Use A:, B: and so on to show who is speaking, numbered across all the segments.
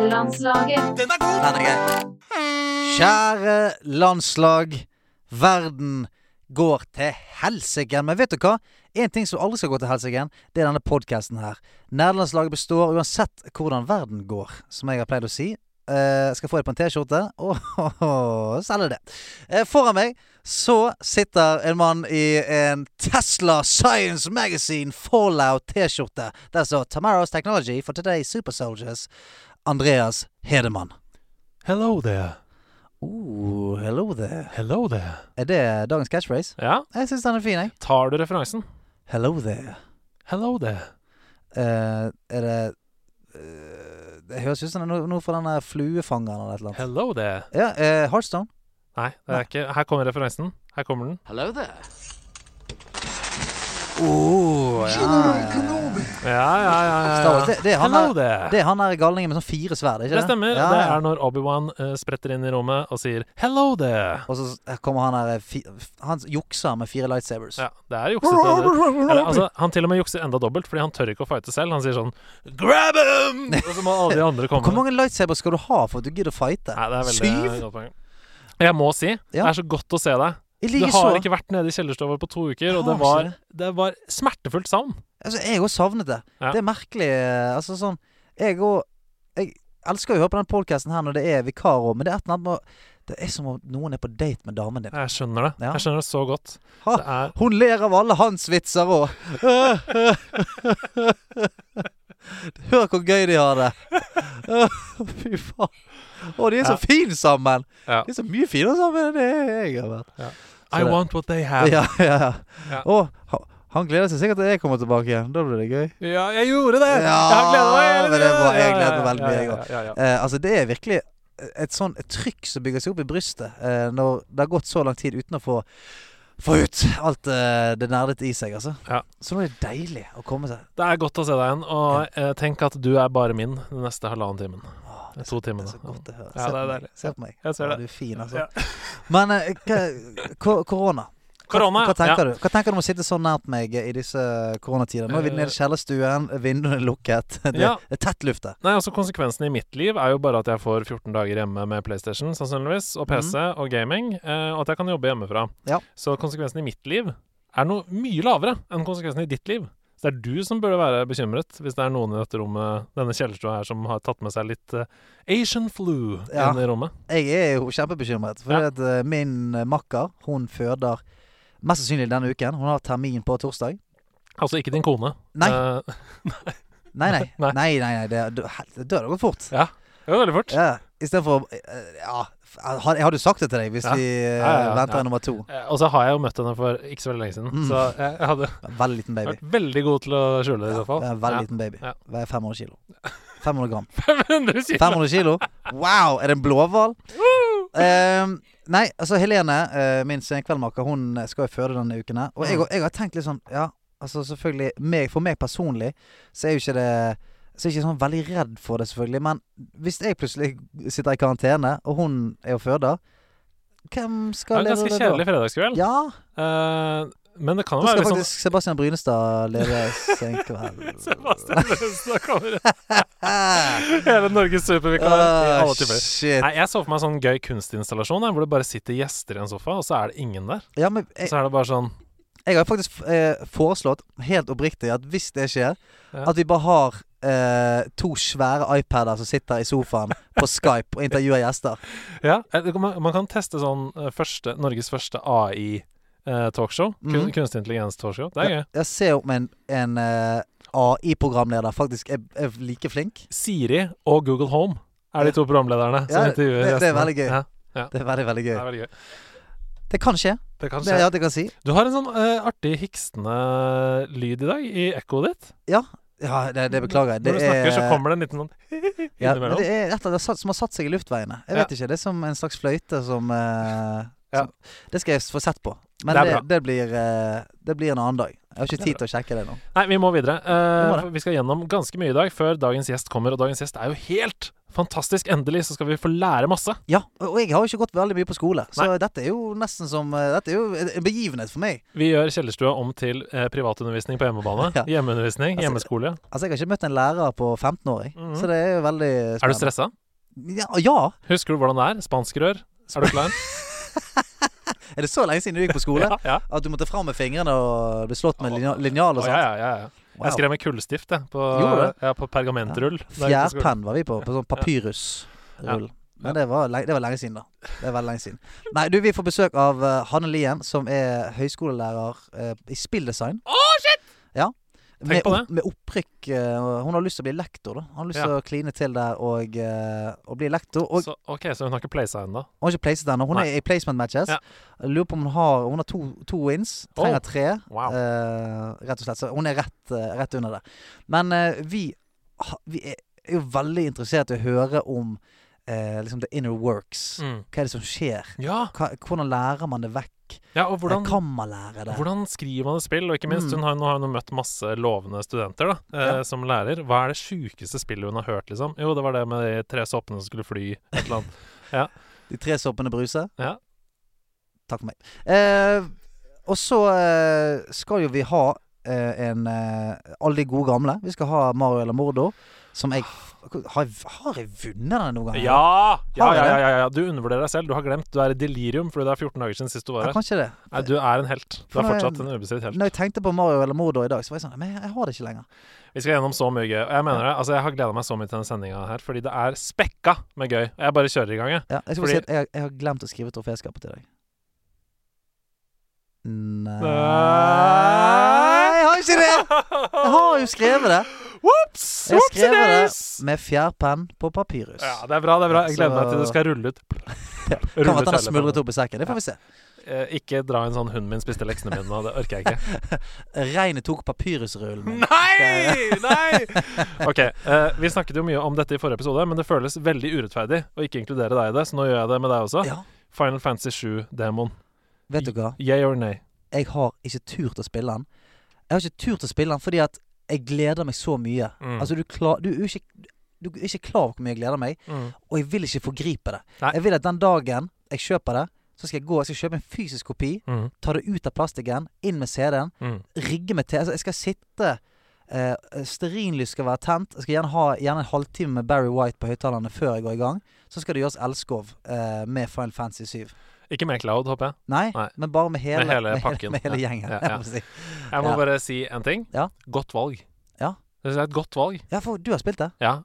A: Landslaget.
B: Den er god! Den er gøy.
C: Kjære landslag. Verden går til helsike. Men vet du hva? En ting som aldri skal gå til helsike, det er denne podkasten her. Nerdelandslaget består uansett hvordan verden går, som jeg har pleid å si. Eh, skal få det på en T-skjorte og selge det. Eh, foran meg så sitter en mann i en Tesla Science Magazine Fallout-T-skjorte. Der står 'Tomorrow's altså Technology for Today's Super Soldiers'. Andreas Hedemann.
D: Hello there.
C: Oh, hello there.
D: Hello there.
C: Er det dagens catchphrase?
D: Ja,
C: Jeg syns den er fin, jeg.
D: tar du referansen?
C: Hello there.
D: Hello there.
C: Eh, er det eh, Det høres ut som det er noe, noe fra den der fluefangeren eller et eller annet.
D: Hello there.
C: Ja, eh, Heartstone.
D: Nei, det er ikke Her kommer referansen. Her kommer den.
B: Hello there.
C: Oh, ja, ja, ja.
D: Ja, ja, ja. ja,
C: Star Wars,
D: ja.
C: det, det, er han
D: Hello
C: der,
D: there.
C: det er han der galningen med sånn fire sverd, ikke
D: Det
C: det?
D: stemmer.
C: Ja,
D: Det
C: ja.
D: er når Obi-Wan eh, spretter inn i rommet og sier 'hello there'.
C: Og så s- kommer han der eh, fi, Han jukser med fire lightsabers.
D: Ja, det er juksete. det. Eller, altså, han til og med jukser enda dobbelt, fordi han tør ikke å fighte selv. Han sier sånn 'grab him!' Og så må alle de andre komme.
C: Hvor mange lightsabers skal du ha for at du gidder å fighte?
D: Nei, det er veldig
C: Syv?
D: godt poeng. Jeg må si, det
C: Ja.
D: er så godt å se deg.
C: I
D: Du
C: like
D: har
C: så.
D: ikke vært nede i kjellerstua på to uker, og
C: Har
D: det
C: ikke
D: var,
C: det.
D: det var smertefullt savn.
C: Altså, jeg òg savnet det.
D: Ja.
C: Det er merkelig. eh, Altså sånn Jeg òg Jeg elsker jo å høre på den podkasten her når det er vikar òg, men det er et eller annet med Det er som om noen er på date med damen din.
D: Jeg skjønner det.
C: Ja.
D: Jeg skjønner det så godt.
C: Ha.
D: Det er
C: Hun ler av alle hans vitser òg. Hør hvor gøy de har det. Fy faen. Å, de er så
D: Ja.
C: fine sammen.
D: Ja.
C: De er så mye finere sammen enn det jeg har vært. I
D: I want what they have.
C: Ja, ja, ja.
D: Ja.
C: Å, ha- han gleder seg sikkert til jeg kommer tilbake igjen. Da blir det gøy.
D: Ja, jeg gjorde det!
C: Ja,
D: jeg har gledet meg! hele
C: men det er bra.
D: tiden.
C: Jeg
D: Ja,
C: gleder meg
D: ja,
C: veldig
D: ja,
C: mye, jeg
D: ja, ja, ja, ja.
C: Eh, altså Det er virkelig et sånn et trykk som bygger seg opp i brystet eh, når det har gått så lang tid uten å få få ut alt eh, det nerdete i seg, altså.
D: Ja.
C: Så nå er det deilig å komme seg.
D: Det er godt å se deg igjen, og eh, tenk at du er bare min den neste halvannen timen.
C: Åh, det er
D: To
C: så-
D: timer,
C: Det er så
D: da.
C: godt å høre.
D: Ja,
C: se,
D: det
C: på
D: er
C: meg.
D: deilig.
C: se på meg.
D: Jeg ser
C: Åh,
D: det.
C: Du er fin, altså.
D: Ja.
C: Men eh, hva- ko- korona. Hva-
D: Korona,
C: Hva
D: ja.
C: tenker du Hva tenker du om å sitte så nært meg i disse eh, koronatider? Nå er vi nede i kjellerstuen, vinduene er lukket. Det
D: Eh. Ja.
C: det er tett lufte.
D: Nei, altså Konsekvensen i mitt liv er jo bare at jeg får 14 dager hjemme med PlayStation sannsynligvis, og PC og gaming, eh, og at jeg kan jobbe hjemmefra.
C: Mhm. Ja.
D: Så konsekvensen i mitt liv er noe mye lavere enn konsekvensen i ditt liv. Så det er du som burde være bekymret, hvis det er noen i dette rommet, denne kjellerstua her, som har tatt med seg litt eh, Asian flu
C: Ja.
D: inn i rommet.
C: Jeg er jo kjempebekymret. For
D: Ja.
C: at eh, min eh, makker hun føder mest sannsynlig denne uken. Hun har termin på torsdag.
D: Altså ikke din kone.
C: Nei.
D: Eh,
C: Nei, nei. nei,
D: Nei.
C: nei, nei det, det, det dør det gått fort.
D: ja. Det var veldig fort.
C: Ja, Istedenfor eh, Ja, jeg hadde jo sagt det til deg hvis
D: Ja.
C: vi eh,
D: Ja, ja, ja.
C: venter
D: Ja.
C: nummer to.
D: Eh, Og så har jeg jo møtt henne for ikke så veldig lenge siden,
C: Mm.
D: så jeg jeg hadde
C: Veldig liten baby.
D: vært veldig god til å skjule det i så fall.
C: Det er en veldig liten baby.
D: Ja.
C: Veier 500 kilo. 500 gram.
D: Ja. 500 kilo.
C: 500 kilo? Wow! Er det en blåhval? Ehm, nei, altså Helene, eh, min senkveldmaker, hun skal jo føde denne uken her.
D: Mm.
C: Og jeg, jeg har tenkt litt sånn Ja, altså selvfølgelig meg, For meg personlig så er jo ikke det så er jeg ikke sånn veldig redd for det, selvfølgelig. Men hvis jeg plutselig sitter i karantene, og hun er og føder, hvem
D: Det
C: skal
D: er en ganske
C: da?
D: kjedelig fredagskveld.
C: Ja,
D: Eh, men det sånn- kan jo
C: da skal
D: være litt
C: faktisk Sebastian Brynestad lede senkveld.
D: sånn Sebastian Lønstad kommer inn. Hele Norges supervikar i
C: Ah,
D: alle typer.
C: shit.
D: Nei, jeg så for meg en sånn gøy kunstinstallasjon der, hvor det bare sitter gjester i en sofa, og så er det ingen der.
C: Ja, men jeg,
D: Så er det bare sånn
C: Jeg har faktisk eh, foreslått, helt oppriktig, at hvis det skjer,
D: Ja.
C: at vi bare har eh, to svære iPader som sitter i sofaen på Skype og intervjuer gjester.
D: Ja, eh, det kan- man, man kan teste sånn eh, første, Norges første eh, AI-talkshow.
C: Mhm.
D: Kunstig intelligens-talkshow. Det er gøy.
C: Jeg ser om en, en eh, AI-programleder faktisk er, er like flink.
D: Siri og Google Home er de to programlederne som
C: Ja,
D: intervjuer
C: det- det er
D: gjestene.
C: veldig gøy.
D: Ja,
C: Det er veldig, veldig
D: det
C: gøy.
D: er veldig gøy.
C: Det kan skje.
D: Det kan
C: Det er
D: skje.
C: alt jeg kan si.
D: Du har en sånn eh, artig hikstende lyd i dag, i ekkoet ditt.
C: Ja, det, det beklager jeg.
D: Når du snakker, så kommer det en liten sånn
C: ja, men
D: innimellom.
C: Det er rett og slett satt- som har satt seg i luftveiene. Jeg vet ikke. Det er som en slags fløyte som, eh,
D: Ja.
C: som Det skal jeg få sett på. Men
D: Det
C: det,
D: er
C: det, blir, eh, det blir en annen dag. Jeg har
D: Det er
C: ikke tid til å sjekke det nå.
D: Nei, vi må videre. Eh,
C: Vi må det.
D: for vi skal gjennom ganske mye i dag før dagens gjest kommer, og dagens gjest er jo helt fantastisk. Endelig så skal vi få lære masse.
C: Ja, og og jeg har jo ikke gått veldig mye på skole, så dette er jo nesten som eh, Dette er jo en begivenhet for meg.
D: Vi gjør kjellerstua om til eh, privatundervisning på hjemmebane.
C: Ja.
D: Hjemmeundervisning,
C: Altså,
D: hjemmeskole.
C: Altså, jeg har ikke møtt en lærer på 15 år, jeg.
D: Mhm.
C: Så det er jo veldig
D: Er du
C: spennende.
D: stressa?
C: Ja, ja.
D: Husker du hvordan det er? Spanskrør? Er du klar?
C: Er det så lenge siden du gikk på skole
D: ja, ja.
C: at du måtte fram med fingrene og bli slått med linja- linjal og
D: Å, ja,
C: sånt?
D: ja, ja, ja.
C: Wow.
D: Jeg skrev med kullstift jeg, på,
C: Gjorde
D: ja, på pergamentrull. da jeg gikk på skolen.
C: Fjærpenn var vi på, på sånn papyrusrull. Men det var, lenge, det var lenge siden, da. Det er veldig lenge siden. Nei, du, vi får besøk av eh, Hanne Lien, som er høyskolelærer eh, i spilldesign. Å, shit! Ja. Med,
D: på
C: opp- med opprykk. eh, hun har lyst til å bli lektor, da. Hun har lyst til
D: Ja.
C: å kline til der og, eh, og bli lektor. Og
D: Så, ok, så hun har ikke placet ennå.
C: hun har ikke placet ennå. Hun
D: Nei.
C: er i placement matches.
D: Ja.
C: Jeg Lurer på om hun har Hun har to, to wins.
D: Oh.
C: Trenger tre.
D: Wow.
C: Eh, rett og slett. Så hun er rett, eh, rett under det. Men eh, vi, ha- vi er jo veldig interessert i å høre om eh, liksom the inner works.
D: Mm.
C: Hva er det som skjer?
D: Ja,
C: Hva, hvordan lærer man det vekk?
D: ja, og hvordan,
C: kan man lære det?
D: hvordan skriver man et spill? Og ikke minst,
C: Mm.
D: hun har, nå har hun jo møtt masse lovende studenter da, eh,
C: Ja.
D: som lærer. Hva er det sjukeste spillet hun har hørt, liksom? Jo, det var det med de tre soppene som skulle fly, et eller annet.
C: De tre soppene bruse?
D: Ja.
C: Takk for meg. Eh, og så eh, skal jo vi ha eh, en eh, Alle de gode gamle. Vi skal ha Mario eller Mordo. Som jeg Har jeg, har jeg vunnet den noen gang?
D: Ah. Ja! Ja,
C: Har vi
D: ja,
C: det?
D: ja, ja, ja. Du undervurderer deg selv. Du har glemt. Du er i delirium fordi det er 14 dager siden sist du
C: Jeg
D: var her.
C: kan ikke det.
D: Nei, du er en helt. Du
C: For
D: er
C: nå er-
D: fortsatt en ubestridelig helt.
C: Når jeg tenkte på Mario eller Mordo i dag, så var jeg sånn Men jeg har det ikke lenger.
D: Vi skal gjennom så mye gøy. Og jeg mener det. Altså, jeg har gleda meg så mye til denne sendinga her, fordi det er spekka med gøy. Og jeg bare kjører i gang, jeg.
C: Ja, jeg, skal bare
D: Fordi-
C: si at jeg, jeg har glemt å skrive troféskapet til deg. Nei Jeg har ikke det! Jeg har jo skrevet det.
D: Ops!
C: Jeg skrev det.
D: Opsides!
C: Med fjærpenn på papyrus.
D: Ja, det er bra, det er bra. Jeg gleder meg til det
C: Så-
D: skal rulle ut.
C: kan være at han har
D: Rulleteller.
C: smuldret opp i sekken. Det får vi se.
D: Eh, Ikke dra en sånn 'hunden min spiste leksene mine' nå. Det orker jeg ikke.
C: Regnet tok papyrusrullen min.
D: Nei! Nei! OK. eh, vi snakket jo mye om dette i forrige episode, men det føles veldig urettferdig å ikke inkludere deg i det, så nå gjør jeg det med deg også.
C: Ja,
D: Final Fantasy 7-demoen.
C: vet du hva?
D: Yeah or nay?
C: Jeg har ikke turt å spille den. Jeg har ikke turt å spille den fordi at jeg gleder meg så mye.
D: Mm.
C: Altså, du, klar, du, er jo ikke, du er ikke klar over hvor mye jeg gleder meg,
D: mm.
C: og jeg vil ikke forgripe det.
D: Nei.
C: Jeg vil at den dagen jeg kjøper det, så skal jeg gå, jeg skal kjøpe en fysisk kopi,
D: Mm.
C: ta det ut av plastikken, inn med CD-en,
D: Mm.
C: rigge meg til. Altså, jeg skal sitte eh, Stearinlys skal være tent. Jeg skal gjerne ha gjerne en halvtime med Barry White på høyttalerne før jeg går i gang. Så skal det gjøres elskov eh, med Final Fantasy 7.
D: Ikke med Cloud, håper jeg.
C: Nei,
D: Nei.
C: men bare med hele,
D: Med hele pakken.
C: Med hele
D: Ja,
C: gjengen.
D: ja,
C: jeg
D: ja.
C: må si.
D: Jeg må
C: Ja.
D: bare si en ting.
C: Ja.
D: Godt valg.
C: Ja.
D: Det synes jeg er et godt valg.
C: ja, for du har spilt det?
D: Ja.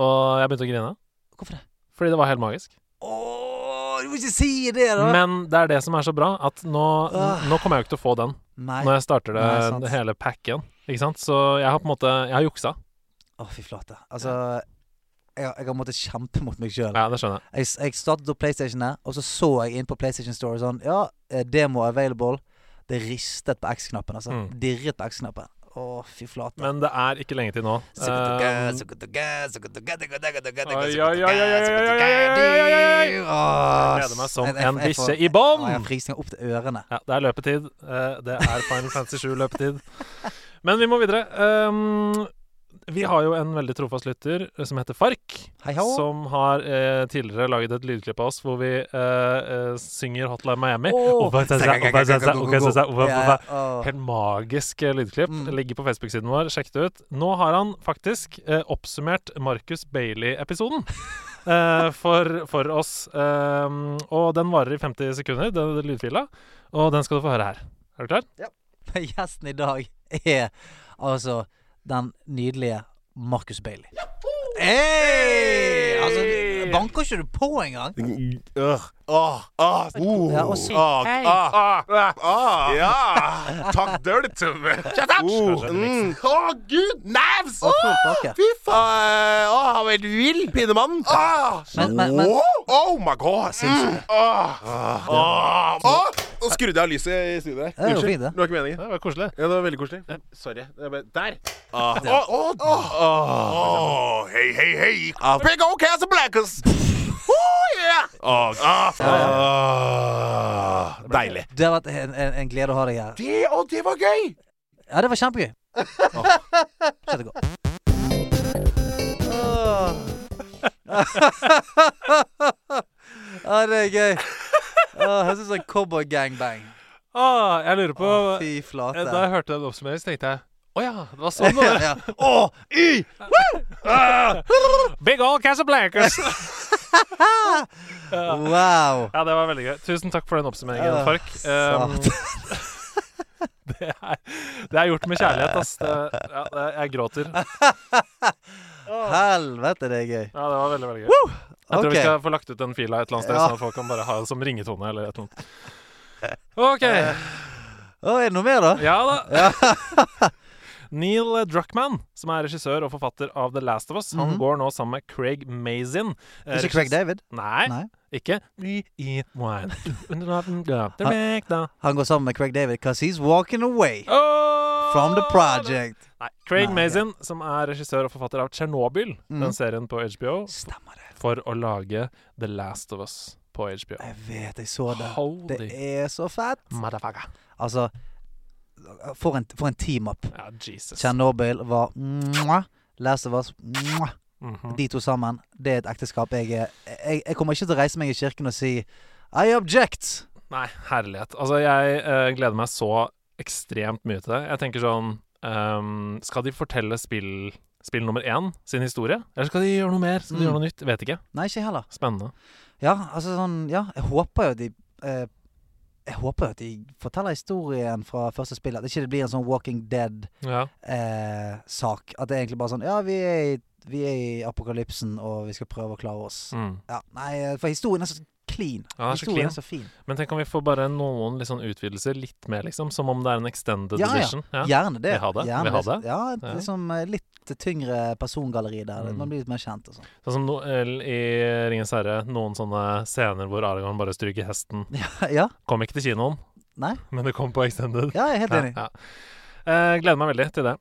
D: Og jeg begynte å grine.
C: Hvorfor det?
D: Fordi det var helt magisk.
C: Åh, du må ikke si det, da!
D: Men det er det som er så bra, at nå,
C: Ah.
D: nå kommer jeg jo ikke til å få den
C: Nei.
D: når jeg starter det,
C: Nei, sant.
D: det hele packen. Ikke sant? Så jeg har på en måte Jeg har juksa.
C: Å, fy flate. Altså jeg, har- jeg har måttet kjempe mot meg sjøl.
D: Ja, det skjønner jeg.
C: Jeg, jeg startet opp PlayStationet, og så så jeg inn på PlayStation Store sånn Ja, eh, demo available. Det ristet på X-knappen, altså.
D: Mm.
C: Dirret på X-knappen. Å, fy flate.
D: Men det er ikke lenge til nå. Eh, jeg gleder
C: Gleder
D: meg som en bikkje i bånn!
C: Jeg har frysninger opp til ørene.
D: Ja, det er løpetid. Eh, Det er Final Fantasy 7 løpetid. Men vi må videre. Um, vi har jo en veldig trofast lytter eh, som heter Fark.
C: Hei hå.
D: Som har eh, tidligere laget et lydklipp av oss hvor vi eh, eh, synger Hotline Miami.
C: Åh.
D: Opa, tesa, opa, tesa, opa, tesa, opa,
C: Ja,
D: opa.
C: åh.
D: Helt magisk eh, lydklipp.
C: Mm.
D: Ligger på Facebook-siden vår. Sjekk det ut. Nå har han faktisk eh, oppsummert Marcus Bailey-episoden eh, for, for oss. Um, og den varer i 50 sekunder, den lydfila. Og den skal du få høre her. Er du klar?
C: Men Gjesten i dag er altså den nydelige Marcus Bailey. Hey! Altså, du- banker ikke du på engang?
A: Ugh. Åh, åh, oh,
C: Ja, og syk.
A: åh,
B: Hei.
A: åh,
D: Ah,
A: åh. Ja! Takk døl til meg. Shut up! Åh, mm. Åh, gud! Navs!
C: Og full pakke.
A: Fy faen! Åh, han var helt vill, pinemann. Åh,
C: Men- men- men-
A: Åh, Ah. oh my god, sinnssykt. Åh, åh, åh. Ah. Nå skrudde jeg av lyset i studioet
C: Det er
A: her.
C: jo fint, det.
A: det var ikke meningen.
D: det var koselig.
A: Ja, det var veldig koselig. Sorry. Det er bare der. Åh, åh, åh, åh. Åh, hei, hei, hei. Ah, Big old Casablancas. Oh, yeah. Ah. Åh, åh, åh. Ah, Deilig.
C: Det har vært en, en, en glede å ha deg her.
A: Det, og det var gøy!
C: Ja, det var kjempegøy. Kjempegod. Ja, det er gøy. Åh, jeg syns det er cowboy gangbang.
D: Ah, jeg lurer på
C: Fy
D: eh, Da
C: flate.
D: jeg hørte den oppsummeringen, så tenkte jeg å ja, det var sånn det
C: Ja,
D: var.
C: ja.
A: Å, y!
D: Ah! Big old Casablancas!
C: Wow.
D: Ja, det var veldig gøy. Tusen takk for den oppsummeringen,
C: Ja,
D: Fark. Um, det, er, det er gjort med kjærlighet, ass. Det, ja, det, jeg gråter.
C: Helvete, det er gøy.
D: Ja, det var veldig, veldig gøy. Jeg tror vi
C: Ok.
D: skal få lagt ut den fila et eller annet sted,
C: Ja.
D: sånn at folk kan bare ha det som ringetone eller et eller annet. OK.
C: Å, er det noe mer, da?
D: Ja da. Neil Druckman, som er regissør og forfatter av The Last of Us, han
C: Mhm.
D: går nå sammen med Craig Mazin. eh,
C: Ikke Craig
D: regiss-
C: David?
D: Nei,
C: Nei.
D: ikke We Eat Wine. Under navn, ja. Direkt, da.
C: Han går sammen med Craig David because he's walking away
D: Åh!
C: from the project.
D: Oh! Nei. Craig
C: Nei,
D: Mazin, som er regissør og forfatter av Tsjernobyl,
C: Mhm.
D: den serien på HBO,
C: Stemmer det.
D: for å lage The Last of Us på HBO.
C: Jeg vet, jeg så det. Det
D: Holy
C: er så fett.
D: motherfucker.
C: Altså, for en, for en team-up.
D: Ja, Jesus.
C: Tsjernobyl var mwah. Last of Us mwah.
D: Mhm.
C: De to sammen, det er et ekteskap. Jeg, er- jeg, jeg kommer ikke til å reise meg i kirken og si I object.
D: Nei, herlighet. Altså, jeg eh, gleder meg så ekstremt mye til det. Jeg tenker sånn ehm, Skal de fortelle spill, spill nummer én sin historie? Eller skal de gjøre noe mer? Skal de
C: Mm.
D: gjøre noe nytt? Vet ikke.
C: Nei, ikke jeg heller.
D: Spennende.
C: Ja, altså sånn Ja, jeg håper jo at de eh, Jeg håper jo at de forteller historien fra første spill. At ikke det blir en sånn Walking Dead-sak.
D: Ja.
C: at det er egentlig bare sånn Ja, vi er, i, vi er i apokalypsen, og vi skal prøve å klare oss.
D: Mm.
C: Ja, Nei, for historien er så clean.
D: Ja, den er så
C: historien
D: clean.
C: er så fin.
D: Men tenk om vi får bare noen litt sånn utvidelser litt mer, liksom. Som om det er en extended
C: Ja, ja.
D: edition. Ja.
C: Gjerne det.
D: Vi har det.
C: Gjerne
D: Vi har det.
C: Ja, et
D: Ja.
C: liksom eh, litt tyngre persongalleri der.
D: Mm.
C: Man blir litt mer kjent og sånn.
D: Sånn som no, eller i Ringens herre, noen sånne scener hvor Aragon bare stryker hesten.
C: Ja,
D: Kom ikke til kinoen,
C: Nei.
D: men det kom på extended.
C: ja, jeg er helt enig.
D: Ja, ja. Eh, gleder meg veldig til det.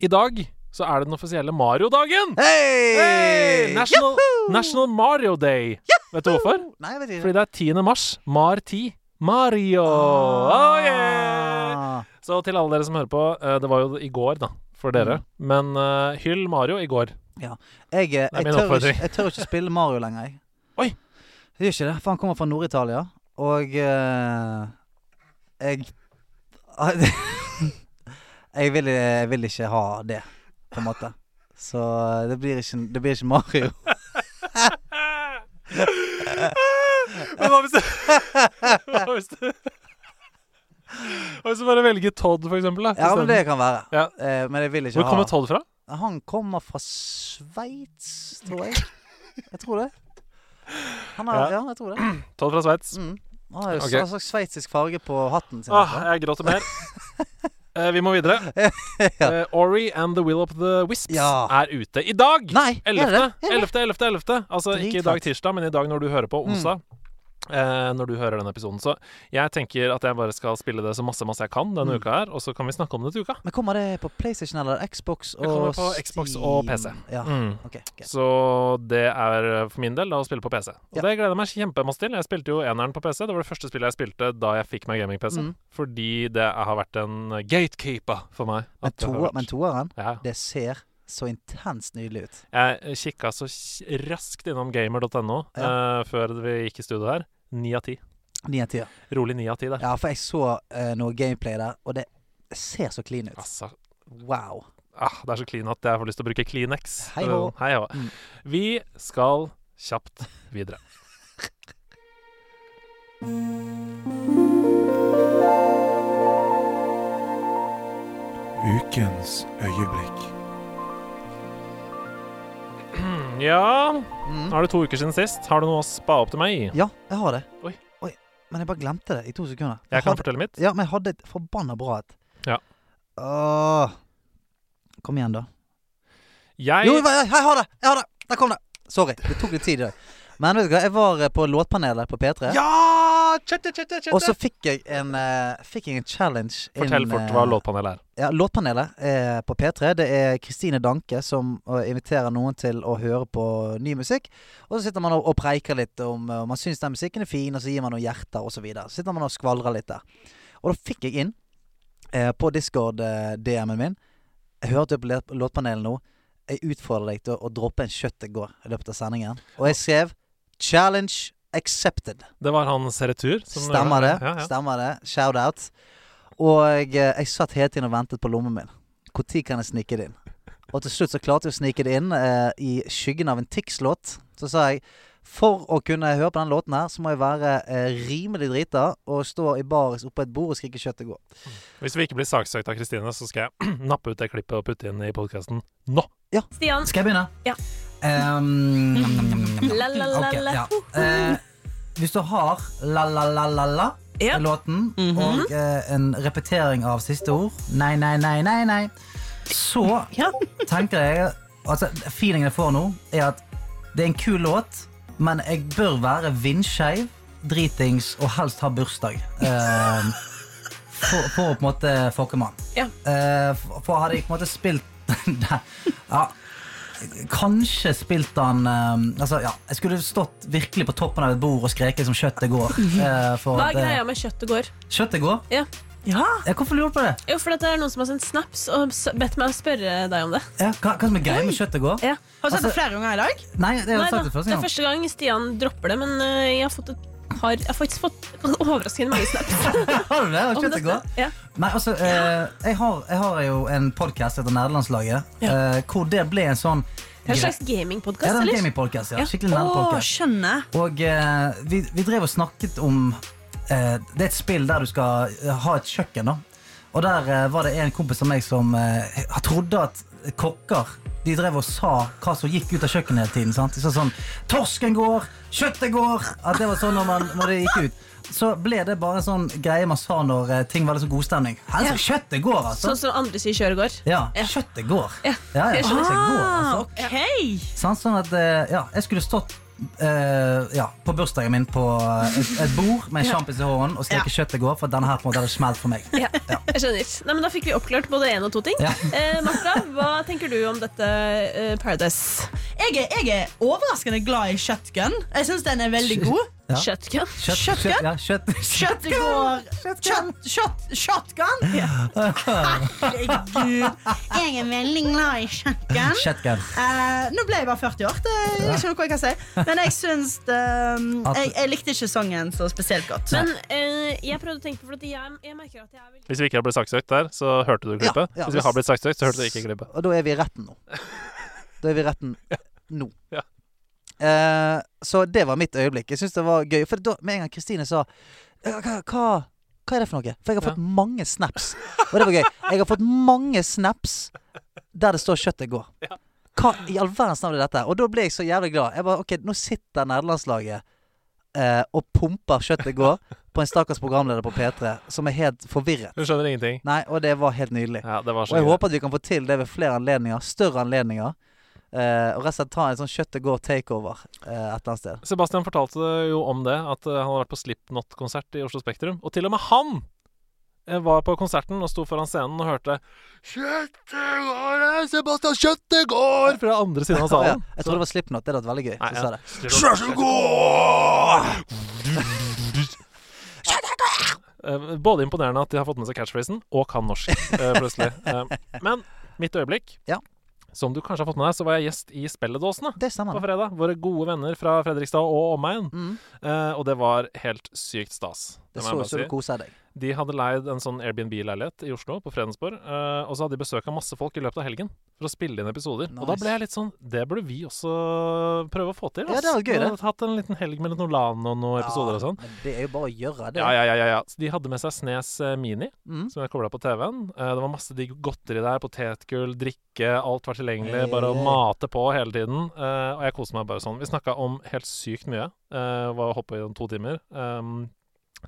D: I dag så er det den offisielle Mario-dagen!
C: Hei!
D: Hey! National,
C: Juhu!
D: National Mario Day. Vet du hvorfor?
C: Nei, jeg vet ikke.
D: Fordi det er 10. mars. Mar 10. Mario! Oh, yeah!
C: Ah.
D: Så til alle dere som hører på, eh, det var jo i går, da, for dere.
C: Mm.
D: Men eh, hyll Mario i går.
C: Jeg, eh,
D: er
C: jeg,
D: min
C: tør ikke,
D: oppfordring.
C: jeg tør ikke spille Mario lenger, jeg.
D: Oi.
C: Jeg gjør ikke det, for han kommer fra Nord-Italia, og eh, jeg ah, jeg, vil, jeg vil ikke ha det, på en måte. Så eh, det blir ikke, det blir ikke Mario.
D: Men hva hvis du Hva hvis du Hva hvis du bare velger Todd, for eksempel? Da,
C: Ja, men
D: isteden?
C: det kan være.
D: Ja.
C: Eh, men jeg vil ikke
D: Hvor kommer
C: ha
D: Todd fra?
C: Han kommer fra Sveits, tror jeg. Jeg tror det. Han har, ja. jeg tror det.
D: Todd fra Sveits.
C: Mm. Han har jo
D: Ok. Ah,
C: en slags sveitsisk farge på hatten sin. altså.
D: Åh, jeg gråter mer. Eh, vi må videre. Eh, Ori and the Will of the Wisps
C: Ja.
D: er ute i dag!
C: Nei, er det
D: 11.
C: det?
D: 11. 11. 11. Altså ikke i dag
C: Dritfett. Mm.
D: tirsdag, men i dag når du hører på onsdag. eh, når du hører den episoden. Så jeg tenker at jeg bare skal spille det så masse masse jeg kan denne
C: Mm.
D: uka her, og så kan vi snakke om det til uka.
C: Men kommer det på PlayStation eller Xbox og
D: Det kommer på Xbox og
C: Steam?
D: PC.
C: Ja,
D: Mm.
C: ok. greit.
D: Så det er eh, for min del da å spille på PC. Og
C: Ja.
D: det gleder jeg meg kjempemasse til. Jeg spilte jo eneren på PC. Det var det første spillet jeg spilte da jeg fikk meg gaming-PC.
C: Mm.
D: Fordi det har vært en gatekeeper for meg.
C: Men,
D: At det har
C: toer-
D: vært-
C: men toeren,
D: ja.
C: det ser så intenst nydelig ut.
D: Jeg kikka så kj- raskt innom gamer.no eh, før vi gikk i studio her. Ni av ti.
C: Ni av ti. ja.
D: Rolig ni av ti der.
C: Ja, for jeg så eh, noe gameplay der, og det ser så clean ut.
D: Altså,
C: Wow.
D: ah, det er så clean at jeg får lyst til å bruke Kleenex.
C: Hei hå.
D: Eh, Hei hå.
C: Mm.
D: Vi skal kjapt videre.
A: Ukens øyeblikk.
D: Ja,
C: Mm.
D: nå er det to uker siden sist. Har du noe å spa opp til meg?
C: Ja, jeg har det.
D: Oi.
C: Men jeg bare glemte det i to sekunder.
D: Jeg kan
C: hadde,
D: fortelle mitt.
C: ja, men jeg hadde et forbanna bra et.
D: Ja.
C: Åh. Kom igjen, da.
D: Jeg
C: Jo, jeg, jeg, jeg har det! Jeg har det! Der kom det! Sorry, det tok litt tid i dag. Men vet du hva, jeg var eh, på låtpanelet på P3.
A: Ja! Chatte, chatte, chatte.
C: Og så fikk jeg en, eh, fikk jeg en challenge.
D: Fortell
C: inn,
D: fort
C: eh,
D: hva låtpanelet er.
C: Ja, låtpanelet eh, på P3. Det er Kristine Danke som eh, inviterer noen til å høre på ny musikk. Og så sitter man og, og preiker litt om eh, om man syns den musikken er fin, og så gir man noen hjerter osv. Så, videre. så sitter man og skvaldrer litt der. Og da fikk jeg inn eh, på Discord-DM-en min Jeg hørte på låt- låtpanelet nå. Jeg utfordrer deg til å, å droppe en kjøtt i går i løpet av sendingen. Og jeg skrev 'Challenge accepted'.
D: Det var han Seretur. som gjorde
C: Stemmer det.
D: Ja, ja.
C: Stemmer det. Shout out. Og eh, jeg satt hele tiden og ventet på lommen min. Når kan jeg snike det inn? Og til slutt så klarte jeg å snike det inn eh, i skyggen av en Tix-låt. Så sa jeg For å kunne høre på den låten her, så må jeg være eh, rimelig drita og stå i baris oppå et bord og skrike 'kjøttet går'.
D: Hvis vi ikke blir saksøkt av Kristine, så skal jeg nappe ut det klippet og putte inn i podkasten nå.
B: Stian.
C: Skal jeg begynne?
B: Ja.
C: Ehm,
B: La, la, la,
C: ok,
B: la.
C: ja. Eh, hvis du har la-la-la-la-la
B: Ja. Mhm.
C: låten, og eh, en repetering av siste ord Nei, nei, nei, nei, nei. Så
B: Ja.
C: tenker jeg altså, Feelingen jeg får nå, er at det er en kul låt, men jeg bør være vindskeiv, dritings og helst ha bursdag. Eh, for, for å på en måte fucke med han.
B: Ja.
C: Eh, for, for hadde jeg på en måte spilt Nei, ja, Kanskje spilt han eh, altså, ja, Jeg skulle stått virkelig på toppen av et bord og skreket som 'kjøttet går'. eh, for
B: Hva
C: at,
B: er
C: eh,
B: greia med kjøttet går?
C: Kjøttet går?
B: Ja.
C: Ja, hvorfor lurer du på det?
B: Jo, for at det er noen som har sendt snaps og s- bedt meg å spørre deg om det.
C: Ja, hva, hva som er greia med kjøttet går?
B: Ja.
E: Har du sett
C: Altså-
E: det flere ganger i
C: Nei,
E: dag?
C: det har
B: Nei
C: jeg
B: da,
C: sagt det
B: det
C: første
B: er
C: gang.
B: første gang Stian dropper det, men øh, jeg har fått et par Jeg har faktisk fått overraskende mange snaps
C: Har du det? Om
B: om
C: kjøttet
B: dette.
C: går?
B: Ja.
C: Nei, altså, eh, jeg, har, jeg har jo en podkast etter Nerdelandslaget, eh, hvor det ble en sånn
B: Det er en slags
C: Ja, det
B: gamingpodkast,
C: er en
B: eller?
C: gamingpodkast, ja.
B: Ja.
C: Skikkelig
E: Å,
C: nerdpodkast.
E: skjønner.
C: Og eh, vi, vi drev og snakket om eh, Det er et spill der du skal eh, ha et kjøkken, da. Og der eh, var det en kompis av meg som eh, trodde at kokker de drev og sa hva som gikk ut av kjøkkenet hele tiden. Sant? De sa sånn 'Torsken går! Kjøttet går!' At det var sånn når, man, når det gikk ut. Så ble det bare en sånn greie man sa når eh, ting var litt sånn godstemning. Helst, Kjøttet går, altså!
B: Sånn som andre sier kjøret går.
C: Ja, kjøttet går. Ja, ja,
B: jeg skjønner.
C: kjøttet går altså.
E: Ah, ok.
C: Sant? Sånn at eh, ja, jeg skulle stått eh, ja, på bursdagen min på eh, et, et bord med en sjampis i hånden og steke kjøttet går, for denne her på en måte hadde smelt for meg.
B: Ja, jeg skjønner. Nei, men da fikk vi oppklart både én og to ting.
C: Ja.
B: Eh, Martha, hva tenker du om dette eh, Paradise?
E: Jeg er, jeg er overraskende glad i shotgun. Jeg syns den er veldig god.
C: Ja.
B: Shotgun?
C: Kjøtt,
E: Kjøtt,
C: kjøtt, ja, kjøtt,
E: Kjøtt går. Kjøtt, kjøtt, shotgun. Herregud. Jeg er veldig glad i shotgun.
C: Kjøttgun.
E: Eh, nå ble jeg bare 40 år. Det er ikke noe jeg kan si. Men jeg syns det-
C: At-
E: jeg, jeg likte ikke sangen så spesielt godt.
B: Men eh, jeg prøvde å tenke på for at jeg, jeg merker at jeg er veldig
D: Hvis vi ikke har blitt saksøkt der, så hørte du
C: Ja,
D: klippet.
C: ja.
D: Hvis vi har blitt saksøkt, så hørte du ikke klippet.
C: Og da er vi i retten nå. Da er vi i retten nå.
D: Ja.
C: Eh, så det var mitt øyeblikk. Jeg syns det var gøy. For da, med en gang Kristine sa «Ja, hva, hva, hva er det for noe? For jeg har
D: Ja.
C: fått mange snaps. Og det var gøy. Jeg har fått mange snaps der det står 'kjøttet går'. Hva i all verdens navn er dette? Og da ble jeg så jævlig glad. Jeg bare, ok, Nå sitter nederlandslaget eh, og pumper 'kjøttet går' på en stakkars programleder på P3 som er helt forvirret.
D: Hun skjønner ingenting.
C: Nei, og det var helt nydelig.
D: Ja, det var så
C: Og jeg
D: gøy.
C: håper at vi kan få til det ved flere anledninger. Større anledninger. Eh, og rett og slett ta en sånn kjøttet går takeover eh, et eller annet sted.
D: Sebastian fortalte jo om det, at eh, han hadde vært på Slipknot-konsert i Oslo Spektrum. Og til og med han eh, var på konserten og sto foran scenen og hørte 'Kjøttet går, eh, Sebastian, kjøttet går!' fra andre siden av
C: Å, ja.
D: salen.
C: Jeg trodde det var Slipknot. Det hadde vært veldig gøy.
D: Nei,
C: hvis du sa det.
A: Kjøttet går!
D: Eh, Både imponerende at de har fått med seg catchphrasen, og kan norsk, eh, plutselig. Eh, Men mitt øyeblikk
C: Ja.
D: Som du kanskje har fått med deg, så var jeg gjest i Spelledåsene
C: Det stemmer.
D: på fredag. Våre gode venner fra Fredrikstad og omegn.
C: Mm.
D: Eh, Og det var helt sykt stas.
C: Det
D: må
C: så
D: jeg bare
C: ut som
D: si.
C: du kosa deg.
D: De hadde leid en sånn Airbnb-leilighet i Oslo, på Fredensborg. eh, og så hadde de besøk av masse folk i løpet av helgen for å spille inn episoder. Og da
C: Nice.
D: ble jeg litt sånn Det burde vi også prøve å få til.
C: Ja,
D: ass.
C: det hadde vært gøy,
D: Vi
C: det.
D: hadde Hatt en liten helg med litt Nolan og noen episoder og sånn.
C: Men det er jo bare å gjøre det.
D: Ja, ja, ja, ja, ja. Så de hadde med seg Snes eh, Mini,
C: Mm.
D: som jeg kobla på TV-en. Eh, det var masse digg godteri der. Potetgull, drikke, alt var tilgjengelig.
C: Hey,
D: Bare å
C: hey.
D: mate på hele tiden. Eh, og jeg koste meg bare sånn. Vi snakka om helt sykt mye. Uh, var holdt på i to timer. Um,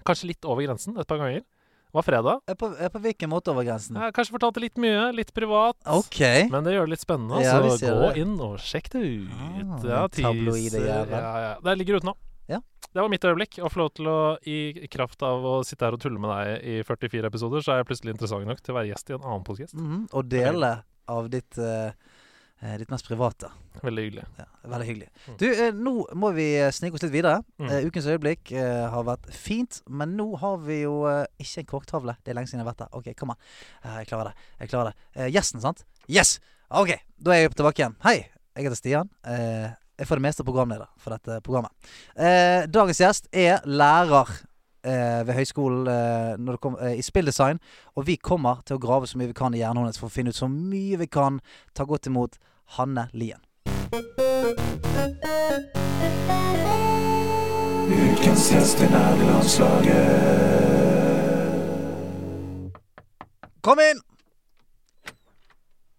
D: kanskje litt over grensen et par ganger. Det var fredag.
C: Eh, På, eh, på hvilken måte over grensen?
D: Jeg har kanskje fortalte litt mye, litt privat.
C: OK.
D: Men det gjør det litt spennende,
C: Ja, vi
D: så
C: ser
D: gå
C: det.
D: inn og sjekk det ut.
C: Ah,
D: ja,
C: tabloide
D: teaser.
C: jævel.
D: Ja, ja. Det ligger ute nå.
C: Ja.
D: Det var mitt øyeblikk. Å få lov til å, i kraft av å sitte her og tulle med deg i 44 episoder, så er jeg plutselig interessant nok til å være gjest i en annen podkast.
C: Mhm. Og dele av ditt, eh, eh, ditt mest private.
D: Veldig hyggelig.
C: Ja, veldig hyggelig.
D: Mm.
C: Du, eh, nå må vi eh, snike oss litt videre.
D: Mm.
C: Eh, ukens øyeblikk eh, har vært fint, men nå har vi jo eh, ikke en korktavle. Det er lenge siden jeg har vært der. OK, kom an. Eh, jeg klarer det. Jeg klarer det. Eh, gjesten, sant? Yes! OK, da er jeg tilbake igjen. Hei, jeg heter Stian. Eh, jeg er for det meste programleder for dette programmet. Eh, dagens gjest er lærer. eh, Ved høyskolen eh, når det kom, eh, i spilldesign. Og vi kommer til å grave så mye vi kan i hjernen hennes for å finne ut så mye vi kan. Ta godt imot Hanne Lien.
F: Ukens gjest i nerdelandslaget.
C: Kom inn!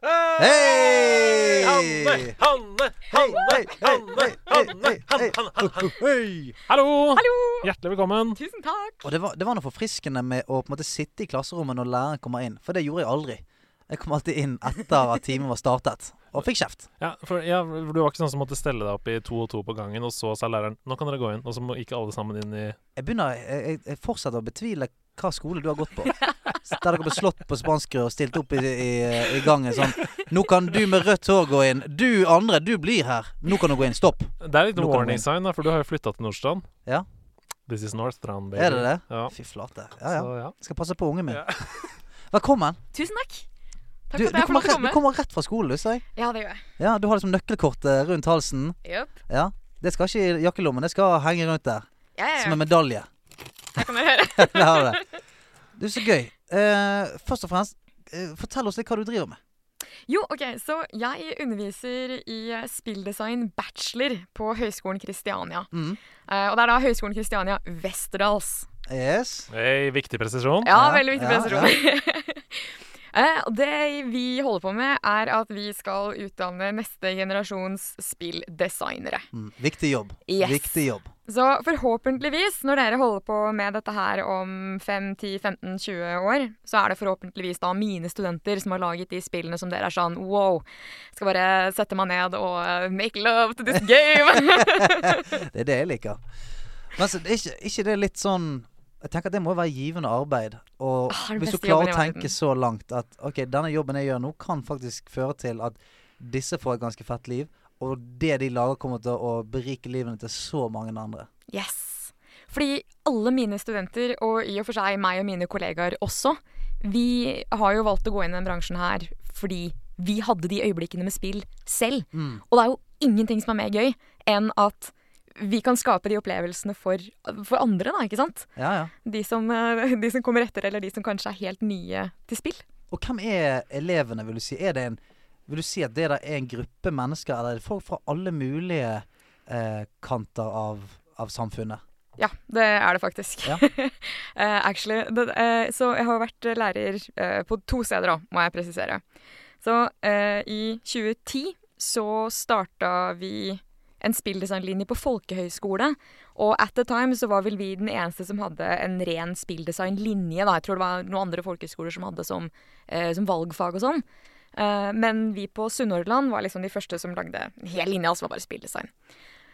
C: Hei!
D: Hanne, Hanne, Hanne,
C: Hei, hei,
D: Hanne,
C: hei, hei,
D: Hanne,
C: hei.
D: Hanne, Hanne, Hanne.
C: Hei!
D: Hallo!
B: Hallo!
D: Hjertelig velkommen.
B: Tusen takk!
C: Og det var, det var noe forfriskende med å på en måte sitte i klasserommet når læreren kommer inn. For det gjorde jeg aldri. Jeg kom alltid inn etter at timen var startet, og fikk kjeft.
D: Ja, for ja, Du var ikke sånn som måtte stelle deg opp i to og to på gangen, og så sa læreren 'nå kan dere gå inn', og så må ikke alle sammen inn i
C: Jeg begynner, jeg, jeg- jeg fortsetter å betvile hva skole du har gått på. Så Der dere ble slått på spanskrør og stilt opp i, i, i gangen sånn Nå kan du med rødt hår gå inn. Du andre, du blir her. Nå kan du gå inn. Stopp.
D: Det er litt
C: Nå kan
D: warning
C: vi-
D: sign, da, for du har jo flytta til Nordstrand.
C: Ja.
D: This is Northstrand, baby.
C: Er det det?
D: Ja.
C: Fy flate. Ja,
D: Ja,
C: ja.
D: Så, ja.
C: Jeg skal passe på ungen min.
D: Ja.
C: Velkommen.
G: Tusen takk. Takk
C: Du,
G: for at
C: du,
G: jeg får
C: kommer
G: lov til å
C: rett, du
G: komme.
C: kommer rett fra skolen, du, sa jeg.
G: Ja, det gjør jeg.
C: Ja, du har liksom nøkkelkortet rundt halsen.
G: Jopp.
C: Ja. Det skal ikke i jakkelommen, det skal henge rundt der.
G: Ja, ja,
C: Som
G: ja.
C: en medalje.
G: Det kan jeg høre.
C: Det har det. Du, så gøy. Eh, først og fremst, eh, fortell oss litt hva du driver med.
G: Jo, ok, så jeg underviser i eh, spilldesign bachelor på Høgskolen Kristiania.
C: Mm.
G: Eh, og det er da Høgskolen Kristiania Westerdals.
C: Yes.
D: Hey, viktig presisjon.
C: Ja,
G: Ja, veldig viktig
C: ja,
G: presisjon. Eh, og det vi holder på med, er at vi skal utdanne neste generasjons spilldesignere.
C: Mm. Viktig jobb.
G: Yes.
C: Viktig jobb.
G: Så forhåpentligvis, når dere holder på med dette her om 5, 10, 15, 20 år, så er det forhåpentligvis da mine studenter som har laget de spillene som dere er sånn wow, skal bare sette meg ned og eh, make love to this game.
C: Det er det jeg liker. Men så, er ikke, ikke det litt sånn Jeg tenker at det må være givende arbeid. Og
G: Ah, det er den
C: hvis du
G: beste
C: klarer å
G: jobben i
C: tenke
G: verden.
C: så langt at ok, denne jobben jeg gjør nå, kan faktisk føre til at disse får et ganske fett liv, og det de lager, kommer til å berike livene til så mange andre.
G: yes. Fordi alle mine studenter, og i og for seg meg og mine kollegaer også, vi har jo valgt å gå inn i den bransjen her fordi vi hadde de øyeblikkene med spill selv. Og det er jo ingenting som er mer gøy enn at vi kan skape de opplevelsene for, for andre, da, ikke sant?
C: Ja, ja.
G: De som, eh, de som kommer etter, eller de som kanskje er helt nye til spill.
C: Og hvem er elevene, vil du si? Er det en, vil du si at det der er en gruppe mennesker, eller er det folk fra alle mulige eh, kanter av, av samfunnet?
G: Ja, det er det faktisk.
C: Ja.
G: Eh, actually, det, eh, så jeg har vært lærer eh, på to steder da, må jeg presisere. Så eh, i 2010 så starta vi en spilldesignlinje på folkehøyskole. Og at the time så var vel vi den eneste som hadde en ren spilldesignlinje. da. Jeg tror det var noen andre folkehøyskoler som hadde som, eh, som valgfag og sånn. Eh, men vi på Sunnhordland var liksom de første som lagde en hel linje, altså var bare spilldesign.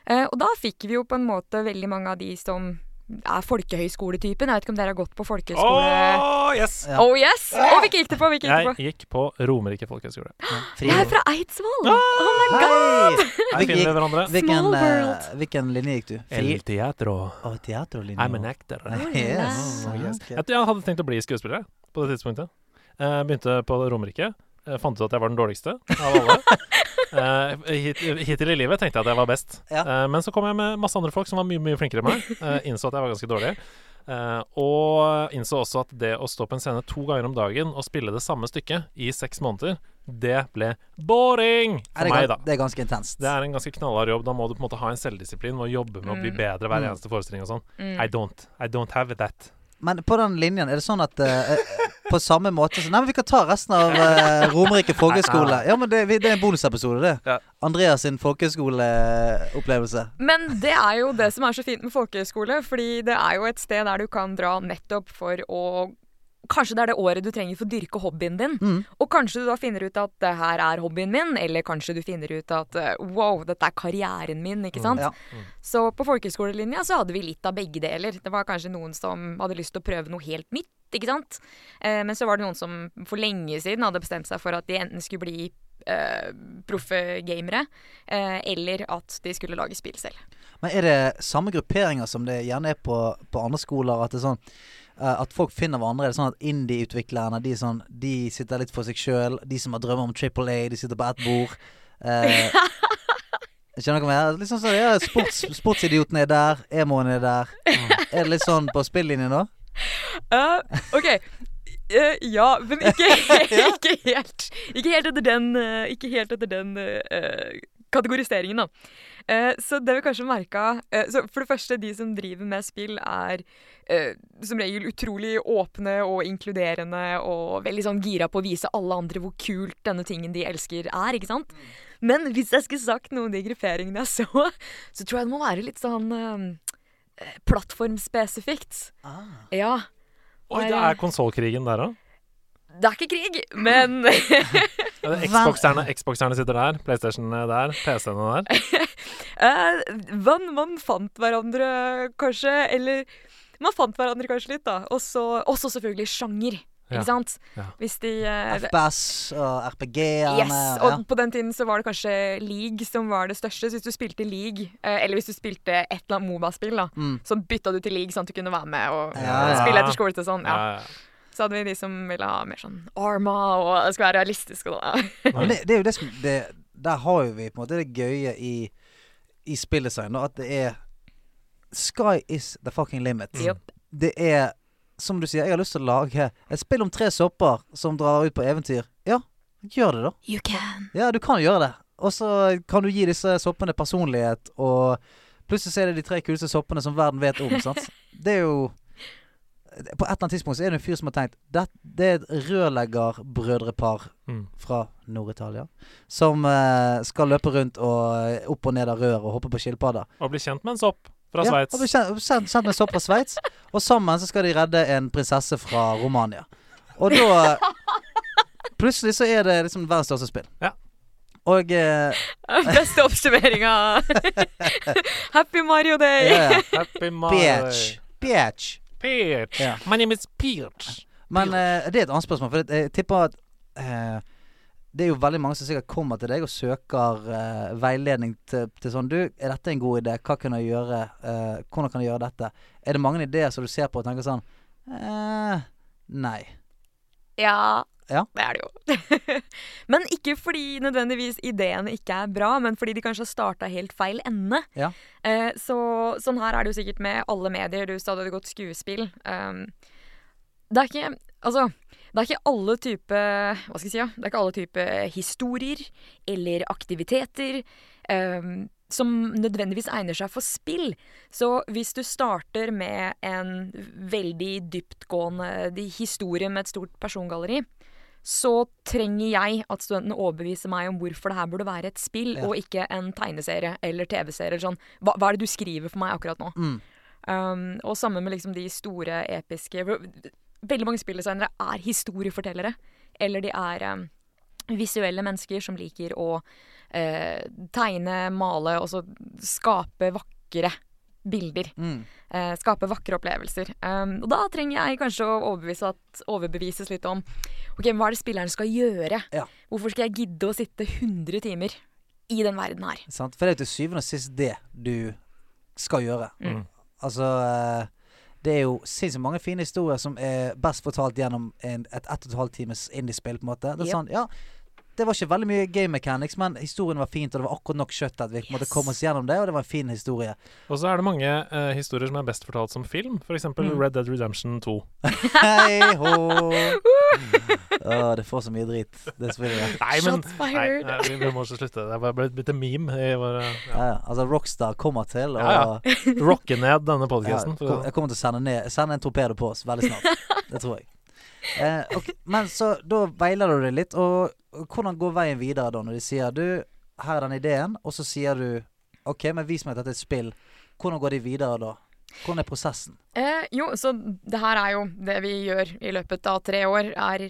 G: Eh, og da fikk vi jo på en måte veldig mange av de som er folkehøyskoletypen. Jeg vet ikke om dere har gått på folkehøyskole...
D: Åh, yes!
C: Ja.
G: Oh yes! Å, hvilke gikk det på? Hvilke gikk det
D: Jeg
G: på?
D: gikk på Romerike folkehøgskole.
G: Jeg er fra
C: Ah!
G: Eidsvoll! Oh my
C: Hei!
D: Her
C: Hvilken-
D: finner vi hverandre.
C: Hvilken,
G: Small
C: eh,
G: world.
C: hvilken linje gikk du? Fri?
D: teatro.
C: Å, teaterlinje.
D: I'm an actor.
C: Yes.
D: Oh, yes.
C: Ok.
D: Jeg tror jeg hadde tenkt å bli skuespiller jeg, på det tidspunktet. Eh, begynte på Romerike. Eh, fant ut at jeg var den dårligste av alle. Eh, hit, hittil i livet tenkte jeg at jeg var best.
C: Ja.
D: Eh, men så kom jeg med masse andre folk som var mye mye flinkere enn meg. Eh, innså at jeg var ganske dårlig. Eh, og innså også at det å stå på en scene to ganger om dagen og spille det samme stykket i seks måneder, det ble boring
C: Er
D: for
C: det,
D: meg, da.
C: gan- det er ganske intenst.
D: Det er en ganske knallhard jobb. Da må du på en måte ha en selvdisiplin og jobbe med å bli bedre hver
C: Mm.
D: eneste forestilling og sånn. I don't. I don't have that.
C: Men på den linjen, er det sånn at eh, eh, på samme måte så, Nei, men vi kan ta resten av eh, Romerike folkehøgskole. Ja, men det, vi, det er en bonusepisode, det.
D: Ja.
C: Andreas sin folkehøgskoleopplevelse.
G: Men det er jo det som er så fint med folkehøyskole, fordi det er jo et sted der du kan dra nettopp for å Kanskje det er det året du trenger for å dyrke hobbyen din.
C: Mm.
G: Og kanskje du da finner ut at det her er hobbyen min, eller kanskje du finner ut at eh, wow, dette er karrieren min, ikke sant.
C: Mm, Ja.
G: Så på folkehøyskolelinja så hadde vi litt av begge deler. Det var kanskje noen som hadde lyst til å prøve noe helt nytt, ikke sant. Eh, men så var det noen som for lenge siden hadde bestemt seg for at de enten skulle bli eh, proffe gamere, eh, eller at de skulle lage spill selv.
C: Men er det samme grupperinger som det gjerne er på, på andre skoler? At det er sånn eh, at folk finner hverandre? Er det sånn at indie-utviklerne de, er sånn, de sitter litt for seg sjøl? De som har drømmer om Triple A, de sitter på ett bord. Eh, skjønner dere hva jeg mener? Litt sånn sånn, ja, sports, Sportsidioten er der, emoen er der. Er det litt sånn på spillinjen nå?
G: Eh, ok. Eh, ja, men ikke, ikke helt. Ikke helt etter den, eh, ikke helt etter den eh, eh, kategoriseringen, da. Eh, så det vi kanskje merka eh, så For det første, de som driver med spill, er eh, som regel utrolig åpne og inkluderende og veldig sånn gira på å vise alle andre hvor kult denne tingen de elsker, er, ikke sant? Men hvis jeg skulle sagt noen av de grupperingene jeg så, så tror jeg det må være litt sånn eh, plattformspesifikt. Ja.
D: Oi, det er konsollkrigen der òg.
G: Det er ikke krig, men
D: Xboxerne Xboxerne sitter der, PlayStationene der, PC-ene der.
G: Eh, man, man fant hverandre kanskje, eller Man fant hverandre kanskje litt, da. Og så også selvfølgelig sjanger.
D: Ja,
G: Ikke sant?
D: ja.
G: Hvis de eh,
C: FPS og RPG-ene
G: Yes,
C: ja.
G: og på den tiden så var det kanskje League som var det største. Så hvis du spilte League, eh, eller hvis du spilte et eller annet Moba-spill, da,
C: Mm.
G: så bytta du til League sånn at du kunne være med og
C: Ja, ja.
G: spille etter skole og sånn.
D: Ja,
G: Ja.
D: ja.
G: Så hadde vi de som ville ha mer sånn Arma og det skulle være realistisk og da.
C: Men det, det er jo det som det, Der har jo vi på en måte det gøye i, i spilldesign, da, at det er Sky is the fucking limit.
G: Yep.
C: Det er som du sier, jeg har lyst til å lage et spill om tre sopper som drar ut på eventyr. Ja, gjør det, da.
G: You can.
C: Ja, du kan gjøre det. Og så kan du gi disse soppene personlighet, og plutselig så er det de tre kuleste soppene som verden vet om. sant? Det er jo På et eller annet tidspunkt så er det en fyr som har tenkt Det, det er et rørleggerbrødrepar
D: Mm.
C: fra Nord-Italia som eh, skal løpe rundt og eh, opp og ned av rør og hoppe på skilpadder.
D: Og bli kjent med en sopp fra
C: Ja,
D: Sveits.
C: og blir kjent- Sendt sendt med sopp fra Sveits. Og sammen så skal de redde en prinsesse fra Romania. Og da Plutselig så er det liksom verdens største spill.
D: Ja.
C: Og eh,
G: Beste oppsummeringa. Happy Mario Day.
C: ja, ja.
D: Happy
C: Bitch. Bitch.
D: Peach.
C: Ja.
D: My name is Peach.
C: Men eh, det er et annet spørsmål, for det- jeg tipper at eh, det er jo veldig mange som sikkert kommer til deg og søker eh, veiledning til, til sånn Du, er dette en god idé? Hva kan jeg gjøre? Eh, hvordan kan jeg gjøre dette? Er det mange ideer som du ser på og tenker sånn eh, Nei.
G: Ja,
C: Ja.
G: det er det jo. men ikke fordi nødvendigvis ideene ikke er bra, men fordi de kanskje har starta helt feil ende.
C: Ja.
G: Eh, så sånn her er det jo sikkert med alle medier. Du sa du hadde gått skuespill. Um, det er ikke Altså, det er ikke alle type Hva skal jeg si? Ja? Det er ikke alle type historier eller aktiviteter um, som nødvendigvis egner seg for spill. Så hvis du starter med en veldig dyptgående di- historie med et stort persongalleri, så trenger jeg at studentene overbeviser meg om hvorfor det her burde være et spill,
C: Ja.
G: og ikke en tegneserie eller TV-serie. eller Sånn. Hva, hva er det du skriver for meg akkurat nå?
C: Mm.
G: Um, og sammen med liksom de store, episke for Veldig mange spilldesignere er historiefortellere. Eller de er um, visuelle mennesker som liker å eh, tegne, male og så skape vakre bilder.
C: Mm.
G: Eh, skape vakre opplevelser. Um, og da trenger jeg kanskje å overbevise at, overbevises litt om Ok, men hva er det spilleren skal gjøre.
C: Ja.
G: Hvorfor skal jeg gidde å sitte 100 timer i den verden her?
C: Sant? For det er jo til syvende og sist det du skal gjøre.
G: Mm.
C: Altså eh, Det er jo sinnssykt mange fine historier som er best fortalt gjennom en, et ett og et halvt times indiespill, på en måte. Det er
G: Yep.
C: sånn, ja det var ikke veldig mye game mechanics, men historien var fint, og det var akkurat nok kjøtt til at vi måtte
G: Yes.
C: komme oss gjennom det, og det var en fin historie.
D: Og så er det mange eh, historier som er best fortalt som film, f.eks. eksempel
C: Mm.
D: Red Dead Redemption 2.
C: Hei hå! Å, det får så mye drit, det spillet der.
D: Nei, men
G: Shots
D: nei,
G: fired.
D: nei, vi, vi må ikke slutte. Det er bare blitt litt meme. i våre- ja.
C: Ja, ja. altså, Rockstar kommer til å
D: Ja, Rocke ned denne
C: Ja,
D: podkasten.
C: kom- jeg kommer til å sende, ned, sende en torpedo på oss veldig snart. Det tror jeg. Eh, ok, Men så da veiler du det litt. Og og hvordan går veien videre da, når de sier du, her er den ideen, og så sier du OK, men vis meg at dette er et spill. Hvordan går de videre da? Hvordan er prosessen?
G: Eh, jo, så det her er jo det vi gjør i løpet av tre år, er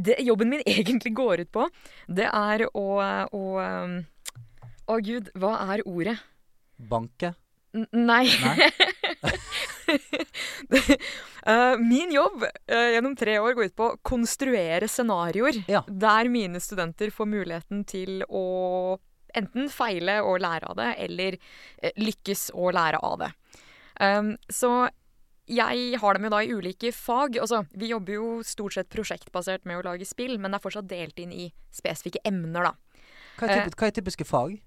G: Det jobben min egentlig går ut på, det er å Å, um, å gud, hva er ordet?
C: Banke?
G: N nei.
C: Nei?
G: Eh, min jobb eh, gjennom tre år går ut på å konstruere scenarioer
C: Ja.
G: der mine studenter får muligheten til å enten feile og lære av det, eller eh, lykkes og lære av det. Um, så jeg har dem jo da i ulike fag. Altså, vi jobber jo stort sett prosjektbasert med å lage spill, men det er fortsatt delt inn i spesifikke emner, da.
C: Hva er, typ, hva er typiske fag?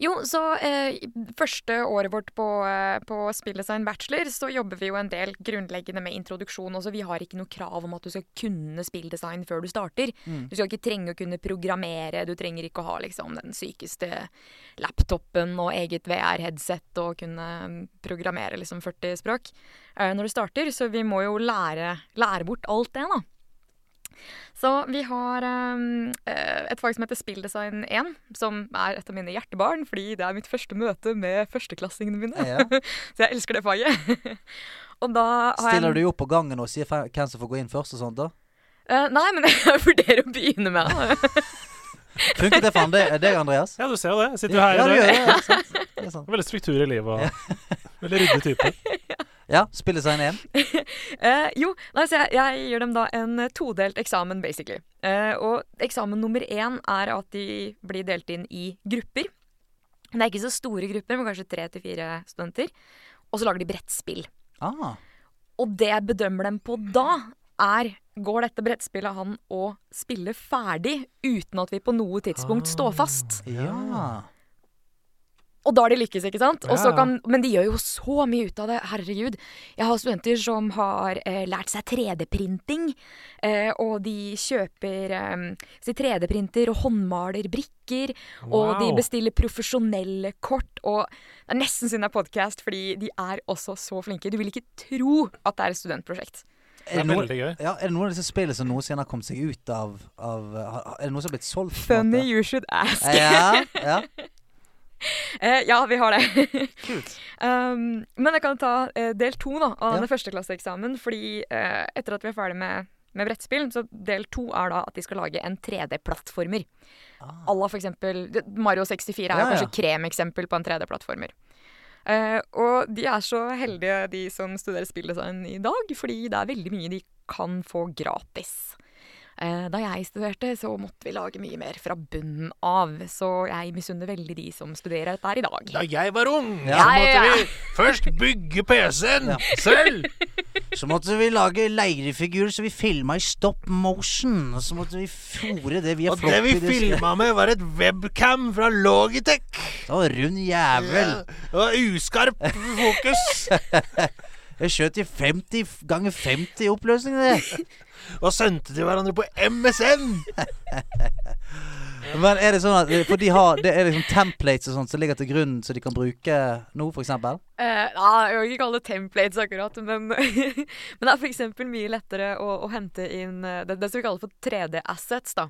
G: Jo, så eh, første året vårt på, eh, på spilldesign bachelor, så jobber vi jo en del grunnleggende med introduksjon. Også. Vi har ikke noe krav om at du skal kunne spilldesign før du starter. Du skal ikke trenge å kunne programmere, du trenger ikke å ha liksom, den sykeste laptopen og eget VR-headset og kunne mm, programmere liksom, 40 språk eh, når du starter. Så vi må jo lære, lære bort alt det, da. Så vi har ehm, eh, et fag som heter Spilldesign 1, som er et av mine hjertebarn, fordi det er mitt første møte med førsteklassingene mine.
C: Ja.
G: Så jeg elsker det faget. og da har
C: Stiller
G: jeg
C: du opp på gangen og sier fe- hvem som får gå inn først og sånt, da?
G: Eh, Nei, men jeg vurderer å begynne med det.
C: Funket det for deg, deg, Andreas?
D: Ja, du ser jo det. Jeg sitter
C: Ja,
D: jo her
C: du
D: i
C: gjør det.
D: dag.
C: Ja, sant. Det er sant.
D: Veldig struktur i livet og veldig ryddig type.
C: ja spilldesign 1.
G: Eh, jo, nei, så jeg, jeg gir dem da en eh, todelt eksamen, basically. Eh, og eksamen nummer én er at de blir delt inn i grupper. Det er ikke så store grupper, men kanskje tre til fire studenter. Og så lager de brettspill.
C: Ah,
G: Og det jeg bedømmer dem på da, er Går dette brettspillet han å spille ferdig uten at vi på noe tidspunkt står fast?
C: ja.
G: Og da har de lykkes, ikke sant? Og så
D: Ja, ja.
G: kan, men de gjør jo så mye ut av det. Herregud. Jeg har studenter som har eh, lært seg 3D-printing. Eh, og de kjøper eh, si 3D-printer og håndmaler brikker. Og de
D: Wow.
G: bestiller profesjonelle kort. Og det er nesten synd det er podkast, fordi de er også så flinke. Du vil ikke tro at det er et studentprosjekt.
D: Det
C: Er det,
D: er
C: noen,
D: veldig gøy.
C: ja, er det noen av disse spillene som noensinne har kommet seg ut av, av ha- ha- Er det noen som har blitt solgt? på en
G: Funny
C: måte?
G: you should ask.
C: Ja, ja.
G: Eh, ja, vi har det.
C: Kult.
G: um, men jeg kan ta eh, del to da, av
C: Ja.
G: denne førsteklasseeksamen. Fordi eh, etter at vi er ferdig med, med brettspill, så del to er da at de skal lage en 3D-plattformer. À la for eksempel det- Mario 64 er
C: Ah. Ja,
G: jo
C: ja.
G: kanskje kremeksempel på en 3D-plattformer. Eh, og de er så heldige, de som studerer spilldesign i dag, fordi det er veldig mye de kan få gratis. Eh, Da jeg studerte, så måtte vi lage mye mer fra bunnen av, så jeg misunner veldig de som studerer dette her i dag.
A: Da jeg var ung,
C: Ja.
A: så måtte
G: Ja, ja, ja.
A: vi først bygge PC-en selv.
C: Så måtte vi lage leirefigurer som vi filma i stop motion. Og så måtte vi fòre det via
A: Og det vi
C: floppy disk.
A: filma med, var et webcam fra Logitech.
C: Det var rund jævel.
A: Det var uskarp fokus.
C: Jeg skjøt i 50 f- ganger 50 i oppløsning, det.
A: Og sendte til hverandre på MSN.
C: Men er det sånn at For de har Det er liksom templates og sånt som ligger til grunn, som de kan bruke nå, for eksempel?
G: Eh, ja, jeg vil ikke kalle det templates akkurat, men, men det er f.eks. mye lettere å, å hente inn eh, det, det som vi kaller for 3D-assets. da.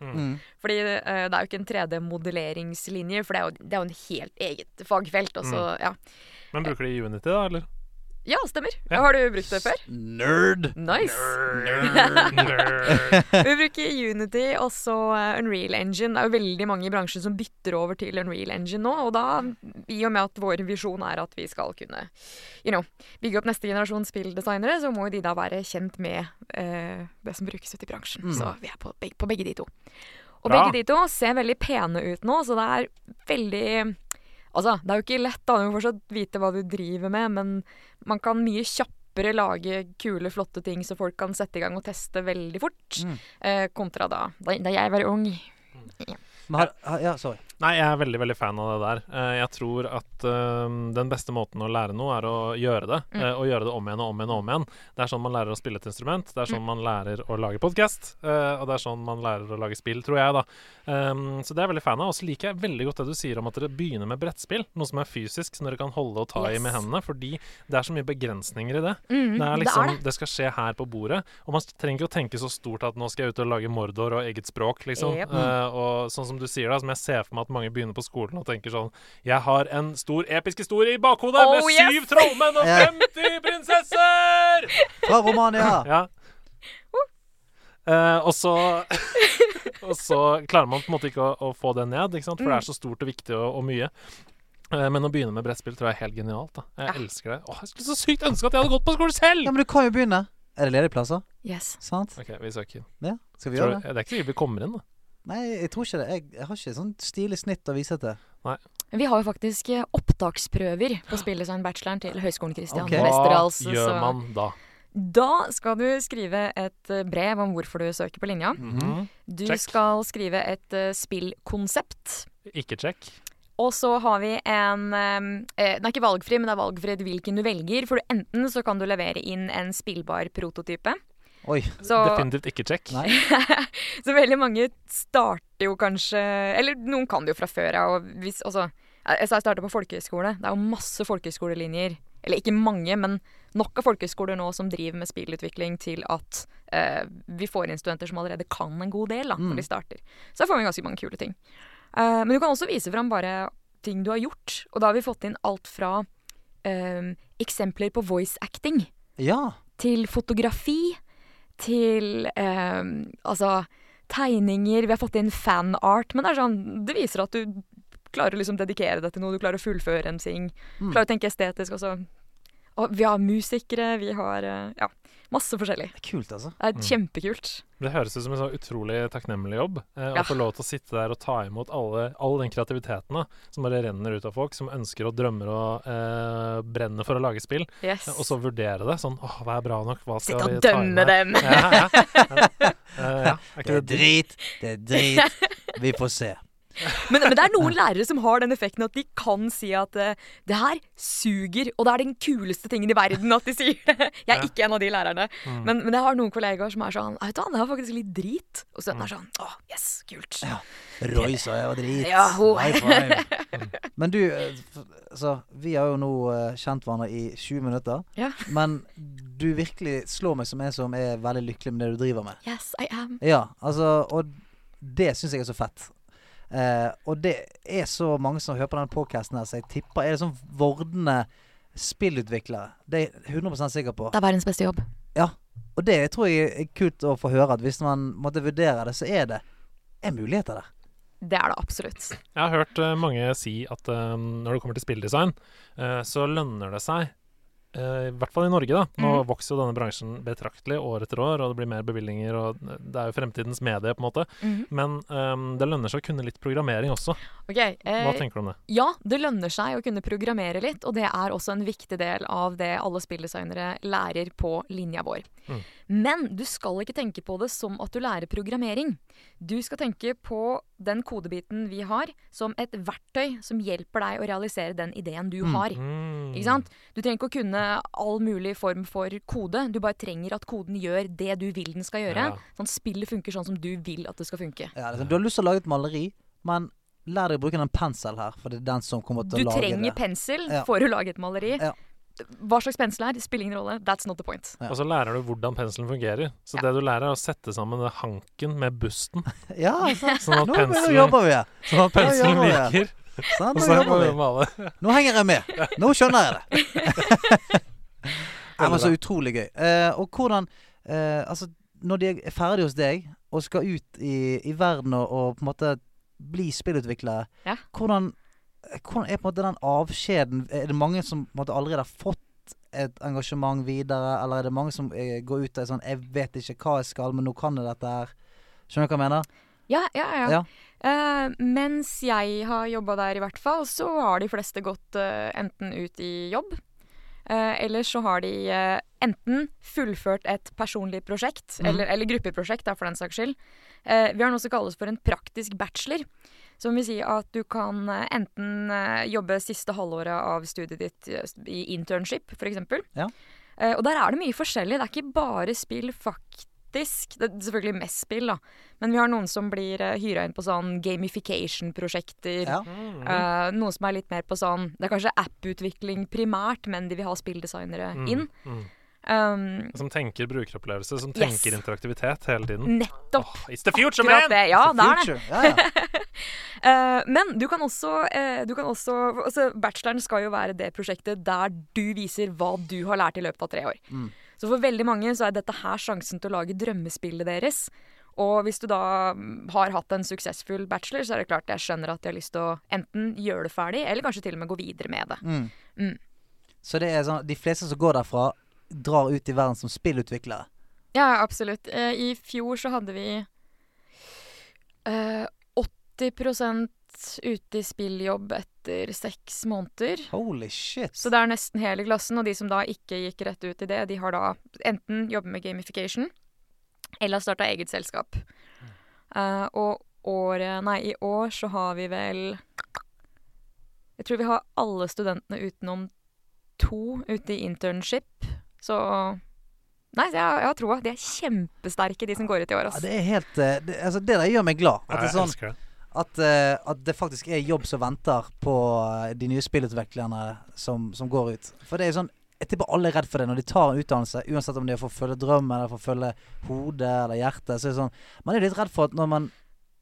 G: Fordi eh, det er jo ikke en 3D-modelleringslinje, for det er, jo, det er jo en helt eget fagfelt. Og så, ja.
D: Men bruker de Unity, da, eller?
G: ja, stemmer.
D: Ja.
G: Har du brukt det før?
C: Nerd.
G: Nice.
D: Nerd.
G: Vi bruker Unity og så eh, Unreal Engine. Det er jo veldig mange i bransjen som bytter over til Unreal Engine nå, og da, i og med at vår visjon er at vi skal kunne you know, bygge opp neste generasjon spilldesignere, så må jo de da være kjent med eh, det som brukes ute i bransjen. Så vi er på, beg- på begge de to. Og
D: Bra.
G: begge de to ser veldig pene ut nå, så det er veldig Altså, det er jo ikke lett, da. Du må fortsatt vite hva du driver med, men man kan mye kjappere lage kule, flotte ting så folk kan sette i gang og teste veldig fort. Eh, kontra da, da, da jeg var ung.
C: Men har, har, ja, sorry.
D: Nei, jeg er veldig veldig fan av det der. Eh, Jeg tror at eh, den beste måten å lære noe, er å gjøre det. eh, Og gjøre det om igjen og om igjen og om igjen. Det er sånn man lærer å spille et instrument. Det er sånn man lærer å lage podkast. Og det er sånn man lærer å lage spill, tror jeg, da. Um, Så det er jeg veldig fan av. Og så liker jeg veldig godt det du sier om at dere begynner med brettspill. Noe som er fysisk, som dere kan holde og ta i med
G: Yes.
D: hendene. Fordi det er så mye begrensninger i det.
G: Mm,
D: Det er
G: det
D: liksom,
G: er
D: det, skal skje her på bordet, og man trenger ikke å tenke så stort at nå skal jeg ut og lage Mordor og eget språk, liksom.
G: Yep.
D: Eh, og sånn som du sier da, som jeg ser for meg at mange begynner på skolen og tenker sånn Jeg har en stor episk historie i bakhodet
G: Oh,
D: med
G: yes!
D: syv trollmenn og
C: Ja.
D: 50 prinsesser!
C: Fra Romania.
D: Ja. Eh, og så Og så klarer man på en måte ikke å, å få det ned, ikke sant? for det er så stort og viktig og, og mye. Eh, Men å begynne med brettspill tror jeg er helt genialt. Da. Jeg elsker det. Åh, jeg skulle så sykt ønske at jeg hadde gått på skole selv!
C: Ja, men du kan jo begynne. Er det ledige plasser?
G: Yes.
C: Sant?
D: Ok, vi søker.
C: Ja. Skal vi
D: Tror,
C: gjøre
D: du-
C: det?
D: det er ikke sikkert vi kommer inn, da.
C: Nei, jeg tror ikke det. Jeg, jeg har ikke sånn stilig snitt å vise til.
G: Men vi har jo faktisk eh, opptaksprøver på spilldesign-bacheloren til Høgskolen Kristian
C: Ok.
G: Westerdals.
D: Hva gjør
G: så-
D: man da?
G: Da skal du skrive et eh, brev om hvorfor du søker på linja. Du
D: Mhm. Check.
G: skal skrive et eh, spillkonsept.
D: Ikke check.
G: Og så har vi en ehm, eh, Den er ikke valgfri, men det er valgfritt hvilken du velger. For du, enten så kan du levere inn en spillbar prototype.
C: Oi.
G: Så,
D: Definitivt ikke check.
C: Nei.
G: så veldig mange starter jo kanskje Eller noen kan det jo fra før av. og Hvis, altså, jeg sa jeg starta på folkehøyskole. Det er jo masse folkehøyskolelinjer. Eller ikke mange, men nok av folkehøyskoler nå som driver med spillutvikling til at eh, vi får inn studenter som allerede kan en god del da, når de starter. Så der får vi ganske mange kule ting. Eh, men du kan også vise fram bare ting du har gjort. Og da har vi fått inn alt fra eh, eksempler på voice acting
C: Ja.
G: til fotografi, til eh, altså tegninger. Vi har fått inn fanart, men det er sånn, det viser at du klarer å liksom dedikere deg til noe, du klarer å fullføre en ting.
D: Mm.
G: Klarer å tenke estetisk også. Og vi har musikere, vi har eh, ja, masse forskjellig.
C: Det er kult, altså.
G: Det er
D: Mm.
G: kjempekult.
D: Det høres ut som en så utrolig takknemlig jobb. Eh,
G: Ja.
D: Å få lov til å sitte der og ta imot alle, all den kreativiteten da, som bare renner ut av folk, som ønsker og drømmer og eh, brenner for å lage spill, eh,
G: Yes.
D: og så vurdere det sånn Åh, hva er bra nok? Hva skal
G: Sitte
D: vi
G: og
D: ta inn
G: dømme
D: her?»
G: dem.
D: Ja, ja, ja. Eh, ja.
C: Det
D: Er ikke
C: er
D: det
C: drit. Det er drit. Vi får se.
G: Men, men det er noen lærere som har den effekten at de kan si at eh, det her suger, og det er den kuleste tingen i verden at de sier det. Jeg er ikke en av de lærerne.
D: Mm.
G: Men, men jeg har noen kollegaer som er sånn Vet du hva, det er faktisk litt drit.
D: Mm.
G: Og studentene er sånn Å, yes, kult.
C: Roy sa jeg var drit.
G: Ja, ho.
C: High five. Men du, eh, f- altså, vi har jo nå eh, kjent hverandre i 20 minutter.
G: Ja.
C: Men du virkelig slår meg som en som er veldig lykkelig med det du driver med.
G: Yes, I am.
C: Ja, altså, og det syns jeg er så fett. Eh, og det er så mange som hører på denne podkasten her, så jeg tipper Er det sånn vordende spillutviklere? Det er jeg 100 sikker på.
G: Det er verdens beste jobb.
C: Ja, og det tror jeg er kult å få høre. At hvis man måtte vurdere det, så er det er muligheter der.
G: Det er det absolutt.
D: Jeg har hørt eh, mange si at eh, når det kommer til spilldesign, eh, så lønner det seg eh, I hvert fall i Norge, da. Nå
G: Mhm.
D: vokser jo denne bransjen betraktelig år etter år, og det blir mer bevilgninger, og det er jo fremtidens medie, på en måte.
G: Mhm.
D: Men eh, det lønner seg å kunne litt programmering også.
G: Ok, eh,
D: Hva tenker du om det?
G: Ja, det lønner seg å kunne programmere litt, og det er også en viktig del av det alle spilldesignere lærer på linja vår.
D: Mm.
G: Men du skal ikke tenke på det som at du lærer programmering. Du skal tenke på den kodebiten vi har, som et verktøy som hjelper deg å realisere den ideen du har.
D: Mm.
G: Ikke sant? Du trenger ikke å kunne all mulig form for kode, du bare trenger at koden gjør det du vil den skal gjøre.
D: Ja.
G: Sånn spillet funker sånn som du vil at det skal funke.
C: Ja, liksom, du har lyst til å lage et maleri, men lær deg å bruke den pensel her. For det er den som kommer
G: Du
C: til å lage
G: trenger
C: det.
G: pensel
C: Ja.
G: for å lage et maleri.
C: Ja.
G: Hva slags pensel er, spiller ingen rolle. That's not the point.
C: Ja.
D: Og så lærer du hvordan penselen fungerer. Så det du lærer, er å sette sammen det hanken med busten,
C: Ja, sant.
D: sånn at
C: Nå
D: penselen,
C: jobber vi.
D: sånn at penselen
C: Nå jobber
D: virker.
C: Sant? Nå
D: Og så må
C: jobber
D: du
C: vi.
D: male.
C: Nå henger jeg med. Nå skjønner jeg det. Nei, men så utrolig gøy. Eh, og hvordan eh, Altså, når de er ferdig hos deg, og skal ut i, i verden og, og på en måte bli spillutviklere,
G: Ja.
C: hvordan, hvordan er på en måte den avskjeden Er det mange som på en måte allerede har fått et engasjement videre, eller er det mange som eh, går ut og er sånn 'Jeg vet ikke hva jeg skal, men nå kan jeg dette her'. Skjønner du hva jeg mener?
G: Ja, ja, ja.
C: Ja.
G: Eh, mens jeg har jobba der, i hvert fall, så har de fleste gått eh, enten ut i jobb, eh, eller så har de eh, enten fullført et personlig prosjekt,
C: Mhm.
G: eller, eller gruppeprosjekt, da, for den saks skyld. Eh, vi har noe som kalles for en praktisk bachelor. Som vil si at du kan eh, enten eh, jobbe siste halvåret av studiet ditt eh, i internship, f.eks.
C: Ja.
G: Eh, og der er det mye forskjellig. Det er ikke bare spill, faktisk. Det er selvfølgelig mest spill, da. Men vi har noen som blir uh, hyra inn på sånn gamification-prosjekter.
C: Ja.
G: Eh, noe som er litt mer på sånn Det er kanskje app-utvikling primært, men de vil ha spilldesignere inn. Um,
D: Som tenker brukeropplevelse, som
G: Yes.
D: tenker interaktivitet hele tiden.
G: nettopp.
D: Åh, it's the future,
G: Akkurat
D: man!
G: det. Ja, det er det.
C: Future. Ja, ja.
G: Eh, men du kan også, eh, du kan også altså Bacheloren skal jo være det prosjektet der du viser hva du har lært i løpet av tre år. Så for veldig mange så er dette her sjansen til å lage drømmespillet deres. Og hvis du da mm, har hatt en suksessfull bachelor, så er det klart jeg skjønner at de har lyst til å enten gjøre det ferdig, eller kanskje til og med gå videre med det.
C: Så det er sånn de fleste som går derfra, drar ut i verden som spillutviklere.
G: Ja, absolutt. Eh, I fjor så hadde vi eh, 80 ute i spilljobb etter seks måneder.
C: Holy shit.
G: Så det er nesten hele klassen, og de som da ikke gikk rett ut i det, de har da enten jobbet med gamification, eller har starta eget selskap. Eh, og året, nei, i år så har vi vel Jeg tror vi har alle studentene utenom to ute i internship. Så Nei, så jeg, jeg har troa. De er kjempesterke, de som går ut i år.
C: Ja,
G: ass.
C: det er helt eh, det, altså, det der gjør meg glad. At det, er
D: Jeg
C: sånn,
D: elsker det.
C: at, eh, at det faktisk er jobb som venter på eh, de nye spillutviklerne som, som går ut. For det er sånn jeg tipper alle er redd for det når de tar en utdannelse, uansett om de får følge drømmen eller får følge hodet eller hjertet. Så er det sånn, Man er jo litt redd for at når man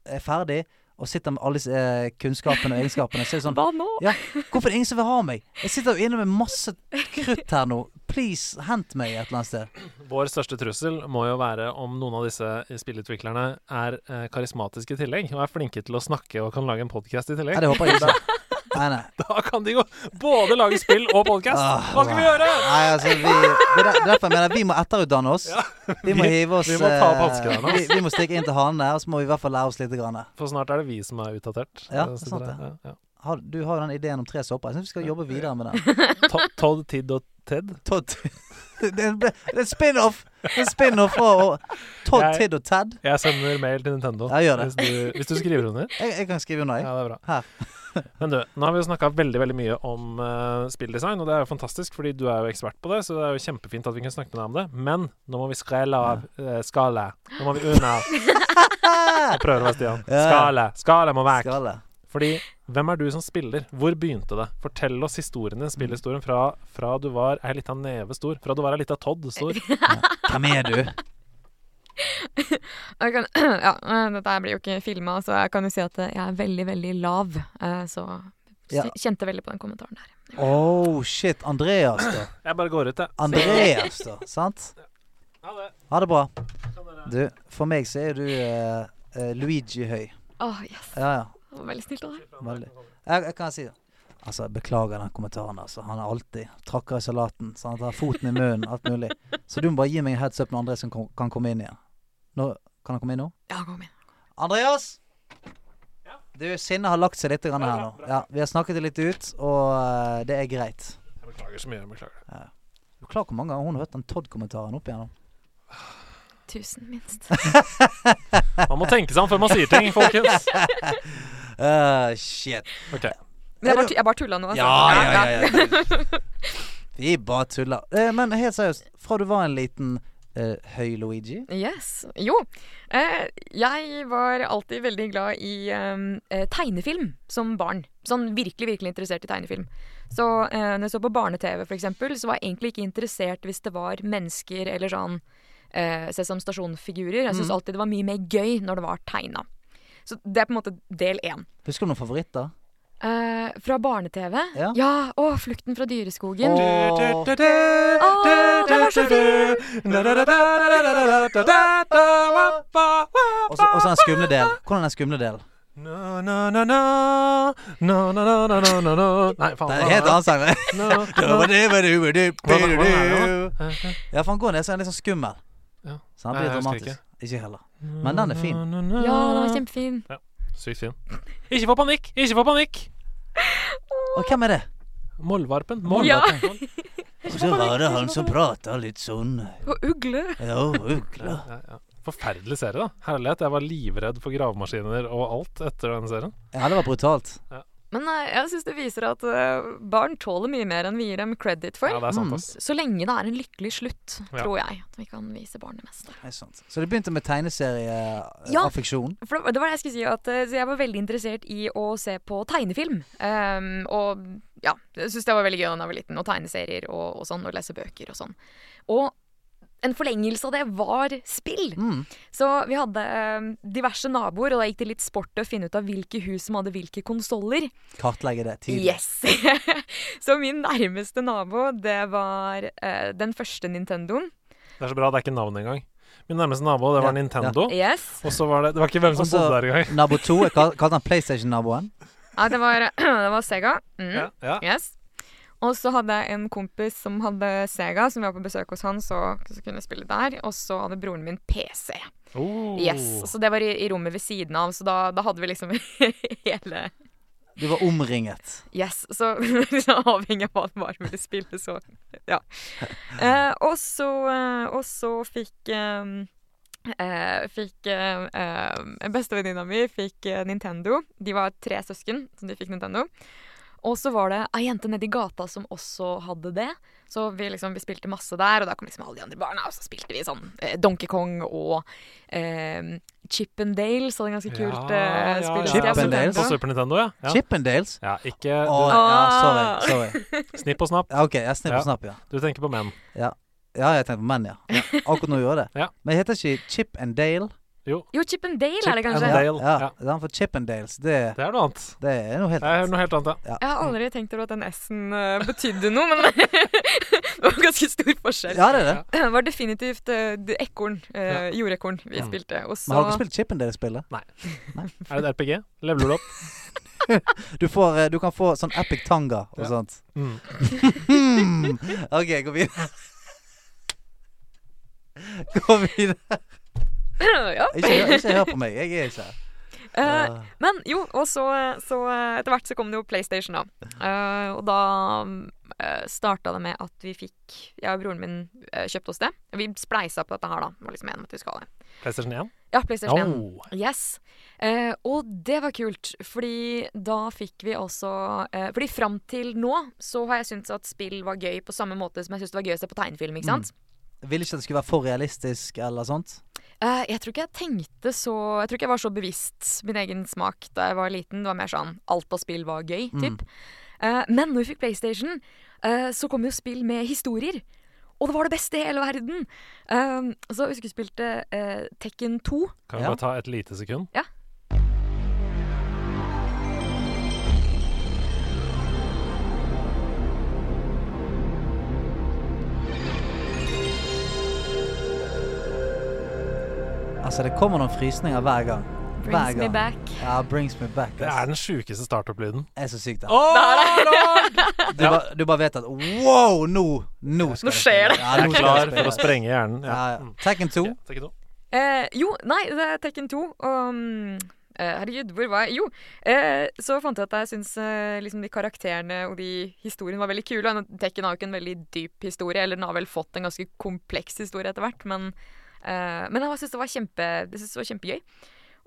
C: er ferdig og sitter med alle disse eh, kunnskapene og egenskapene, så er det sånn
G: Hva nå?
C: ja, Hvorfor er det ingen som vil ha meg? Jeg sitter jo inne med masse krutt her nå. Please, hent meg et eller annet sted.
D: Vår største trussel må jo være om noen av disse spillutviklerne er eh, karismatiske i tillegg, og er flinke til å snakke og kan lage en podkast i
C: Nei,
D: tillegg.
C: det håper jeg ikke. Nei, nei.
D: Da kan de jo både lage spill og podkast!
C: Ah,
D: Hva skal vi gjøre?
C: Nei, altså, vi, det er der- derfor jeg mener vi må etterutdanne oss. vi må
D: vi-
C: hive oss
D: vi må ta opp
C: eh,
D: hanskene,
C: vi, vi må stikke inn til hanene, og så må vi i hvert fall lære oss litt. Grann.
D: For snart er det vi som er utdatert.
C: Ja,
D: Eh, så
C: sant
D: dere- ja,
C: Har, du har jo den ideen om tre såper. Jeg syns vi skal jobbe videre med den.
D: ja. To- Todd, Tid og Ted.
C: Todd Det er en- det er en spin-off Det er en spin-off fra og- Todd,
D: Jeg-
C: Tid og Ted.
D: Jeg sender mail til Nintendo
C: Ja, gjør det.
D: Hvis, du, hvis du skriver under.
C: Jeg, jeg kan skrive under, jeg.
D: Ja, det er bra.
C: Her.
D: Men du, nå har vi jo snakka veldig veldig mye om eh, spilldesign, og det er jo fantastisk, fordi du er jo ekspert på det, så det er jo kjempefint at vi kan snakke med deg om det. Men nå må vi skrelle av eh, skala. Nå må vi unna. Jeg prøver å være Stian.
C: Ja, ja.
D: Skala. Skala må vekk.
C: Skal det?
D: Fordi hvem er du som spiller? Hvor begynte det? Fortell oss historien din, spillhistorien fra, fra du var ei lita neve stor, fra du var ei lita Todd stor.
C: Hvem er du?
G: Jeg kan, ja, eh, dette her blir jo ikke filma, så jeg kan jo si at eh, jeg er veldig, veldig lav. eh, Så
C: Ja.
G: sy- kjente veldig på den kommentaren der.
C: Oh shit. Andreas, da.
D: Jeg bare går ut, jeg.
C: Andreas, da. Sant?
D: Ha det.
C: Ha det bra. Du, for meg så er du eh, eh, Luigi Høy.
G: Åh, yes.
C: Ja, ja.
G: Det var veldig snilt av deg.
C: Veldig. Jeg, jeg kan si det. Altså, jeg beklager den kommentaren. Altså. Han er alltid trakker i salaten. Sant? Har foten i munnen, alt mulig. Så du må bare gi meg en heads up når Andreas kan, kom- kan komme inn igjen. Nå, kan han komme inn nå?
G: Ja, kom igjen.
C: Andreas! Du, sinnet har lagt seg litt grann her nå. Ja, vi har snakket det litt ut, og eh, det er greit.
D: Jeg beklager så mye. jeg beklager.
C: Er Du klar hvor mange ganger hun har hørt den Todd-kommentaren opp igjennom?
G: Tusen minst.
D: Man må tenke seg om før man sier ting, folkens.
C: Uh, shit.
D: Ok.
G: Men jeg bare, tu- jeg bare tulla nå. altså.
C: Ja, ja, ja. ja. Vi bare tuller. Eh, men helt seriøst, fra du var en liten eh, høy Luigi
G: Yes. Jo. Eh, jeg var alltid veldig glad i ehm, eh, tegnefilm som barn. Sånn virkelig, virkelig interessert i tegnefilm. Så eh, når jeg så på barne-TV, for eksempel, så var jeg egentlig ikke interessert hvis det var mennesker eller sånn eh, Sesam Stasjon-figurer. Jeg
C: Mm.
G: syns alltid det var mye mer gøy når det var tegna. Så det er på en måte del én.
C: Husker du noen favoritter?
G: Eh, fra barne-TV?
C: Ja.
G: Å, 'Flukten fra dyreskogen'.
C: Åh.
G: den var så fin!
C: Og så og så den skumle del. Hvordan er den skumle del?
D: Nei, faen.
C: Det er en helt annen sang. det.
D: No,
C: Ja, for han går ned, så er han litt sånn skummel.
D: Ja.
C: Så han blir
D: Nei, jeg husker
C: dramatisk. Ikke heller. Men den er fin.
G: Ja, den var kjempefin.
D: Sykt fin. Ikke få panikk! Ikke få panikk!
C: Og hvem er det?
D: Mollvarpen.
G: Ja.
D: Mollvarpen.
C: Og så var det han som prata litt sånn.
G: Og ugle.
C: Ja, ugla.
D: Ja, ja. Forferdelig serie, da. Herlighet. Jeg var livredd for gravemaskiner og alt etter den serien.
C: Ja, det var brutalt.
G: Men eh, jeg syns det viser at eh, barn tåler mye mer enn vi gir dem credit for.
D: Ja, det er
C: Mm.
D: sant, ass.
G: Så lenge det er en lykkelig slutt,
D: Ja.
G: tror jeg, at vi kan vise barn det meste.
C: Nei, sant. Så det begynte med eh,
G: Ja.
C: tegneserieaffeksjon.
G: For det, det var det jeg skulle si, at eh, så jeg var veldig interessert i å se på tegnefilm. Ehm, og ja, jeg syns det var veldig gøy da jeg var liten, og tegneserier og, og sånn, og lese bøker og sånn. Og en forlengelse av det var spill.
C: Mm.
G: Så vi hadde eh, diverse naboer, og da gikk det litt sport i å finne ut av hvilke hus som hadde hvilke konsoller.
C: Kartlegge det tidlig.
G: Yes! så min nærmeste nabo, det var eh, den første Nintendoen.
D: Det er så bra, det er ikke navnet engang. Min nærmeste nabo, det var
C: Ja,
D: Nintendo.
G: Yes.
D: Og så var det Det var ikke hvem som
C: Og så-
D: bodde der engang.
C: Nabo 2 jeg kal- kalte han PlayStation-naboen.
G: Ja, det var, det var Sega. Mm.
D: Ja, ja.
G: Yes. Og så hadde jeg en kompis som hadde Sega, som var på besøk hos han, så, så kunne jeg spille der. Og så hadde broren min PC.
D: Oh.
G: Yes, Så det var i, i rommet ved siden av, så da, da hadde vi liksom hele
C: Du var omringet.
G: Yes, så liksom, avhengig av hva det var med det spillet, så ja. Eh, og så eh, Og så fikk eh, eh, Fikk eh, eh, bestevenninna mi fikk eh, Nintendo. De var tre søsken som de fikk Nintendo. Og så var det ei jente nedi gata som også hadde det. Så vi, liksom, vi spilte masse der, og da kom liksom alle de andre barna. Og så spilte vi sånn eh, Donkey Kong og eh, Chippendales hadde ganske kult
C: ja.
G: eh, spill. Så det er
C: Chippendales.
D: På
G: bra.
D: Super Nintendo, ja. ja.
C: Chippendales?
D: ja ikke
C: Å,
D: du,
C: ja,
G: Ah.
C: sorry. sorry.
D: Snipp og snapp.
C: Ja, OK, jeg snipper
D: Ja.
C: og snapp, ja.
D: Du tenker på menn.
C: Ja, jeg tenkte på menn, ja. ja. Akkurat nå gjør jeg det.
D: Ja.
C: Men det heter ikke Chip and Dale?
G: Jo, Chippendale er det
D: Chip and
G: kanskje.
D: Dale.
C: Ja, ja.
D: ja.
C: ja. For Chip and Dales, det,
D: Det er noe annet.
C: det er noe helt
D: Det er noe helt annet, ja.
G: Jeg har aldri tenkt over at den S-en eh, betydde noe, men det var ganske stor forskjell.
C: Ja, det er det.
G: Det var definitivt eh, det- ekorn, eh, jordekorn, vi
D: Mm.
G: spilte. Og
C: Men har dere
G: så
C: spilt Chip and Dale-spillet?
D: Er det et RPG? Leveler du opp?
C: Du, får, eh, du kan få sånn epic tanga og
D: Ja.
C: sånt.
D: Mm.
C: Hmm. OK, gå videre. Gå videre.
G: Ja.
C: Ikke, ikke hør på meg. Jeg er ikke her.
G: Eh,
C: Ah.
G: Men jo, og så, så eh, etter hvert så kom det jo PlayStation, da. Eh, og da uh, starta det med at vi fikk Jeg og broren min eh, kjøpte oss det. Vi spleisa på dette her, da. Det Var liksom en om at vi skal ha det.
D: PlayStation 1?
G: Ja, PlayStation 1.
D: Oh.
G: Yes. Eh, og det var kult, fordi da fikk vi også eh, Fordi fram til nå så har jeg syntes at spill var gøy på samme måte som jeg syntes det var gøy å se på tegnefilm, ikke
C: Mm.
G: sant?
C: Jeg Ville ikke at det skulle være for realistisk eller sånt.
G: Eh, jeg tror ikke jeg tenkte så Jeg tror ikke jeg var så bevisst min egen smak da jeg var liten. Det var mer sånn alt av spill var gøy,
C: Mm.
G: typ. Eh, men når vi fikk PlayStation, eh, så kom jo spill med historier. Og det var det beste i hele verden! Eh, så jeg husker vi spilte eh, Tekken 2.
D: Kan vi
C: Ja.
D: bare ta et lite sekund?
G: Ja.
C: Altså, det kommer noen frysninger hver gang. Hver
G: Brings me
C: gang.
G: back.
C: Ja, brings me back.
D: Det
C: ass.
D: er den sjukeste startup-lyden.
C: Det er så sykt, det.
D: Lord!
C: Du, bare, du bare vet at wow, nå Nå, skal
G: Nå skjer det.
C: Ja,
D: Jeg
C: nå
D: er
C: skal
D: klar
C: det
D: for å
C: spilles.
D: sprenge hjernen.
C: Ja,
D: Ja.
C: ja. Tekken 2.
D: Ok, takk nå.
G: Eh, jo, nei, det er Tekken 2. Og mm, eh, herregud, hvor var jeg? Jo, eh, så fant jeg at jeg syns eh, liksom de karakterene og de historiene var veldig kule. og Tekken har jo ikke en veldig dyp historie, eller den har vel fått en ganske kompleks historie etter hvert, men, eh, men jeg syns det, var kjempe, jeg synes det var kjempegøy.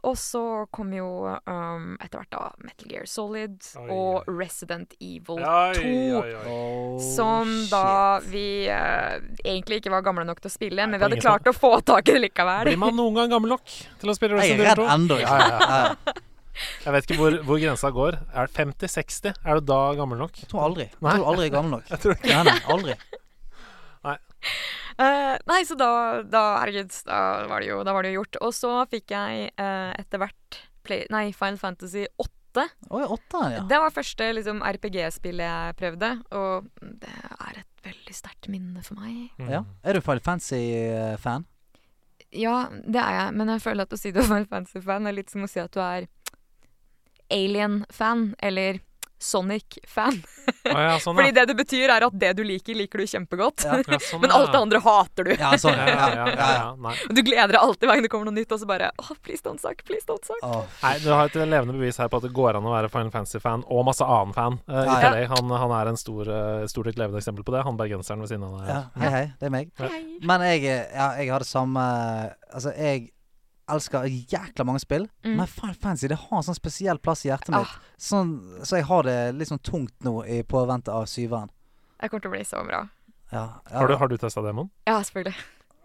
G: Og så kom jo um, etter hvert da Metal Gear Solid
D: Oi,
G: og Resident Evil
D: Oi,
G: 2.
D: oi, oi.
C: Oh,
G: Som da vi eh, egentlig ikke var gamle nok til å spille, men vi
D: på
G: hadde
D: ingen måte.
G: klart å få tak i det likevel.
D: Blir man noen gang gammel nok til å spille
C: Jeg
D: Resident
C: er redd
D: Evil 2?
C: ennå.
D: Ja, ja, ja.
C: Ja, ja.
D: Jeg vet ikke hvor, hvor grensa går. Er det 50-60? Er du da gammel nok?
C: Jeg tror aldri.
D: Nei.
C: Jeg tror aldri jeg er gammel nok.
D: Jeg tror ikke
C: Nei, nei, aldri.
G: Eh, nei, så da, da Herregud, da var, det jo, da var det jo gjort. Og så fikk jeg eh, etter hvert play, Nei, Final Fantasy 8.
C: Å, jeg er åtteren, ja.
G: Det var første liksom, RPG-spillet jeg prøvde, og det er et veldig sterkt minne for meg.
D: Mm.
C: ja. Er du Final Fantasy-fan?
G: Ja, det er jeg, men jeg føler at å si du er Final Fantasy-fan er litt som å si at du er Alien-fan eller Sonic-fan.
D: Å, ja, sånn,
G: Fordi
D: ja.
G: det det betyr, er at det du liker, liker du kjempegodt.
C: Ja.
D: Ja, sånn,
G: Men
D: ja.
G: alt det andre hater du.
C: Ja, sånn.
D: Ja,
C: Ja,
D: ja, ja, ja,
C: ja, ja.
D: ja. Nei.
G: Du gleder deg alltid hver gang det kommer noe nytt, og så bare Åh, please don't suck, please don't suck.
C: Å,
D: Nei, Du har et levende bevis her på at det går an å være Final Fantasy-fan og masse annen fan. eh, i
C: Ja, ja.
D: tillegg. Han, han er en stor, eh, stort litt levende eksempel på det. Han bergenseren ved siden av.
C: ja.
D: der.
C: Hei, hei. Det er meg.
G: Hei.
C: Men jeg, er- ja, jeg har det samme Altså, jeg elsker jækla mange spill,
G: Mm.
C: men Final Fantasy det har en sånn spesiell plass i hjertet mitt.
G: Ah.
C: Sånn, så jeg har det litt sånn tungt nå i påvente av syveren.
G: Det kommer til å bli så bra.
C: Ja, ja.
D: Har du, har du testa demoen?
G: Ja, selvfølgelig.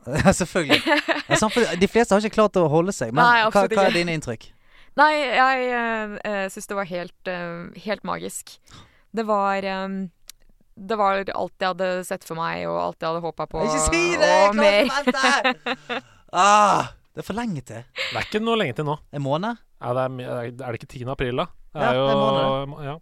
C: Ja, selvfølgelig. Ja, samtidig, de fleste har ikke klart å holde seg, men
G: Nei,
C: hva,
G: absolutt
C: hva
G: ikke.
C: er dine inntrykk?
G: Nei, jeg uh, syns det var helt, eh, helt magisk. Det var eh, Det var alt jeg hadde sett for meg, og alt jeg hadde håpa på.
C: Ikke si det! Jeg
G: Og
C: klarer
G: mer.
C: ikke å vente! Ah, det er for lenge til.
D: Det er ikke noe lenge til nå.
C: En måned?
D: Ja, det er, mi- er det ikke 10. april, da? Det
C: Ja,
D: er
C: det er
D: jo,
C: måneder.
D: ja.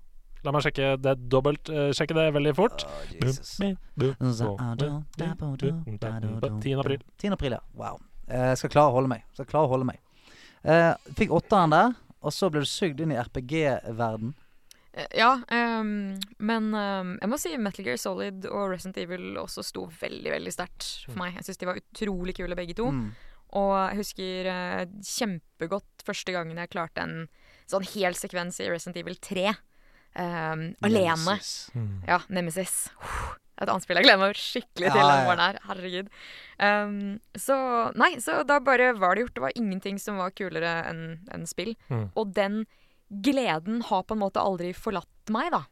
D: La meg sjekke det dobbelt. eh, sjekke det veldig fort.
C: Åh, Jesus.
D: Bum, bum, bum, bum, bum, bum, bum, bum. 10. april.
C: 10. april, ja. Wow. Eh, Jeg skal klare å holde meg. Skal klare å holde meg. Eh, fikk åtteren der, og så ble du sugd inn i RPG-verden.
G: Eh, Ja, eh, men eh, jeg må si Metal Gear Solid og Resident Evil også sto veldig, veldig sterkt for meg. Jeg syns de var utrolig kule begge to.
C: Mm.
G: Og jeg husker eh, kjempegodt første gangen jeg klarte en sånn hel sekvens i Resident Evil 3. eh, alene.
C: Jesus.
D: Mm.
G: Ja, Nemesis. Huh. Et annet spill jeg gleder meg skikkelig til
C: Ja,
G: denne
C: ja.
G: morgenen her. Herregud. Um, så nei, så da bare var det gjort. Det var ingenting som var kulere enn enn spill.
D: Mm.
G: Og den gleden har på en måte aldri forlatt meg, da.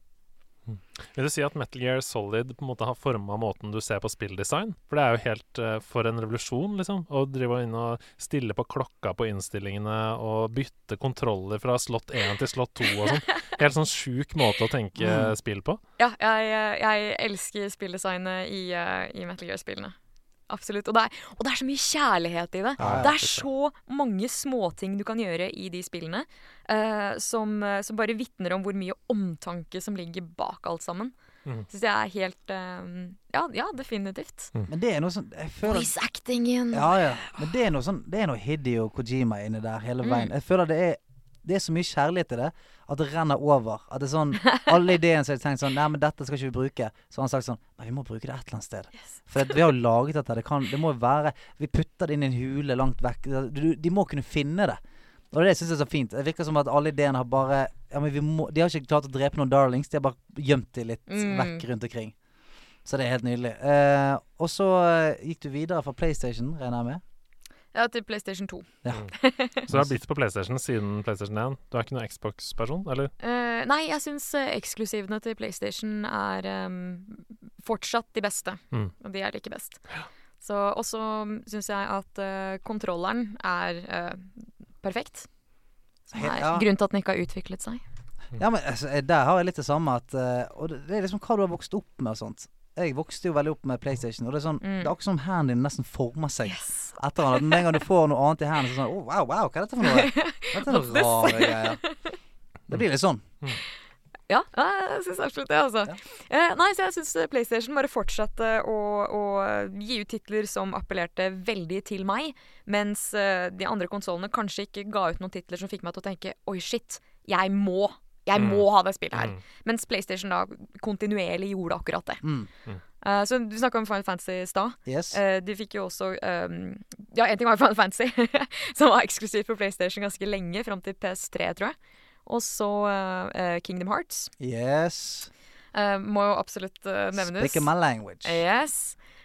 D: Vil du si at Metal Gear Solid på en måte har forma måten du ser på spilldesign? For det er jo helt eh, for en revolusjon, liksom. Å drive inn og stille på klokka på innstillingene og bytte kontroller fra slott 1 til slott 2 og sånn. Helt sånn sjuk måte å tenke
C: Mm.
D: spill på.
G: Ja, jeg, jeg elsker spilldesignet i, eh, i Metal Gear-spillene. Absolutt. Og det, er, og det er så mye kjærlighet i det.
D: Ja,
G: Det er så mange småting du kan gjøre i de spillene eh, som, eh, som bare vitner om hvor mye omtanke som ligger bak alt sammen.
D: Mhm.
G: Syns jeg er helt eh, ja, ja, definitivt.
D: Mm.
C: Men det er noe sånn jeg føler,
G: Voice actingen!
C: ja, ja. Men det er noe sånn Det er noe Hidio Kojima inni der hele
G: Mm.
C: veien. Jeg føler det er det er så mye kjærlighet i det at det renner over. At det er sånn Alle ideene som jeg har tenkt sånn Nei, men dette skal ikke vi bruke. Så har han sagt sånn Nei, vi må bruke det et eller annet sted.
G: Yes.
C: For at vi har jo laget dette. Det, kan, det må jo være Vi putter det inn i en hule langt vekk. Du- De må kunne finne det. Og det syns jeg er så fint. Det virker som at alle ideene har bare ja, men vi må, De har ikke klart å drepe noen darlings. De har bare gjemt de litt
G: Mm.
C: vekk rundt omkring. Så det er helt nydelig. Eh, og så eh, gikk du videre fra PlayStation, regner jeg med.
G: Ja, til PlayStation 2.
D: Så det har blitt på PlayStation siden PlayStation 1. Du er ikke noen Xbox-person, eller?
G: Eh, nei, jeg syns eksklusivene til PlayStation er eh, fortsatt de beste.
D: Mhm.
G: Og de jeg liker best. Så også syns jeg at eh, kontrolleren er eh, perfekt. Som
C: Helt-
G: er
C: ja.
G: grunnen til at den ikke har utviklet seg.
C: Ja, men altså, eh, Der har jeg litt det samme at eh, Og det, det er liksom hva du har vokst opp med og sånt. Jeg vokste jo veldig opp med PlayStation, og det er sånn
G: Mm.
C: Det er akkurat som hendene dine nesten former seg.
G: Yes.
C: etter hverandre. Med en gang du får noe annet i hendene, så er det sånn oh, Wow, wow, hva er dette for noe? Dette er noen rare greier. Det blir litt sånn.
G: Ja, ja, jeg syns absolutt det, altså. Eh, nei, så jeg syns PlayStation bare fortsatte å, å gi ut titler som appellerte veldig til meg, mens eh, de andre konsollene kanskje ikke ga ut noen titler som fikk meg til å tenke oi, shit, jeg må. Jeg
D: Mm.
G: må ha det spillet her.
D: Mm.
G: Mens PlayStation da kontinuerlig gjorde akkurat det.
C: Mm.
G: Eh, så du snakka om Final Fantasy i stad.
C: Yes.
G: Eh, de fikk jo også ehm, Ja, én ting var Final Fantasy, som var eksklusivt på PlayStation ganske lenge, fram til PS3, tror jeg. Og så eh, eh, Kingdom Hearts.
C: Yes.
G: Eh, må jo absolutt eh, nevnes.
C: Speaking my language.
G: Yes.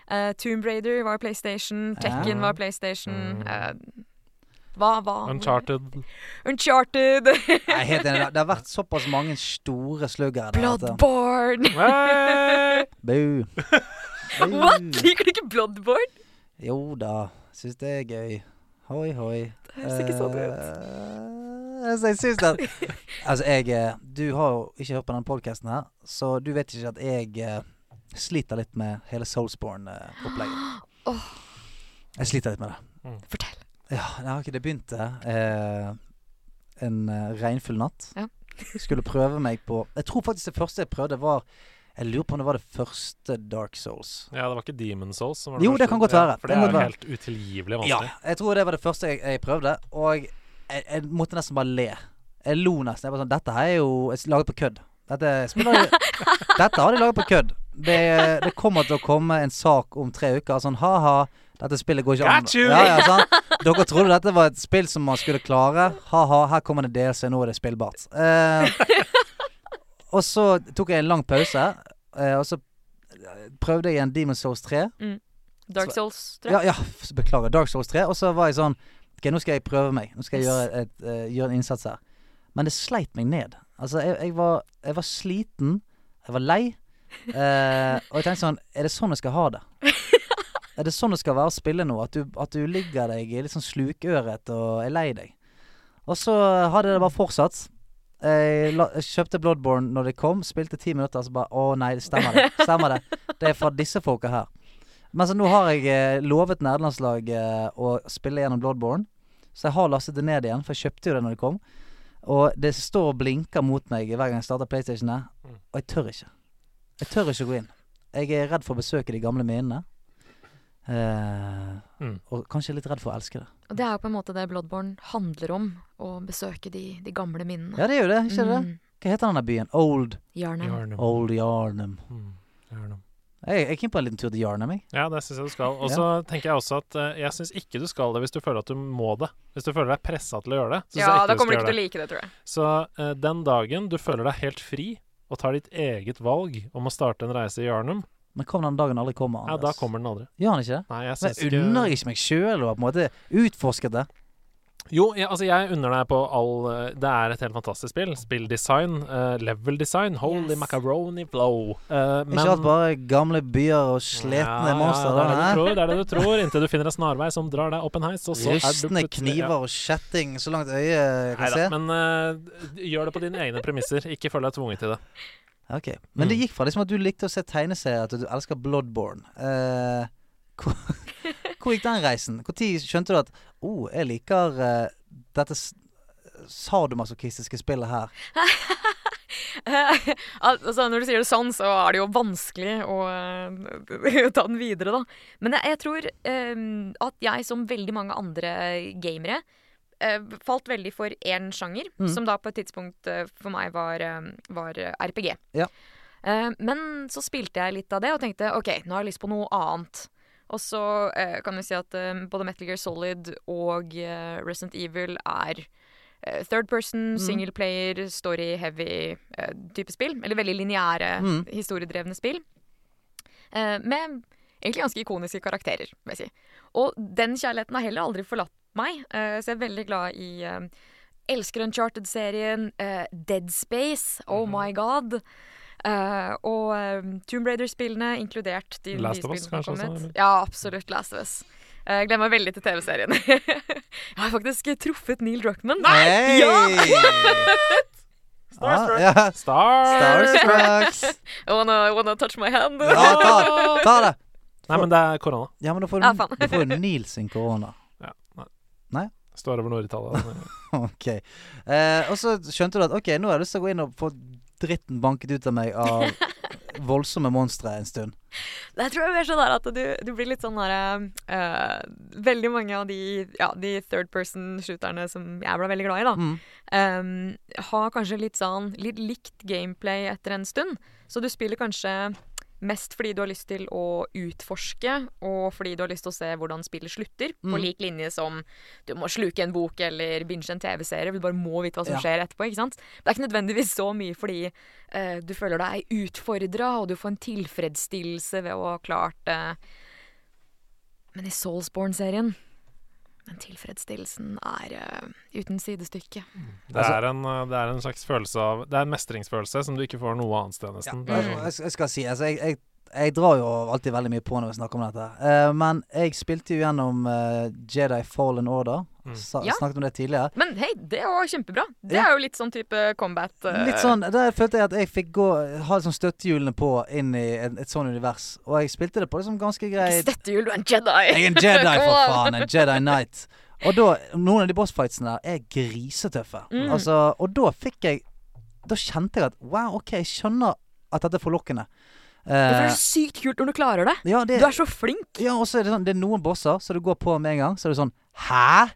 G: Eh, Tomb Raider var PlayStation, Tekken
C: Ja.
G: var PlayStation.
D: Mm.
G: eh, hva, hva?
D: Uncharted.
G: Uncharted.
C: Jeg er helt enig. Det har vært såpass mange store sluggere der. at-
G: Bloodborne.
D: Hey!
C: Boo. Boo.
G: What? Liker du ikke Bloodborne?
C: Jo da. Syns det er gøy. Hoi, hoi.
G: Det høres ikke sånn ut.
C: Eh, altså, jeg syns at Altså, jeg eh, Du har jo ikke hørt på den podkasten her, så du vet ikke at jeg eh, sliter litt med hele Soulsborne-opplegget.
G: Åh.
C: Jeg sliter litt med det.
G: Fortell.
C: Ja, det har ikke det begynte eh, en eh, regnfull natt.
G: Ja.
C: Skulle prøve meg på Jeg tror faktisk det første jeg prøvde, var Jeg lurer på om det var det første Dark Souls.
D: Ja, det var ikke Demon Souls som var
C: Jo,
D: første.
C: det kan godt
D: Ja,
C: være.
D: For
C: Det
D: det
C: kan
D: er
C: godt
D: jo
C: være.
D: helt utilgivelig
C: Ja,
D: vanskelig.
C: jeg tror det var det første jeg, jeg prøvde, og jeg, jeg måtte nesten bare le. Jeg lo nesten. Jeg bare sånn, Dette her er jo jeg s- laget på kødd. Dette, spiller, dette har de laget på kødd. Det, det kommer til å komme en sak om tre uker. Sånn ha-ha, dette spillet går ikke an.
D: Got you!
C: Ja, ja, sant? Dere trodde dette var et spill som man skulle klare. Ha-ha, her kommer det DLC, nå er det spillbart. Eh, og så tok jeg en lang pause, eh, og så prøvde jeg en Demon's Souls 3.
G: Dark
C: Så-
G: Souls, tror jeg.
C: Ja, ja, f- beklager. Dark Souls 3. Og så var jeg sånn Ok, nå skal jeg prøve meg. Nå skal jeg gjøre, et, eh, gjøre en innsats her. Men det sleit meg ned. Altså, jeg, jeg, var, jeg var sliten. Jeg var lei. eh, og jeg tenkte sånn Er det sånn jeg skal ha det? Er det sånn det skal være å spille nå? At du, at du ligger deg i litt sånn slukøret og er lei deg? Og så hadde det bare fortsatt. Jeg, la, jeg kjøpte Bloodborne når det kom, spilte ti minutter, så bare Å nei, det stemmer det. Stemmer det. Det er fra disse folka her. Men så nå har jeg eh, lovet nederlandslaget eh, å spille gjennom Bloodborne. Så jeg har lastet det ned igjen, for jeg kjøpte jo det når det kom. Og det står og blinker mot meg hver gang jeg starter PlayStation her,
D: Mm.
C: og jeg tør ikke. Jeg tør ikke å gå inn. Jeg er redd for å besøke de gamle minnene. Eh,
D: Mm.
C: Og kanskje litt redd for å elske det.
G: Og det er jo på en måte det Bloodborne handler om. Å besøke de, de gamle minnene.
C: Ja, det er jo det. Ikke det?
G: Mm.
C: Hva heter denne byen? Old
G: Jarnheim.
D: Jarnum.
C: Old Yarnum.
D: Mm, Jarnum.
C: Jeg jeg er keen på en liten tur til Yarnum, jeg.
D: Ja, det syns jeg du skal. Og så tenker jeg også at eh, jeg syns ikke du skal det hvis du føler at du må det. Hvis du føler deg pressa til å gjøre det. Synes
G: Ja,
D: jeg
G: da
D: ikke
G: kommer du
D: skal
G: ikke
D: gjøre
G: til å like det, tror jeg.
D: det. Så eh, den dagen du føler deg helt fri og tar ditt eget valg om å starte en reise i Jarnum,
C: Men hva om den dagen aldri kommer?
D: ja, da kommer den aldri.
C: Gjør han ikke det?
D: Nei, jeg
C: Men
D: syns
C: jeg unner
D: ikke
C: ikke meg sjøl å ha på en måte utforsket det.
D: Jo, jeg, altså jeg unner deg på all eh, Det er et helt fantastisk spill. Spilldesign, eh, level design, holy
B: Yes.
D: macaroni flow. Eh, men-
C: Ikke alt bare gamle byer og sletne monstre.
D: Ja,
C: da,
D: det er det du
C: hæ?
D: tror, det er det du tror, inntil du finner en snarvei som drar deg opp en heis, og så er du
C: Rustne
D: plutselig-
C: kniver og kjetting så langt øyet kan
D: Neida,
C: se.
D: men eh, gjør det på dine egne premisser. Ikke føl deg tvunget til det.
C: Ok,
D: Mm.
C: Men det gikk fra liksom at du likte å se tegneserier til at du elsker Bloodborne. Eh, hvor, hvor gikk den reisen? Når skjønte du at oh, jeg liker eh, dette s- sadomasochistiske spillet her?
G: Al- altså, når du sier det sånn, så er det jo vanskelig å eh, ta den videre, da. Men jeg, jeg tror eh, at jeg, som veldig mange andre gamere, eh, falt veldig for én sjanger,
C: Mm.
G: som da på et tidspunkt eh, for meg var, eh, var RPG.
C: Ja.
G: Eh, men så spilte jeg litt av det og tenkte OK, nå har jeg lyst på noe annet. Og så eh, kan vi si at eh, både Metal Gear Solid og eh, Resident Evil er eh, third
D: Mm.
G: person, single player, story-heavy eh, type spill. Eller veldig lineære,
C: Mm.
G: historiedrevne spill. Eh, med egentlig ganske ikoniske karakterer, vil jeg si. Og den kjærligheten har heller aldri forlatt meg, eh, så jeg er veldig glad i eh, Elsker Uncharted-serien, eh, Dead Space, oh
D: Mhm.
G: my god. eh, og eh, Tomb Raider-spillene, inkludert de
D: Last
G: nye
D: of Us,
G: spillene som
D: kanskje
G: kom
D: også,
G: ut.
D: eller?
G: Ja, absolutt Last of Us. Eh, Jeg glemmer veldig til TV-serien. jeg har faktisk truffet Neil Druckmann.
C: Hey! Ah,
D: Starstruck.
C: Ja, ja.
D: Star!
C: Starstrucks.
G: I wanna, wanna touch my hand.
C: Ja, ta, ta det.
D: Nei, men det er korona.
C: Ja, men da får
G: Ja,
C: du,
G: faen.
C: du får jo Nils sin korona.
D: Ja, nei.
C: Nei?
D: Står over Nord-Italia.
C: Ok. Eh, og så skjønte du at ok, nå har jeg lyst til å gå inn og få dritten banket ut av meg av voldsomme monstre en stund.
G: Jeg tror jeg mer sånn der at du, du blir litt sånn der eh, Veldig mange av de, ja, de third person-shooterne som jeg ble veldig glad i, da,
C: Mm.
G: ehm, har kanskje litt sånn litt likt gameplay etter en stund. Så du spiller kanskje mest fordi du har lyst til å utforske, og fordi du har lyst til å se hvordan spillet slutter, på
C: Mm.
G: lik linje som du må sluke en bok eller binge en TV-serie. Du bare må vite hva som
C: Ja.
G: skjer etterpå. ikke sant? Det er ikke nødvendigvis så mye fordi eh, du føler deg utfordra, og du får en tilfredsstillelse ved å ha klart eh, Men i Soulsborne-serien den tilfredsstillelsen er eh, uten sidestykke.
D: Det er, en, eh, det er en slags følelse av Det er en mestringsfølelse som du ikke får noe annet sted,
C: Ja,
D: nesten.
G: Mm.
D: Det er sånn,
C: jeg, jeg skal si, altså jeg, jeg, jeg drar jo alltid veldig mye på når vi snakker om dette. Eh, men jeg spilte jo gjennom eh, Jedi Fallen Order. Sa,
G: Ja.
C: Snakket om det tidligere.
G: Men hei, det var kjempebra! Det
C: Ja.
G: er jo litt sånn type combat. eh,
C: Litt sånn, Der følte jeg at jeg fikk gå ha sånn støttehjulene på inn i et, et sånn univers. Og jeg spilte det på liksom ganske
G: Ikke
C: greit.
G: støttehjul, du er en Jedi!
C: Jeg er en Jedi, for
G: Come on.
C: faen! En Jedi Knight. Og da, noen av de bossfightsene der er grisetøffe.
G: Mm.
C: Altså, og da fikk jeg Da kjente jeg at wow, OK, jeg skjønner at dette er forlokkende.
G: Det
C: Eh,
G: er så sykt kult når du klarer det.
C: ja, det,
G: Du er så flink.
C: ja, og så er det sånn Det er noen bosser så du går på med en gang, så er det sånn Hæ?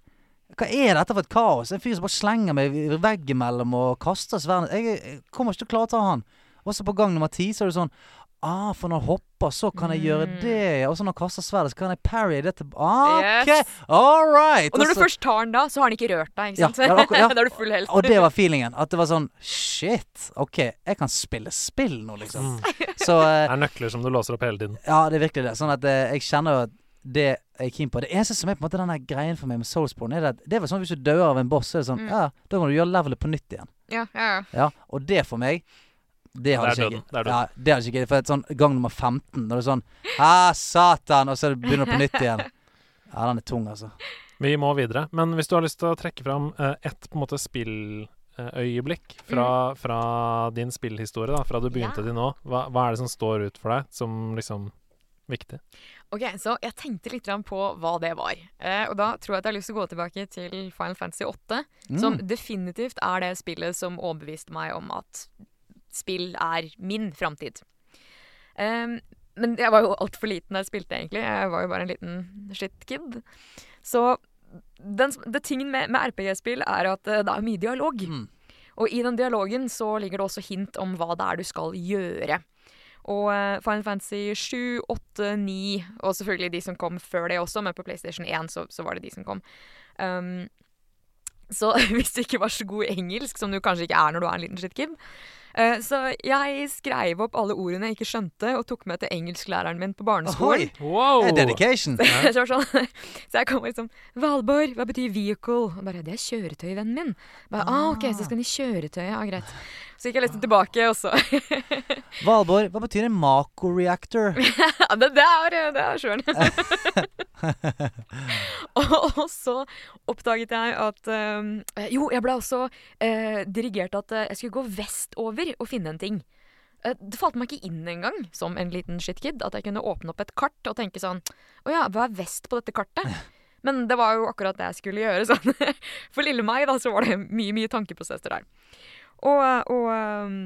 C: Hva er dette for et kaos? En fyr som bare slenger meg veggimellom og kaster sverdet jeg, jeg kommer ikke til å klare å ta han. Og så på gang nummer ti så er det sånn Ah, for når han hopper, så kan jeg gjøre
G: Mm.
C: det. Og så når han kaster sverdet, så kan jeg parry det til Ah, OK!
G: Yes.
C: All right!
G: Og når
C: Og
G: du
C: så-
G: først tar den da, så har den ikke rørt deg. ikke
C: Ja,
G: sant?
C: ja, akkurat- ja.
G: da er du full helt.
C: Og det var feelingen. At det var sånn Shit! OK, jeg kan spille spill nå, liksom. Så eh,
D: det er nøkler som du låser opp hele tiden.
C: Ja, det er virkelig det. Sånn at eh, jeg kjenner jo at det jeg er keen på. Det eneste som er på en måte den der greien for meg med Soulsborne, er det at det er vel sånn at hvis du dør av en boss, så er det
G: Mm.
C: sånn Ja, da kan du gjøre levelet på nytt igjen.
G: Ja, ja, ja.
C: Ja, og det for meg det hadde
D: Det er
C: ikke jeg-
D: døden. Det er døden.
C: Ja, det hadde ikke jeg. For et sånn gang nummer 15, da er det sånn Hæ, satan! Og så begynner du på nytt igjen. Ja, den er tung, altså.
D: Vi må videre. Men hvis du har lyst til å trekke fram eh, ett på en måte spilløyeblikk
C: Mm.
D: fra, fra din spillhistorie, da, fra du begynte
G: Ja.
D: til nå, hva, hva er det som står ut for deg som liksom viktig?
G: Ok, så jeg tenkte litt grann på hva det var. Eh, og da tror jeg at jeg har lyst til å gå tilbake til Final Fantasy 8, som definitivt er det spillet som overbeviste meg om at spill er min framtid. Eh, men jeg var jo altfor liten da jeg spilte, egentlig. Jeg var jo bare en liten shitkid. Så den, som- det tingen med, med RPG-spill er at eh, det er mye dialog.
C: Mm.
G: Og i den dialogen så ligger det også hint om hva det er du skal gjøre. Og eh, Final Fantasy 7, 8, 9, og selvfølgelig de som kom før det også, men på PlayStation 1 så, så var det de som kom. Ehm, Um, så hvis du ikke var så god i engelsk, som du kanskje ikke er når du er en liten shitkid, Eh, Så jeg skrev opp alle ordene jeg ikke skjønte, og tok med til engelsklæreren min på barneskolen.
C: Ohoi!
D: Wow!
C: Det er dedication.
G: Så jeg var sånn, så jeg kom liksom 'Valborg, hva betyr vehicle?' Og bare 'Det er kjøretøy, vennen min'. Bare, ah, ok, Så skal den i kjøretøyet. Ah, greit. Så gikk jeg liksom tilbake, og så
C: Valborg, hva betyr en maco-reactor?
G: Ja, det, det er, det er sjøren. og, og så oppdaget jeg at ehm, Jo, jeg ble også eh, dirigert at eh, jeg skulle gå vestover og finne en ting. Eh, Det falt meg ikke inn engang, som en liten shitkid, at jeg kunne åpne opp et kart og tenke sånn Å ja, hva er vest på dette kartet? Men det var jo akkurat det jeg skulle gjøre. Sånn. For lille meg, da, så var det mye, mye tankeprosesser der. Og, og ehm,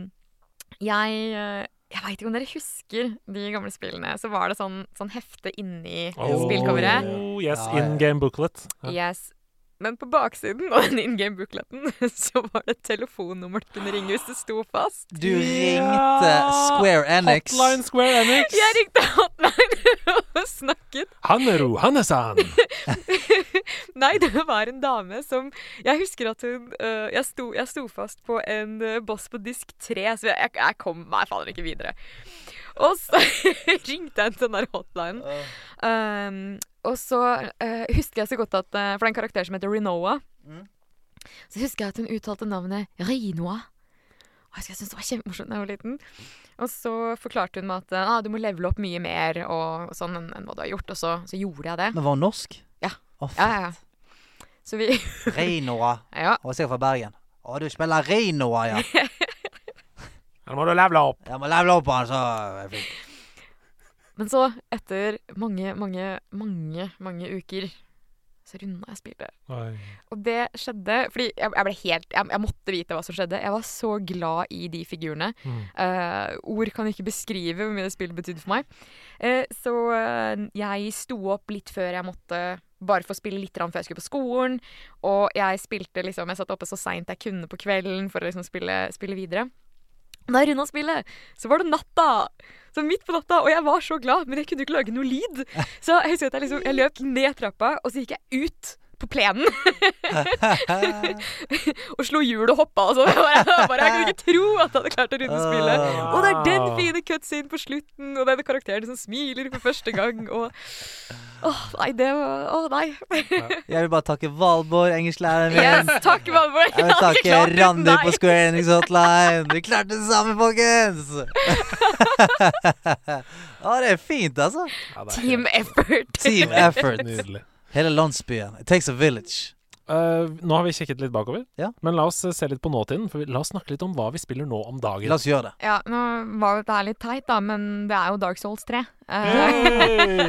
G: jeg eh, jeg veit ikke om dere husker de gamle spillene. Så var det sånn, sånn hefte inni
D: Oh,
G: spillcoveret.
D: Yes,
C: Ja, ja.
D: in game booklet. Ja.
G: Yes. Men på baksiden av den in game-bookleten så var det et telefonnummer du kunne ringe hvis du sto fast.
C: Du
D: Ja.
C: ringte Square Enix.
D: Hotline Square Enix.
G: Jeg ringte hotline og snakket.
D: Hanneru Hannesan.
G: Nei, det var en dame som Jeg husker at hun øh, jeg, sto, jeg sto fast på en øh, boss på disk 3, så jeg, jeg kom meg fader ikke videre. Og så ringte jeg til den der hotlinen. Um, og så eh, husker jeg så godt at eh, For det er en karakter som heter Renoa. Så husker jeg at hun uttalte navnet Rinoa. Og jeg husker jeg syntes det var kjempemorsomt da jeg var liten. Og så forklarte hun meg at eh, ah, du må levele opp mye mer og, og sånn enn enn hva du har gjort. Og så, så gjorde jeg det.
C: Men var hun norsk?
G: Ja.
C: Å,
G: Ja, ja, ja. Så vi
C: faen. Reinora.
G: Ja.
C: Hun er sikkert fra Bergen. Å, du spiller Reinora, ja.
D: Her må du levele opp.
C: Jeg må levele opp han, så er jeg flink.
G: Men så, etter mange, mange, mange, mange uker, så runda jeg spillet.
D: Oi.
G: Og det skjedde fordi jeg, jeg ble helt jeg, jeg måtte vite hva som skjedde. Jeg var så glad i de figurene.
D: Mm.
G: Eh, ord kan ikke beskrive hvor mye det spillet betydde for meg. Eh, så eh, jeg sto opp litt før jeg måtte bare få spille litt grann før jeg skulle på skolen. Og jeg spilte liksom Jeg satt oppe så seint jeg kunne på kvelden for å liksom spille, spille videre. Da jeg runda spillet, så var det natta! Så midt på natta, Og jeg var så glad, men jeg kunne ikke lage noe lyd. Så jeg husker at jeg liksom Jeg løp ned trappa, og så gikk jeg ut på plenen og slo hjul og hoppa og sånn. Jeg, bare- jeg bare- jeg kunne ikke tro at jeg hadde klart å runde spillet. Og det er den
D: Ah.
G: fine cutscenen på slutten, og denne karakteren som smiler for første gang, og Åh, nei, det var Åh, nei.
C: Jeg vil bare takke Valborg, engelsklæreren
G: Yes,
C: min.
G: takk, Valborg.
C: Jeg vil
G: hadde ikke
C: takke
G: klart uten
C: Randi
G: deg.
C: på Square Enix Hotline. Vi klarte det sammen, folkens! Å, det er fint, altså.
D: Ja, det er
G: Team effort.
C: Team effort.
D: Nydelig.
C: Hele landsbyen. It takes a village.
D: Eh, nå har vi kikket litt bakover,
C: Ja.
D: men la oss eh, se litt på nåtiden. For vi, la oss snakke litt om hva vi spiller nå om dagen.
C: La oss gjøre det.
G: Ja, nå var dette her litt teit, da, men det er jo Dark Souls 3. Eh,
D: Hey,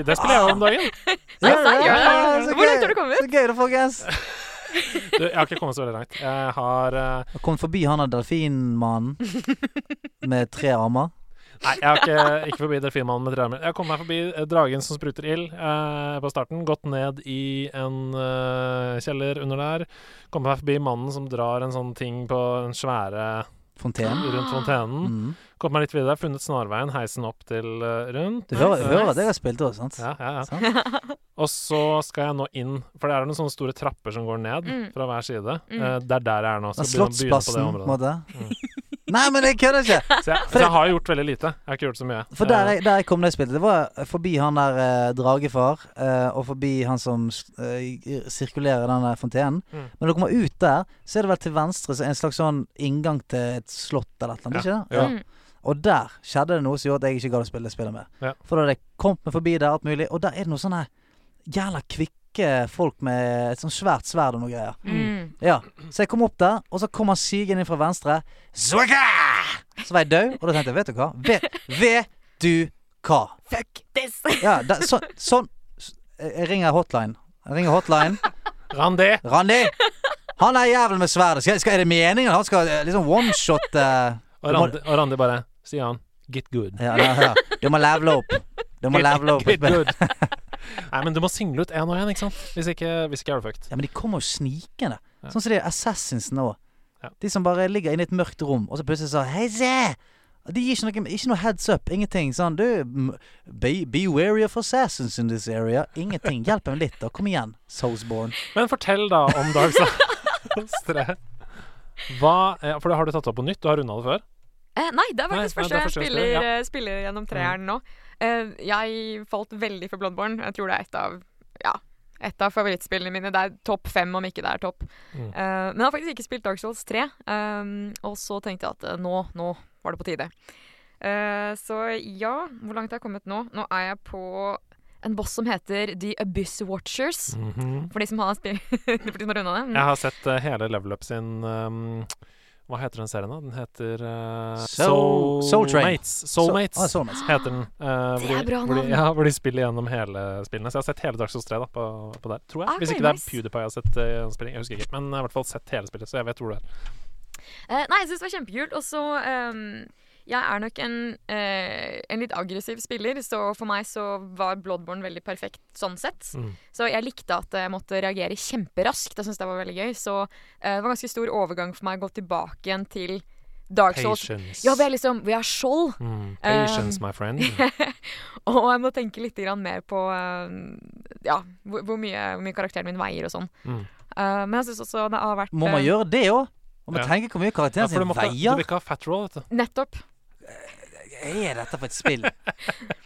D: det spiller jeg om dagen.
G: Nei, sant, gjør det.
C: Ja, så
G: Hvor langt har
C: gøy.
G: du kommet?
C: Så gøy, da, folkens.
D: Du, jeg har ikke kommet så veldig langt. Jeg har eh,
C: Jeg kom forbi han der delfinmannen med tre armer.
D: Nei, jeg har ikke, ikke forbi delfinmannen med traumer. Jeg har kommet meg forbi eh, dragen som spruter ild eh, på starten. Gått ned i en eh, kjeller under der. Kommet meg forbi mannen som drar en sånn ting på den svære
C: Fontenen.
D: rundt fontenen.
C: Mm.
D: Kommet meg litt videre, funnet snarveien, heisen opp til eh, rundt.
C: Du hører,
D: Eh,
C: hører at jeg har spilt også, sant?
D: Ja, ja, ja.
C: Sant?
D: Og så skal jeg nå inn, for det er noen sånne store trapper som går ned
G: Mm.
D: fra hver side.
G: Mm.
D: Eh, det er der jeg er nå. Så
C: Den
D: begynner- begynner på det
C: Slottsplassen, på en
D: området. Mm.
C: måte. Nei, men jeg kødder ikke!
D: Så jeg, så jeg har gjort veldig lite. Jeg har ikke gjort så mye.
C: For der
D: Eh,
C: jeg, der jeg kom da jeg spilte, det var forbi han der eh, dragefar, eh, og forbi han som eh, sirkulerer den der fontenen.
D: Mm.
C: Men når du kommer ut der, så er det vel til venstre så en slags sånn inngang til et slott eller et eller annet. Ikke det?
D: Ja.
G: Mm.
C: Og der skjedde det noe som gjorde at jeg ikke gadd å spille det spillet mer.
D: Ja.
C: For da hadde jeg kommet meg forbi der, alt mulig, og der er det noen sånne jævla kvikke folk med et sånn svært sverd og noe greier.
G: Mm.
C: Ja, Så jeg kom opp der, og så kom han sigende inn fra venstre. Zwaka! Så var jeg død, og da tenkte jeg Vet du hva? Vet, vet du hva?
G: Fuck this.
C: Ja, da, så, sånn Jeg ringer hotline. Jeg ringer hotline.
D: Eh, Randi!
C: Randi! Han er jævelen med sverdet. Skal, skal, er det meningen han skal eh, liksom oneshot uh,
D: Og Randi, og Randi bare Stian, get good.
C: ja, ja, ja. Du må levele opp. Du må levele opp.
D: Get good. Nei, men du må single ut én og én, ikke sant? Hvis ikke, hvis ikke er du fucked.
C: Ja, men de kommer jo snikende.
D: Ja.
C: Sånn som de Assassins nå.
D: Ja.
C: De som bare ligger inne i et mørkt rom, og så plutselig så Hei, se! Og De gir ikke noe, ikke noe heads up. Ingenting. Sånn Du, m- be, be wary of assassins in this area. Ingenting. Hjelp dem litt, da. Kom igjen, Soulsborne.
D: Men fortell da om Dark Souls 3. Hva, eh, for det har du tatt opp på nytt, du har runda det før.
G: Eh, nei, det er
D: Nei,
G: faktisk
D: nei, det
G: første
D: er første
G: gang jeg
D: gang
G: spiller,
D: jeg spiller,
G: eh, spiller gjennom treeren nå. Eh, jeg falt veldig for Bloodborne. Jeg tror det er et av, ja, et av favorittspillene mine. Det er topp fem, om ikke det er topp.
D: Mm.
G: Eh, men jeg har faktisk ikke spilt Dark Souls 3. ehm, og så tenkte jeg at eh, nå, nå var det på tide. Eh, så ja, hvor langt har jeg kommet nå? Nå er jeg på en boss som heter The Abyss Watchers.
D: Mhm.
G: For de som har spilt For de som har runda det. Mm.
D: Jeg har sett eh, hele Level Up sin um, Hva heter den serien, da? Den heter eh,
C: Soul- Soul Train.
D: Soulmates.
C: Så, ah,
D: Soulmates
C: Soulmates.
D: heter den. eh,
G: Ah, Det
D: hvor
G: er
D: de-
G: bra
D: hvor de,
G: navn.
D: ja, hvor de spiller gjennom hele spillene. Så jeg har sett hele Dark Souls 3 da, på, på der, tror jeg.
G: Ok,
D: Hvis ikke det er
G: Ah, nice.
D: PewDiePie jeg har sett eh, en spilling, jeg husker ikke. Men jeg har i hvert fall sett hele spillet, så jeg vet hvor det er.
G: Eh, nei, jeg syns det var kjempekult. Og så ehm, Jeg er nok en, eh, en litt aggressiv spiller, så for meg så var Bloodborne veldig perfekt sånn sett.
D: Mm.
G: Så jeg likte at jeg måtte reagere kjemperaskt. Jeg syns det var veldig gøy. Så eh, det var ganske stor overgang for meg å gå tilbake igjen til Dark Souls.
D: Patience.
G: Ja, Eh, vi er liksom Vi er skjold,
D: Mm. Patience, my friend.
G: og jeg må tenke litt grann mer på eh, Ja, hvor, hvor, mye, hvor mye karakteren min veier og sånn.
D: Mm.
G: Eh, men jeg syns også det har vært
C: Må man
G: eh,
C: gjøre det òg? Må man
D: Ja.
C: tenke hvor mye
D: Ja,
C: karakteren
D: for du,
C: sin
D: måtte, du vil
C: veier?
D: ikke ha fat roll, vet du.
G: Nettopp.
C: Er dette for et spill?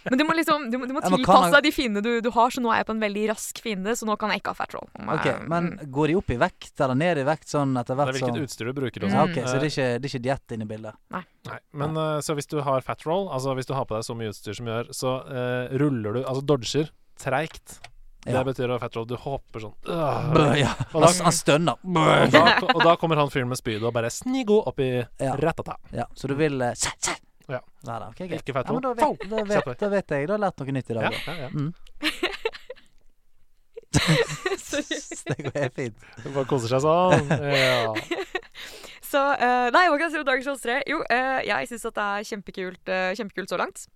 G: Men du må liksom Du må, du må
C: Ja, men kan
G: tilpasse
C: han-
G: deg de fiendene du, du har, så nå er jeg på en veldig rask fiende, så nå kan jeg ikke ha fat roll. Om
C: Ok,
G: jeg-
C: Men
G: mm.
C: går de opp i vekt eller ned i vekt sånn etter
D: Det er
C: hvert?
D: hvilket
C: Sånn?
D: utstyr du bruker også.
C: Ja, ok, Så
D: Eh,
C: det er ikke, det er ikke diett inne i bildet?
D: Nei, men eh, så hvis du har fat roll, altså hvis du har på deg så mye utstyr som gjør, så eh, ruller du, altså dodger, treigt.
C: Ja.
D: Det betyr å ha fat roll, du hopper sånn. øh,
C: Bø, ja.
D: Og da,
C: Han, han stønner.
D: og da, og da kommer han fyren med spydet og bare snigo opp i
C: Ja.
D: ratata.
C: Ja, så du vil eh, se, se.
D: Ja.
C: Nei, da, ok, greit.
D: Ikke fat
C: Ja, men da
D: roll.
C: vet, da,
D: Kjapp vei.
C: vet, da vet jeg. Da har jeg lært noe nytt i
D: Ja,
C: dag.
D: ja, ja.
C: da. det går helt fint.
D: Du bare koser seg sånn. Ja.
G: Så eh, Nei, hva kan jeg si om Dark Souls 3? Jo, eh, jeg syns at det er kjempekult, eh, kjempekult så langt.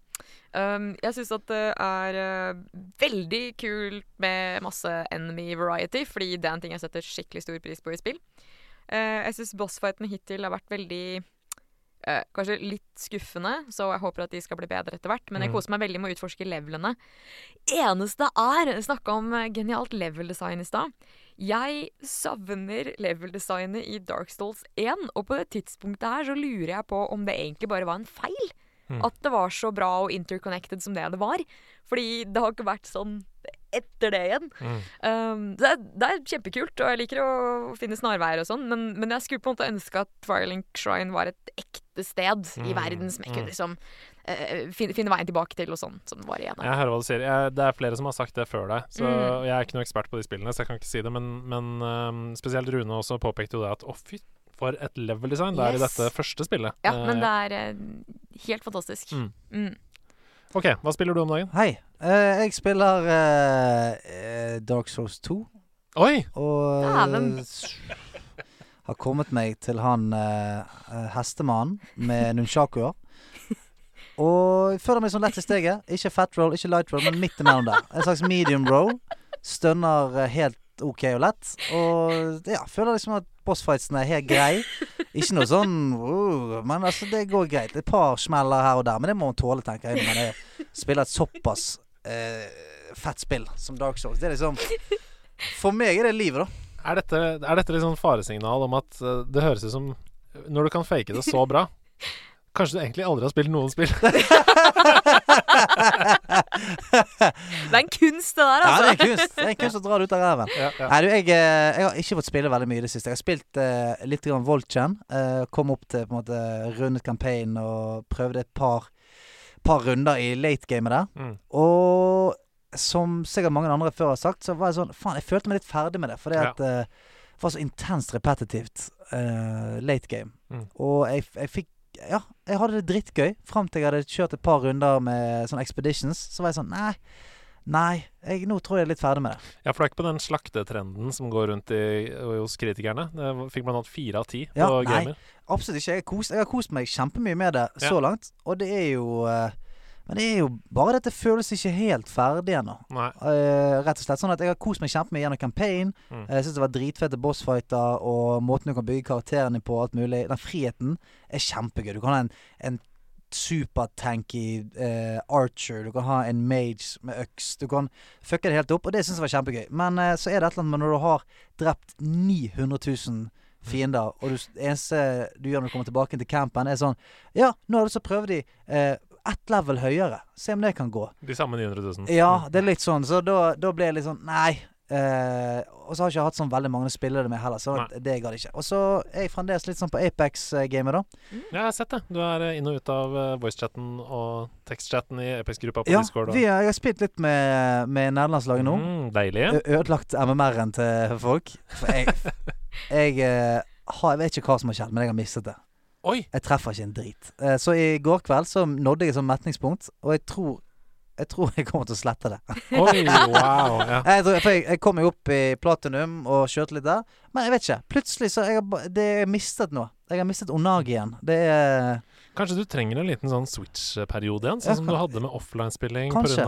G: Um, jeg syns at det er eh, veldig kult med masse enemy variety, fordi det er en ting jeg setter skikkelig stor pris på i spill. Eh, jeg syns bossfightene hittil har vært veldig eh, Kanskje litt skuffende, så jeg håper at de skal bli bedre etter hvert. Men jeg
D: Mm.
G: koser meg veldig med å utforske levelene. Eneste er Snakka om eh, genialt level-design i stad. Jeg savner level-designet i Dark Souls 1, og på det tidspunktet her så lurer jeg på om det egentlig bare var en feil.
D: Mm.
G: At det var så bra og interconnected som det det var. Fordi det har ikke vært sånn etter det igjen.
D: Mm.
G: Um, det, er, det er kjempekult, og jeg liker å finne snarveier og sånn, men, men jeg skulle på en måte ønske at Trilink Shrine var et ekte sted i
D: Mm,
G: verden som
D: mm.
G: jeg kunne liksom eh, finne, finne veien tilbake til, og sånn som det var igjen.
D: Jeg hører hva du sier. Jeg, det er flere som har sagt det før deg. Så
G: Mm.
D: Jeg er ikke noe ekspert på de spillene, så jeg kan ikke si det. Men, men ehm, spesielt Rune også påpekte jo det at å, fy, for et level-design det er i
G: Yes.
D: dette første spillet.
G: Ja,
D: Eh,
G: men det er eh, helt fantastisk.
D: Mm.
G: Mm.
D: OK, hva spiller du om dagen?
C: Hei. eh, jeg spiller eh, eh, Dark Souls 2,
D: Oi!
C: og
G: Dæven.
C: eh, har kommet meg til han eh, eh, hestemannen med nunchakuer. Og jeg føler meg sånn lett i steget. Ikke fat roll, ikke light roll, men midt imellom der. En slags medium roll. Stønner eh, helt OK og lett. Og ja, føler liksom at bossfightsen er helt grei. Ikke noe sånn uh, Men altså, det går greit. Et par smeller her og der, men det må man tåle, tenker jeg. Når man er- spiller et såpass eh, fett spill som Dark Souls. Det er liksom For meg er det livet, da.
D: Er dette, er dette litt sånn faresignal om at eh, det høres ut som eh, Når du kan fake det så bra Kanskje du egentlig aldri har spilt noen spill?
G: Det er en kunst, det
C: Ja,
G: der,
C: det
G: altså.
C: er kunst. Det er kunst å dra det ut av ræven.
D: ja, ja.
C: Nei, du, jeg, eh, jeg har ikke fått spille veldig mye i det siste. Jeg har spilt eh, litt grann Voltgen. eh, kom opp til på en måte rundet campaign og prøvde et par, par runder i late-gamet der.
D: Mm.
C: Og som sikkert mange andre før har sagt, så var jeg sånn Faen, jeg følte meg litt ferdig med det. Fordi
D: Ja.
C: at eh, det var så intenst repetitivt eh, late game.
D: Mm.
C: Og jeg, f- jeg fikk Ja, jeg hadde det drittgøy fram til jeg hadde kjørt et par runder med sånn expeditions. Så var jeg sånn Nei, nei, jeg, nå tror jeg jeg er litt ferdig med det.
D: Jeg fløy ikke på den slaktetrenden som går rundt i, hos kritikerne. Jeg fikk blant annet fire av ti
C: Ja,
D: på
C: nei.
D: gamer.
C: Absolutt ikke. Jeg har kost, jeg har kost meg kjempemye med det så
D: Ja.
C: langt. Og det er jo eh, Men det er jo bare dette føles ikke helt ferdig ennå.
D: Nei.
C: Eh, rett og slett sånn at Jeg har kost meg kjempemye gjennom campaign.
D: Mm.
C: Eh, Jeg syns det var dritfete bossfighter og måten du kan bygge karakterene på. Alt mulig Den friheten er kjempegøy. Du kan ha en, en supertanky eh, archer, du kan ha en mage med øks. Du kan fucke det helt opp, og det syns jeg var kjempegøy. Men eh, så er det et eller annet med når du har drept 900 000 fiender. Og du, det eneste du gjør når du kommer tilbake til campen, er sånn Ja, nå har du så prøvd de eh, ett level høyere. Se om det kan gå.
D: De samme Mm. 900 000.
C: Ja, det er litt sånn. Så da, da ble jeg litt sånn Nei. Eh, og så har jeg ikke hatt sånn veldig mange spillere med heller, så
D: Nei.
C: det gadd jeg ikke. Og så er jeg fremdeles litt sånn på Apex-gamet, da.
D: Ja, jeg har sett det. Du er eh, inn og ut av eh, voicechatten og tekstchatten i Apex-gruppa på
C: Ja,
D: Discord. Og...
C: vi, har- jeg har spilt litt med, med nederlandslaget nå. Eh.
D: Mm, deilig.
C: Ø- Ødelagt MMR-en til folk. For jeg jeg, eh, har, jeg vet ikke hva som har skjedd, men jeg har mistet det.
D: Oi!
C: Jeg treffer ikke en drit. Eh, Så i går kveld så nådde jeg et sånt metningspunkt, og jeg tror jeg tror jeg kommer til å slette det.
D: Oi, wow. Ja.
C: Jeg, tror, for jeg, jeg kom jo opp i platinum og kjørte litt der, men jeg vet ikke. Plutselig så jeg har ba- det jeg har mistet noe. Jeg har mistet onagien. Det er
D: Kanskje du trenger en liten sånn switch-periode igjen, sånn
C: Ja,
D: som
C: kan-
D: du hadde med offline-spilling
C: Kanskje.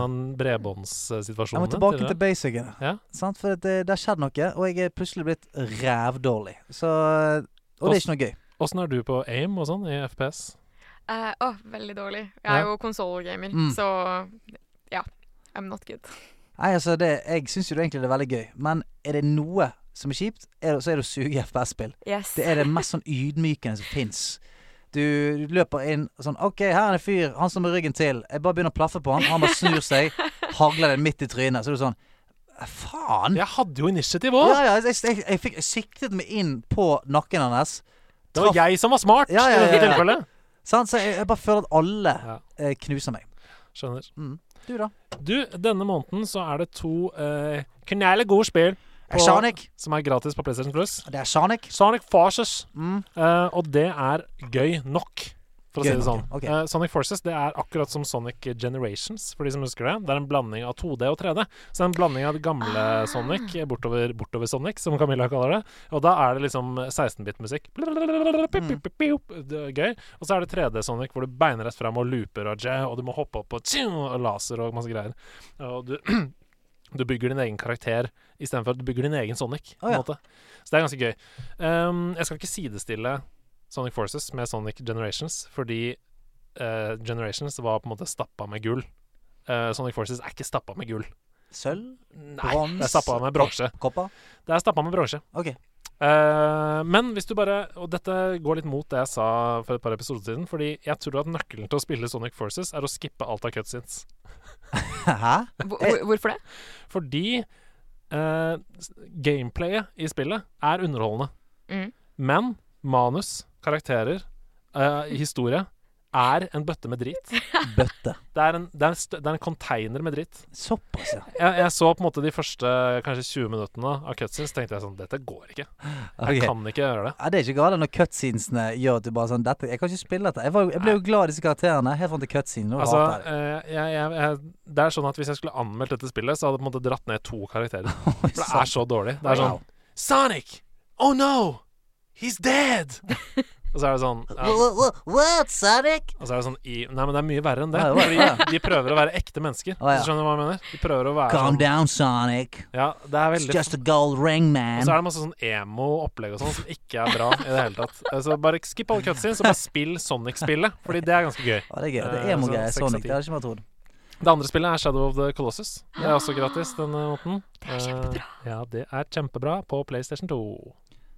C: Jeg må
D: pga. bredbåndssituasjonen.
C: tilbake til basicene.
D: Ja.
C: Sant? For det, det har skjedd noe, og jeg er plutselig blitt rævdårlig. Så Og det er ikke noe gøy.
D: Åssen er du på aim og sånn i FPS?
G: Eh, Å, veldig dårlig. Jeg er
D: Ja.
G: jo konsollgamer,
C: Mm.
G: så ja. I'm not good.
C: Nei, altså, det, jeg syns jo det egentlig det er veldig gøy, men er det noe som er kjipt, er det, så er det å suge i FPS-spill.
G: Yes.
C: Det er det mest sånn ydmykende som fins. Du, du løper inn og sånn OK, her er en fyr. Han står med ryggen til. Jeg bare begynner å plaffe på han. Han bare snur seg. Hagler deg midt i trynet. Så er du sånn Faen! Ja,
D: Jeg hadde jo initiativ òg!
C: Mm. ja, jeg, jeg, jeg, fikk, jeg siktet meg inn på nakken hans.
D: Det var
C: Traff-
D: jeg som var smart
C: Ja, ja,
D: i dette
C: ja, ja.
D: tilfellet.
C: Sant? Så jeg, jeg bare føler at alle
D: Ja.
C: eh, knuser meg. Mm.
D: Skjønner.
C: Du, da?
D: Du, denne måneden så er det to eh, knæle gode spill
C: Er Sonic?
D: som er gratis på PlayStation Plus.
C: Det er Sonic.
D: Sonic Forces.
C: Mm.
D: Eh, og det er gøy nok, for å
C: Gøy
D: si det sånn.
C: nok, ja. Ok.
D: Eh, Sonic Forces det er akkurat som Sonic Generations, for de som husker det. Det er en blanding av 2D og 3D. Så det er en blanding av det gamle
C: Ah.
D: Sonic, eh, bortover, bortover Sonic, som Camilla kaller det. Og da er det liksom 16-bit-musikk. Det er Gøy. Og så er det 3D-Sonic, hvor du beiner rett fram og looper og jazz, og du må hoppe opp og, tjum, og laser og masse greier. Og du du bygger din egen karakter istedenfor at du bygger din egen Sonic. på
C: Å,
D: en
C: ja.
D: måte. Så det er ganske gøy. Ehm, jeg skal ikke sidestille Sonic Forces med Sonic Generations, fordi eh, Generations var på en måte stappa med gull. Eh, Sonic Forces er ikke stappa med gull.
C: Sølv?
D: Nei,
C: Brons?
D: det er stappa med bronse.
C: Kopper?
D: Det er stappa med bronse.
C: OK.
D: Eh, men hvis du bare Og dette går litt mot det jeg sa for et par episoder siden, fordi jeg tror at nøkkelen til å spille Sonic Forces er å skippe alt av cutscenes.
C: Hæ?
G: Hvor- hvor- Hvorfor det?
D: Fordi eh, s- gameplayet i spillet er underholdende.
G: Mm.
D: Men manus, karakterer, eh, historie er en bøtte med drit.
C: Bøtte.
D: Det er en, det er en, stø- det er en container med dritt.
C: Såpass, ja.
D: Jeg, jeg så på en måte de første kanskje 20 minuttene av cutscenes, tenkte jeg sånn Dette går ikke. Jeg
C: Ok.
D: kan ikke gjøre det.
C: Ja, det er ikke galt når cutscenesene gjør at du bare sånn dette, Jeg kan ikke spille dette. Jeg, var, jo- jeg ble jo glad i disse karakterene helt fram til cutscenen. Nå
D: Altså,
C: hater jeg det.
D: eh, jeg, jeg, jeg, det er sånn at Hvis jeg skulle anmeldt dette spillet, så hadde jeg på en måte dratt ned to karakterer.
C: Oi,
D: eh, For det
C: sant.
D: er så dårlig. Det er sånn
C: Wow.
D: Sonic! Oh no! He's dead! Og så er det sånn ja,
C: Wha- wha- What, Sonic?
D: Og så er det sånn i, Nei, men det er mye verre enn det.
C: Ja, det var-
D: Fordi
C: ja.
D: de prøver å være ekte mennesker.
C: Å, ja.
D: hvis du Skjønner du hva jeg mener? De prøver å være
C: Calm
D: sånn,
C: down, Sonic.
D: Ja, det er
C: It's
D: veldig sånn-
C: just a gold ring,
D: Og
C: man.
D: så er det masse sånn emo-opplegg og sånn som ikke er bra i det hele tatt. Eh, Så bare skipp alle cutscenes og bare spill Sonic-spillet, fordi det er ganske gøy.
C: Å, det er gøy. Det
D: Eh,
C: er emo-greier.
D: altså, seks av
C: Sonic.
D: ti.
C: Det hadde ikke man trodd.
D: Det andre spillet er Shadow of the Colossus. Det er også gratis denne måten. Det er kjempebra. ja, det er kjempebra på PlayStation 2.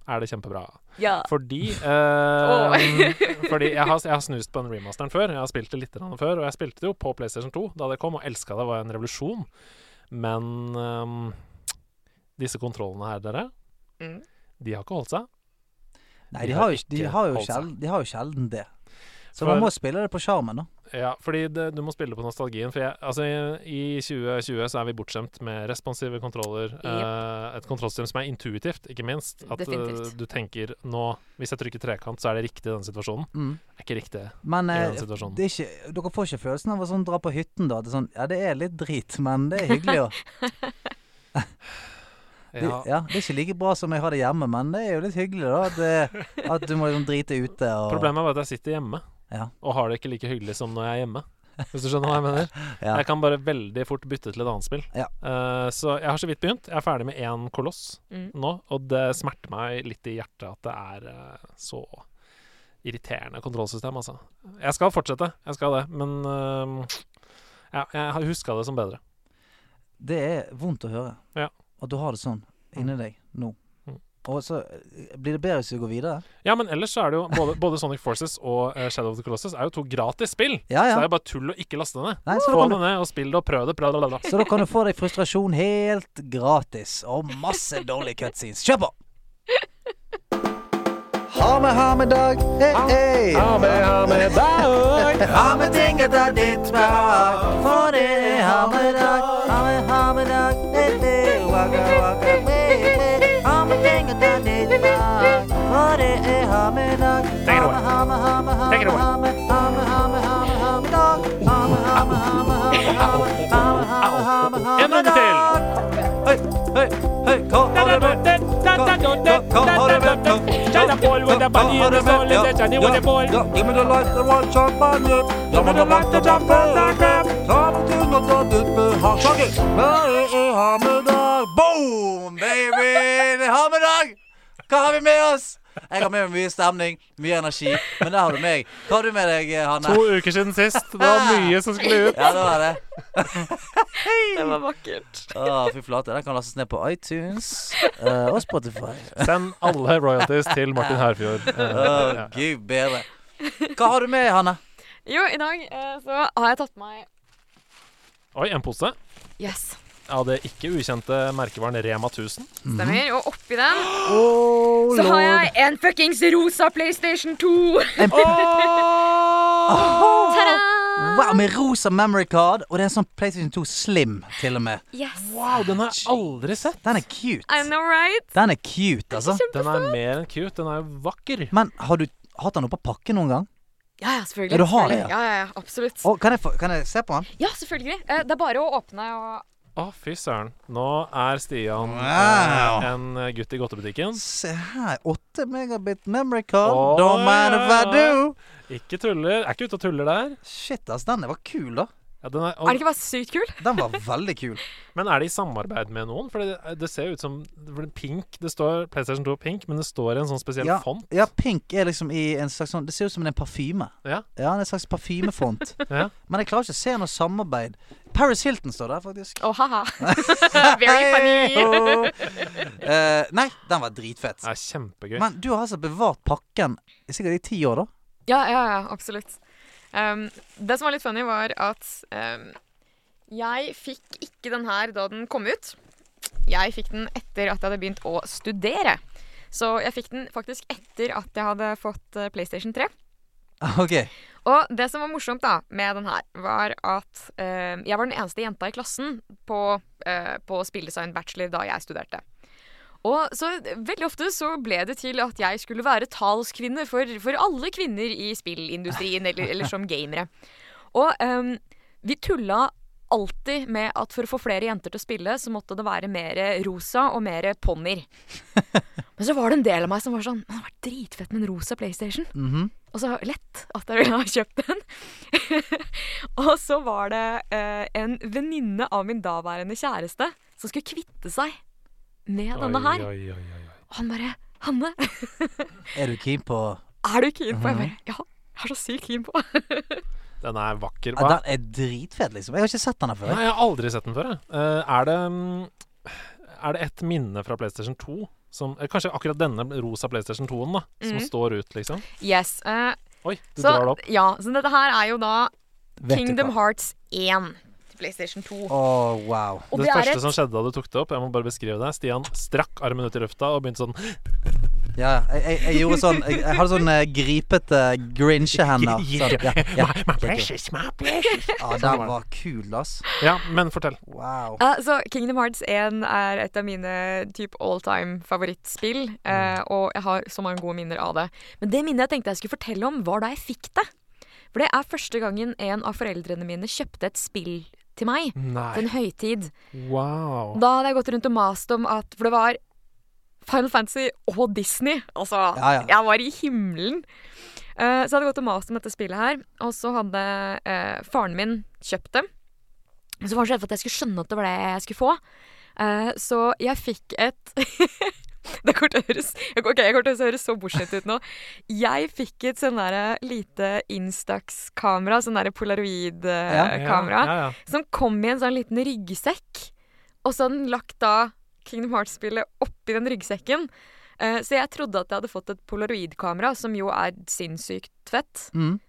D: Er det kjempebra?
G: Ja.
D: Fordi eh, Fordi jeg har, jeg har snust på den remasteren før. Jeg har spilt det litt grann før, og jeg spilte det jo på PlayStation 2 da det kom, og elska det. Det var en revolusjon. Men ehm, disse kontrollene her, dere,
G: Mm.
D: de har ikke holdt seg.
C: Nei, de har jo, de
D: ikke
C: har jo,
D: holdt seg.
C: sjelden, de har jo sjelden det. Så
D: For-
C: man må spille det på sjarmen, da.
D: Ja, fordi det, du må spille på nostalgien. For jeg, altså, i, i 2020 så er vi bortskjemt med responsive kontroller. eh, et kontrollsystem som er intuitivt, ikke minst. At eh,
G: Definitivt.
D: du tenker nå Hvis jeg trykker trekant, så er det riktig i denne situasjonen.
C: Mm.
D: Er ikke riktig
C: Men
D: i
C: eh,
D: denne situasjonen.
C: det er ikke, dere får ikke følelsen av å sånn dra på hytten, da? At det er sånn Ja, det er litt drit, men det er hyggelig òg. Det,
D: ja.
C: ja, det er ikke like bra som jeg har det hjemme, men det er jo litt hyggelig, da. At, det, at du må liksom drite ute og
D: Problemet er bare at jeg sitter hjemme,
C: Ja.
D: og har det ikke like hyggelig som når jeg er hjemme. Hvis du skjønner hva jeg mener?
C: Ja.
D: Jeg kan bare veldig fort bytte til et annet spill.
C: Ja.
D: Eh, så jeg har så vidt begynt. Jeg er ferdig med én koloss
G: Mm.
D: nå, og det smerter meg litt i hjertet at det er eh, så irriterende kontrollsystem, altså. Jeg skal fortsette, jeg skal det, men eh, ja, jeg har huska det som bedre.
C: Det er vondt å høre
D: Ja.
C: at du har det sånn inni deg nå.
D: Mm.
C: Og så eh, blir det bedre hvis vi går videre.
D: Ja, men ellers så er det jo både, både Sonic Forces og eh, Shadow of the Colossus er jo to gratis spill.
C: Ja,
D: Så det
C: ja.
D: er jo bare tull å ikke laste det ned.
C: Nei, så, da
D: Få
C: kan
D: det ned og spill det og prøv det. Bla, bla, bla.
C: du, så da kan du få deg frustrasjon helt gratis. Og masse dårlige cutscenes. Kjør på! Ha med, ha med dag. Hei, hei. Ha med ting etter ditt behag, for det er ha med dag. Ha med, ha med dag. Hei, hei. Waka, waka, hei, hei. Ha med ting etter ditt behag, for det er ha med dag.
D: Take it away.
C: Ha med, ha med, ha
D: Take it
C: med,
D: away.
C: ha med, ha med, ha med, ha med, ha med dag. Ha med, ha med, ha med, ha med, ha med, ha med, ha med, ha med, ha med
D: En runde
C: dag.
D: til.
C: Hei, hei, hei, hva har du med? Boom, baby! Det er Hammedag! Hva har vi med oss? Jeg har med meg mye stemning, mye energi, men der har du meg. Hva har du med deg, Hanne?
D: To uker siden sist. Det var mye som skulle ut.
C: Ja, det var det.
G: Det var vakkert.
C: Å, fy flate. Den kan lastes ned på iTunes eh, og Spotify.
D: Send alle royalties til Martin Herfjord. Eh,
C: Å,
D: ja.
C: gud bedre. Hva har du med, Hanne?
G: Jo, i dag eh, så har jeg tatt med meg
D: Oi, en pose
G: Yes,
D: av det ikke ukjente merkevaren Rema 1000.
C: Mhm.
G: stemmer. Og oppi den
C: Oh,
G: så har jeg en fuckings rosa PlayStation 2.
C: Wow, med rosa memory card, og det er en sånn PlayStation 2 Slim, til og med.
G: Yes,
D: Wow, den har jeg aldri sett.
C: Den er cute.
G: I know right?
C: Den er cute, altså.
D: Den er mer enn cute. Den er jo vakker.
C: Men har du hatt den oppå pakke noen gang?
G: Ja, ja, selvfølgelig.
C: Ja, du har det,
G: selvfølgelig. ja, ja, ja, absolutt.
C: Å, kan, jeg få, kan jeg se på den?
G: Ja, selvfølgelig. Eh, Det er bare å åpne og
D: Å, fy søren. Nå er Stian eh,
C: Wow.
D: en gutt i godtebutikken.
C: Se her. 8 megabit memory card.
D: Å,
C: Don't matter what I
D: ja, ja.
C: do.
D: Ikke tuller. Er ikke ute og tuller der.
C: Shit, ass. Den var kul, da.
D: Ja, den er,
G: Er det ikke bare sykt kul?
C: Den var veldig kul.
D: Men er det i samarbeid med noen? For det, det ser jo ut som for det er pink. Det står PlayStation 2 pink, men det står i en sånn spesiell
C: Ja,
D: font.
C: ja, pink er liksom i en slags sånn Det ser ut som en parfyme.
D: Ja.
C: ja en slags parfymefont.
D: Ja.
C: Men jeg klarer ikke å se noe samarbeid. Paris Hilton står der, faktisk.
G: Å, haha. Very funny.
C: Hei-ho. Eh, nei, den var dritfett.
D: Det er kjempegøy.
C: Men du har altså bevart pakken sikkert i ti år, da?
G: Ja, ja, ja, absolutt. Um, det som var litt funny, var at um, jeg fikk ikke den her da den kom ut. Jeg fikk den etter at jeg hadde begynt å studere. Så jeg fikk den faktisk etter at jeg hadde fått eh, PlayStation 3.
C: OK.
G: Og det som var morsomt da, med den her, var at eh, jeg var den eneste jenta i klassen på, eh, på spilldesign bachelor da jeg studerte. Og så veldig ofte så ble det til at jeg skulle være talskvinne for, for alle kvinner i spillindustrien, eller, eller som gamere. Og eh, vi tulla alltid med at for å få flere jenter til å spille, så måtte det være mer rosa og mer ponnier. Men så var det en del av meg som var sånn Det hadde vært dritfett med en rosa PlayStation.
C: Mhm.
G: Og så lett at jeg ville ha kjøpt den. og så var det eh, en venninne av min daværende kjæreste som skulle kvitte seg med denne her.
D: Oi, oi, oi, oi.
G: Og han bare 'Hanne,
C: Er du keen på
G: er du keen
D: Mhm.
G: på?' Jeg bare 'Ja, jeg er så sykt keen på'.
D: Den er vakker.
C: ja,
D: Hva?
C: Den er dritfett, liksom. Jeg har ikke sett den her før.
D: Nei, jeg har aldri sett den før. Jeg. Eh, er det mm, Er det et minne fra PlayStation 2 som eh, Kanskje akkurat denne rosa PlayStation 2-en, da, som
G: Mhm.
D: står ut, liksom?
G: Yes. eh,
D: Oi, du
G: så,
D: drar det opp.
G: ja, så dette her er jo da
C: Vet du
G: Kingdom
C: hva?
G: Hearts 1 til PlayStation 2.
C: Å, wow.
G: Og
D: det,
G: det er
D: første
G: et
D: som skjedde da du tok det opp, jeg må bare beskrive det. Stian strakk armen ut i lufta og begynte sånn
C: Ja, ja. jeg, jeg, jeg gjorde sånn Jeg, jeg hadde sånn eh, gripete Grinche-hender. Sånn, ja, ja. ja, den var kul, ass.
D: Ja, men fortell.
C: Wow.
G: Ja, så Kingdom Hearts 1 er et av mine typ all time favorittspill, eh, og jeg har så mange gode minner av det. Men det minnet jeg tenkte jeg skulle fortelle om, var da jeg fikk det. For det er første gangen en av foreldrene mine kjøpte et spill til meg. Til
D: Nei.
G: en høytid.
D: Wow.
G: Da hadde jeg gått rundt og mast om at For det var Final Fantasy og Disney. Altså,
C: Ja, ja.
G: jeg var i himmelen. Eh, så jeg hadde gått og mast om dette spillet her, og så hadde eh, faren min kjøpt det. Og så var han så redd for at jeg skulle skjønne at det var det jeg skulle få. Eh, så jeg fikk et Det kommer til å høres Ok, jeg kommer til å høres så bullshit ut nå. Jeg fikk et sånn derre lite Instax-kamera, sånn eh, derre
D: Ja,
G: polaroid-kamera
D: Ja, ja.
G: som kom i en sånn liten ryggsekk. Og så hadde den lagt da Kingdom Hearts-spillet oppi den ryggsekken. Eh, så jeg trodde at jeg hadde fått et polaroidkamera, som jo er sinnssykt fett.
C: Mm.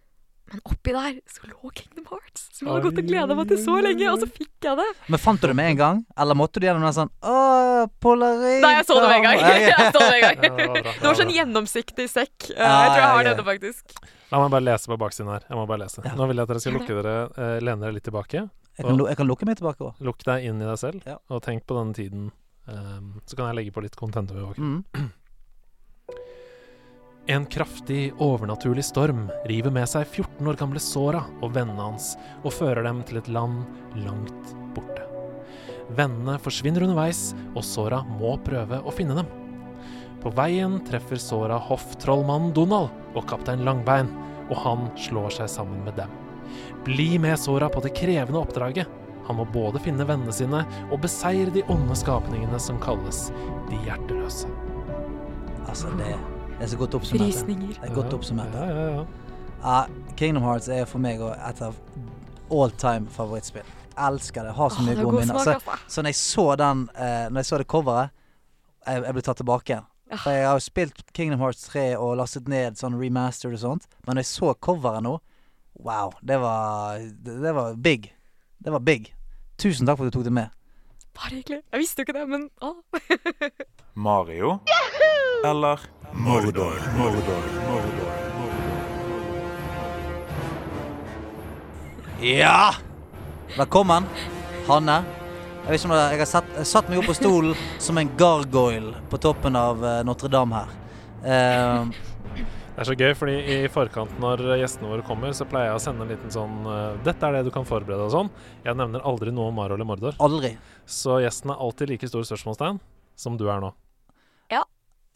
G: Men oppi der så lå Kingdom Hearts, som jeg hadde gått og gleda meg til så lenge, og så fikk jeg det.
C: Men fant du det med en gang? Eller måtte du gjennom den sånn Åh, polaroid
G: Nei, jeg så det med en gang.
C: Ja, ja.
G: Jeg så det med en
D: Ja, det
G: gang.
D: var bra.
G: Det var sånn gjennomsiktig sekk. Eh,
C: Ah,
G: Jeg tror jeg
C: ja,
G: har
C: ja.
G: denne, faktisk.
D: La meg bare lese på baksiden her. Jeg må bare lese.
C: Ja.
D: Nå vil jeg at dere skal lukke dere, eh, lene dere litt tilbake.
C: Jeg kan, lu- jeg kan lukke meg tilbake òg.
D: Lukk deg inn i deg selv,
C: Ja.
D: og tenk på den tiden. Ehm, så kan jeg legge på litt content. over bakgrunnen.
C: Mm.
D: En kraftig, overnaturlig storm river med seg 14 år gamle Sora og vennene hans, og fører dem til et land langt borte. Vennene forsvinner underveis, og Sora må prøve å finne dem. På veien treffer Sora hofftrollmannen Donald og kaptein Langbein, og han slår seg sammen med dem. Bli med Sora på det krevende oppdraget. Han må både finne vennene sine og beseire de onde skapningene som kalles de hjerteløse.
C: Altså, det er så godt oppsummert. det.
G: Frysninger.
C: Det er godt oppsummert.
D: Ja,
C: det.
D: ja, ja.
C: Ja, Kingdom Hearts er for meg også et av all time favorittspill. Elsker det. Har så
G: Åh,
C: mye
G: det er
C: gode
G: god
C: minner.
G: smak,
C: Så,
G: altså.
C: så når jeg så den eh, Når jeg så det coveret, jeg, jeg ble tatt tilbake igjen. For jeg har jo spilt Kingdom Hearts 3 og lastet ned sånn remastered og sånt, men når jeg så coveret nå Wow. Det var Det, det var big. Det var big. Tusen takk for at du tok det med.
G: Bare hyggelig. Jeg visste jo ikke det, men å.
F: Mario eller Mordor. Mordor. Mordor.
C: Ja! Velkommen, Hanne. Jeg vet ikke om det, jeg har satt, jeg satt meg opp på stolen som en gargoyle på toppen av eh, Notre-Dame her. Eh,
D: Det er så gøy, fordi i forkant når gjestene våre kommer, så pleier jeg å sende en liten sånn eh, 'Dette er det du kan forberede' og sånn. Jeg nevner aldri noe om Mario eller Mordor.
C: aldri.
D: Så gjesten er alltid like stor spørsmålstegn som du er nå.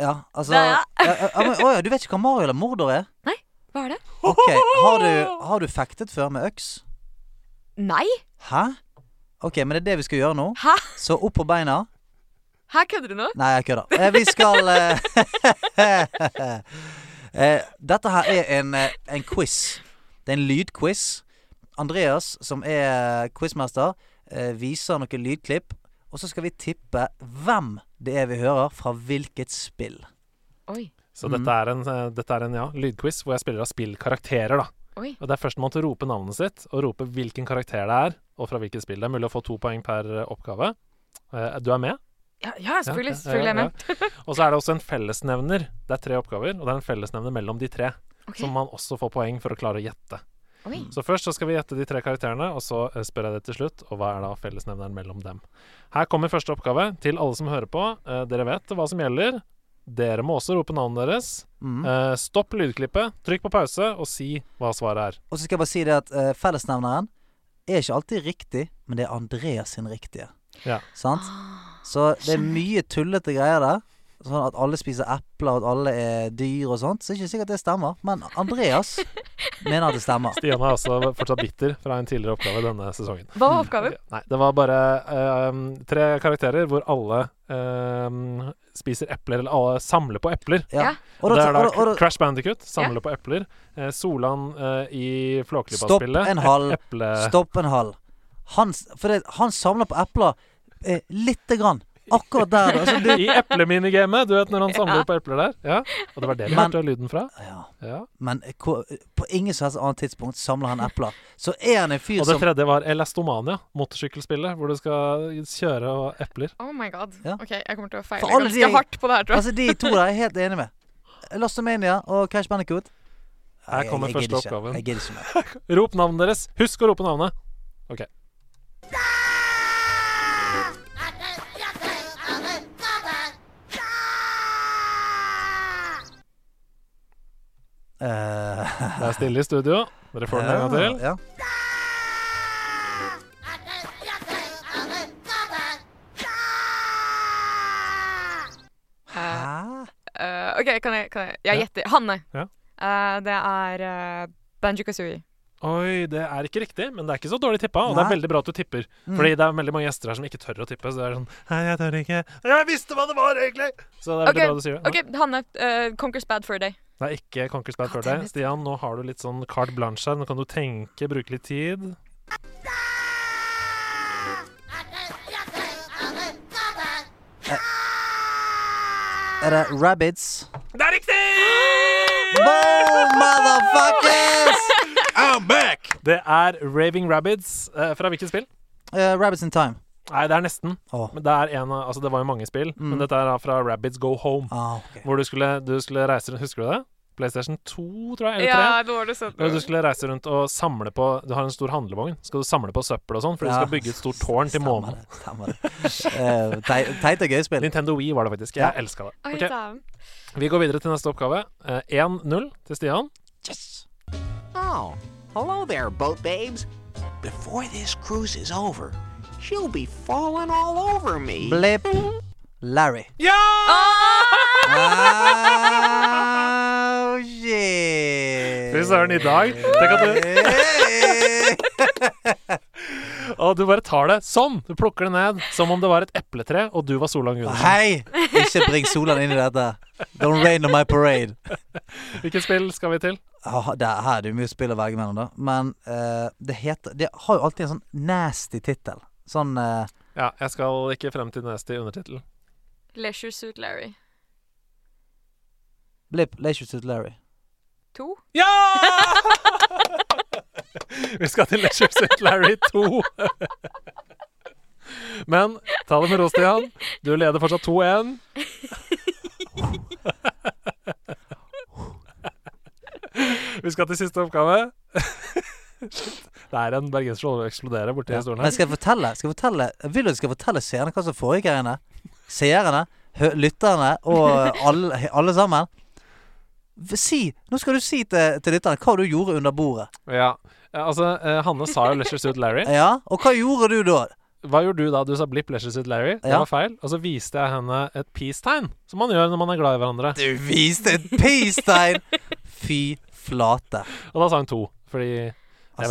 C: Ja, altså
G: Det er
C: ja, ja, men, åja, Du vet ikke hva Mario eller Mordor er?
G: Hva er det?
C: Ok, Har du, har du fektet før med øks?
G: Nei!
C: Hæ? Ok, men det er det vi skal gjøre nå.
G: Hæ?
C: Så opp på beina.
G: Her kødder du nå?
C: Nei, jeg kødder. Eh, Vi skal eh, eh, Dette her er en, eh, en quiz. Det er en lydquiz. Andreas, som er quizmester, eh, viser noen lydklipp. Og så skal vi tippe hvem det er vi hører fra hvilket spill.
G: Oi.
D: Så
C: Mhm.
D: dette er en, eh, dette er en ja, lydquiz hvor jeg spiller av spillkarakterer, da.
G: Oi.
D: Og det er førstemann til å rope navnet sitt, og rope hvilken karakter det er, og fra hvilket spill. Det er mulig å få to poeng per eh, oppgave. Eh, Du er med?
G: Ja, ja
D: Ja,
G: selvfølgelig.
D: ja,
G: Selvfølgelig er jeg
D: ja,
G: med.
D: ja. Og så er det også en fellesnevner. Det er tre oppgaver, og det er en fellesnevner mellom de tre.
G: Ok.
D: Som man også får poeng for å klare å gjette.
G: Oi.
D: Så først så skal vi gjette de tre karakterene, og så eh, spør jeg det til slutt. Og hva er da fellesnevneren mellom dem? Her kommer første oppgave til alle som hører på. Eh, Dere vet hva som gjelder. Dere må også rope navnet deres.
C: Mm.
D: Eh, Stopp lydklippet, trykk på pause, og si hva svaret er.
C: Og så skal jeg bare si det at eh, fellesnevneren er ikke alltid riktig, men det er Andreas sin riktige.
D: Ja.
C: Sant? Så det er mye tullete greier der. Sånn at alle spiser epler, og at alle er dyr og sånt. Så det er ikke sikkert det stemmer. Men Andreas mener at det stemmer.
D: Stian er altså fortsatt bitter fra en tidligere oppgave denne sesongen.
G: Hva var oppgaven?
D: Nei, det var bare eh, tre karakterer hvor alle eh, spiser epler, eller alle samler på epler.
G: Ja.
C: Og da,
D: det er da
C: og da, og da,
D: Crash Bandicut, samle på epler. Eh, Solan eh, i
C: Stopp
D: Flåklypa-spillet.
C: en halv.
D: ep- Eple...
C: stopp en halv. Han, s- for det, han samler på epler eh, lite grann. Akkurat der. Altså, du,
D: I epleminegamet, du vet når han samler på epler der. Ja. Og det var det vi
C: Men-
D: hørte lyden fra.
C: ja,
D: Ja.
C: men hvor- på ingen som helst annet tidspunkt samler han epler. Så er han en fyr
D: Og det
C: som
D: tredje var Elastomania, motorsykkelspillet, hvor du skal kjøre og epler.
G: Oh my god.
C: Ja.
G: Ok, jeg kommer til å feile
C: For alle
G: ganske
C: de-
G: hardt på det her, tror jeg.
C: Altså, de to der er jeg helt enig med. Lostomania og Crash Bandicoot.
D: Her kommer
C: jeg, jeg
D: første
C: gidder ikke.
D: oppgaven.
C: Jeg gidder ikke mer.
D: Rop navnet deres! Husk å rope navnet!
C: Eh,
D: Det er stille i studio. Dere får den en gang til.
C: ja.
G: Eh,
C: Hæ?
G: eh, OK, kan jeg, kan jeg Jeg
D: Ja.
G: gjetter. Hanne.
D: Ja.
G: Eh, det er uh, Banjo Kazooie.
D: Oi, det er ikke riktig, men det er ikke så dårlig tippa. Og det er
C: Nei.
D: veldig bra at du tipper. Fordi det er veldig mange gjester her som ikke tør å tippe. Så det er sånn Hei, jeg tør ikke. Jeg visste hva det var, egentlig! Så det er veldig
G: Ok,
D: bra du sier det.
G: OK, Hanne. Uh, Conquers Bad Fur Day.
D: Det er ikke Conquer's Bad
G: Ah,
D: Fur
G: damn
D: Day.
G: it.
D: Stian, nå har du litt sånn carte blanche her. Nå kan du tenke, bruke litt tid.
C: er det Rabbits.
D: Det er riktig!
C: Boom, motherfuckers!
A: I'm back!
D: Det er Raving Rabbids. Eh, fra hvilket spill?
C: Eh, Rabbits in Time.
D: Nei, det er nesten.
C: Åh.
D: Men det, er en, av- altså, det var jo mange spill, men dette er da fra Rabbids Go Home.
C: Ah, ok.
D: Hvor du skulle, du skulle reise rundt Husker du det? PlayStation 2, tror jeg? Eller 3?
G: Ja, det var det sånn.
D: Når du skulle reise rundt og samle på Du har en stor handlevogn. Skal du samle på søppel og sånn? For du
C: Ja.
D: skal bygge et stort tårn til
C: Stemmer
D: månen.
C: det, Stemmer det. Eh, tei- Teit og gøy spill.
D: Nintendo Wii var det faktisk. Jeg elska det.
G: Oi,
D: Ok,
G: dæven.
D: Vi går videre til neste oppgave. Eh, 1-0 til Stian.
H: Oh, hello there, boat babes. Before this cruise is over, she'll be falling all over me.
C: Blipp. Larry. Oh, shit.
D: Fy søren, i dag Tenk at
C: Eh.
D: du,
C: Hey.
D: og du bare tar det sånn! Du plukker det ned som om det var et epletre, og du var Solan Gundersen.
C: Hei! Ikke bring Solan inn i dette. Don't rain on my parade.
D: Hvilket spill skal vi til?
C: Ah, det her er det jo mye spill å velge mellom, da. Men eh, det heter Det har jo alltid en sånn nasty tittel. Sånn eh,
D: Ja, jeg skal ikke frem til neste undertittel.
G: Leisure Suit Larry.
C: Blipp, Leisure Suit Larry.
G: To?
D: Ja! Vi skal til Leisure Suit Larry 2. Men ta det med ro, Stian. Du leder fortsatt 2-1. Vi skal til siste oppgave. Shit. Det er en bergenser som eksploderer borti stolen
C: Men
D: her.
C: skal jeg fortelle skal jeg fortelle, Jeg vil at du skal fortelle seerne hva som foregikk her inne. Seerne, hø- lytterne og alle, alle sammen. V- Si, Nå skal du si til, til lytterne hva du gjorde under bordet.
D: Ja. Eh, Altså, eh, Hanne sa jo Leisure Suit Larry.
C: Ja, Og hva gjorde du da?
D: Hva gjorde du da? Du sa blipp Leisure Suit Larry. Det
C: Ja.
D: var feil. Og så viste jeg henne et peace-tegn, som man gjør når man er glad i hverandre.
C: Du viste et peace-tegn! Fy flate.
D: Og da sa hun to, fordi Jeg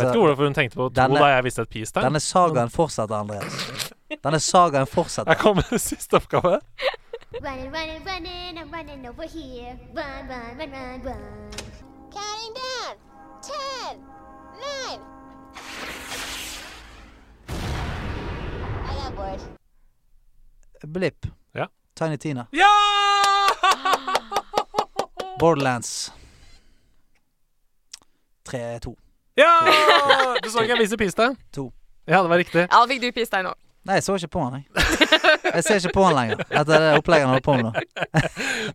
D: vet
C: Altså,
D: ikke hvorfor hun tenkte på to
C: denne-
D: da jeg visste et peace-tegn.
C: Denne sagaen fortsetter, Andreas. Denne sagaen fortsetter.
D: Jeg kom med siste oppgave.
I: Running, running, running, I'm running over here. Run, run, run, run, run. Counting down. Ten, nine. I got bored.
C: Blipp.
D: Ja.
C: Tiny Tina.
D: Ja!
C: Borderlands. 3-2.
D: ja! Du så ikke jeg viste peace-tegn?
C: To.
D: Ja, det var riktig.
G: Ja, da fikk du pistein òg.
C: Nei, jeg så ikke på han, jeg. Jeg ser ikke på han lenger. Dette er det opplegget han holder på med nå.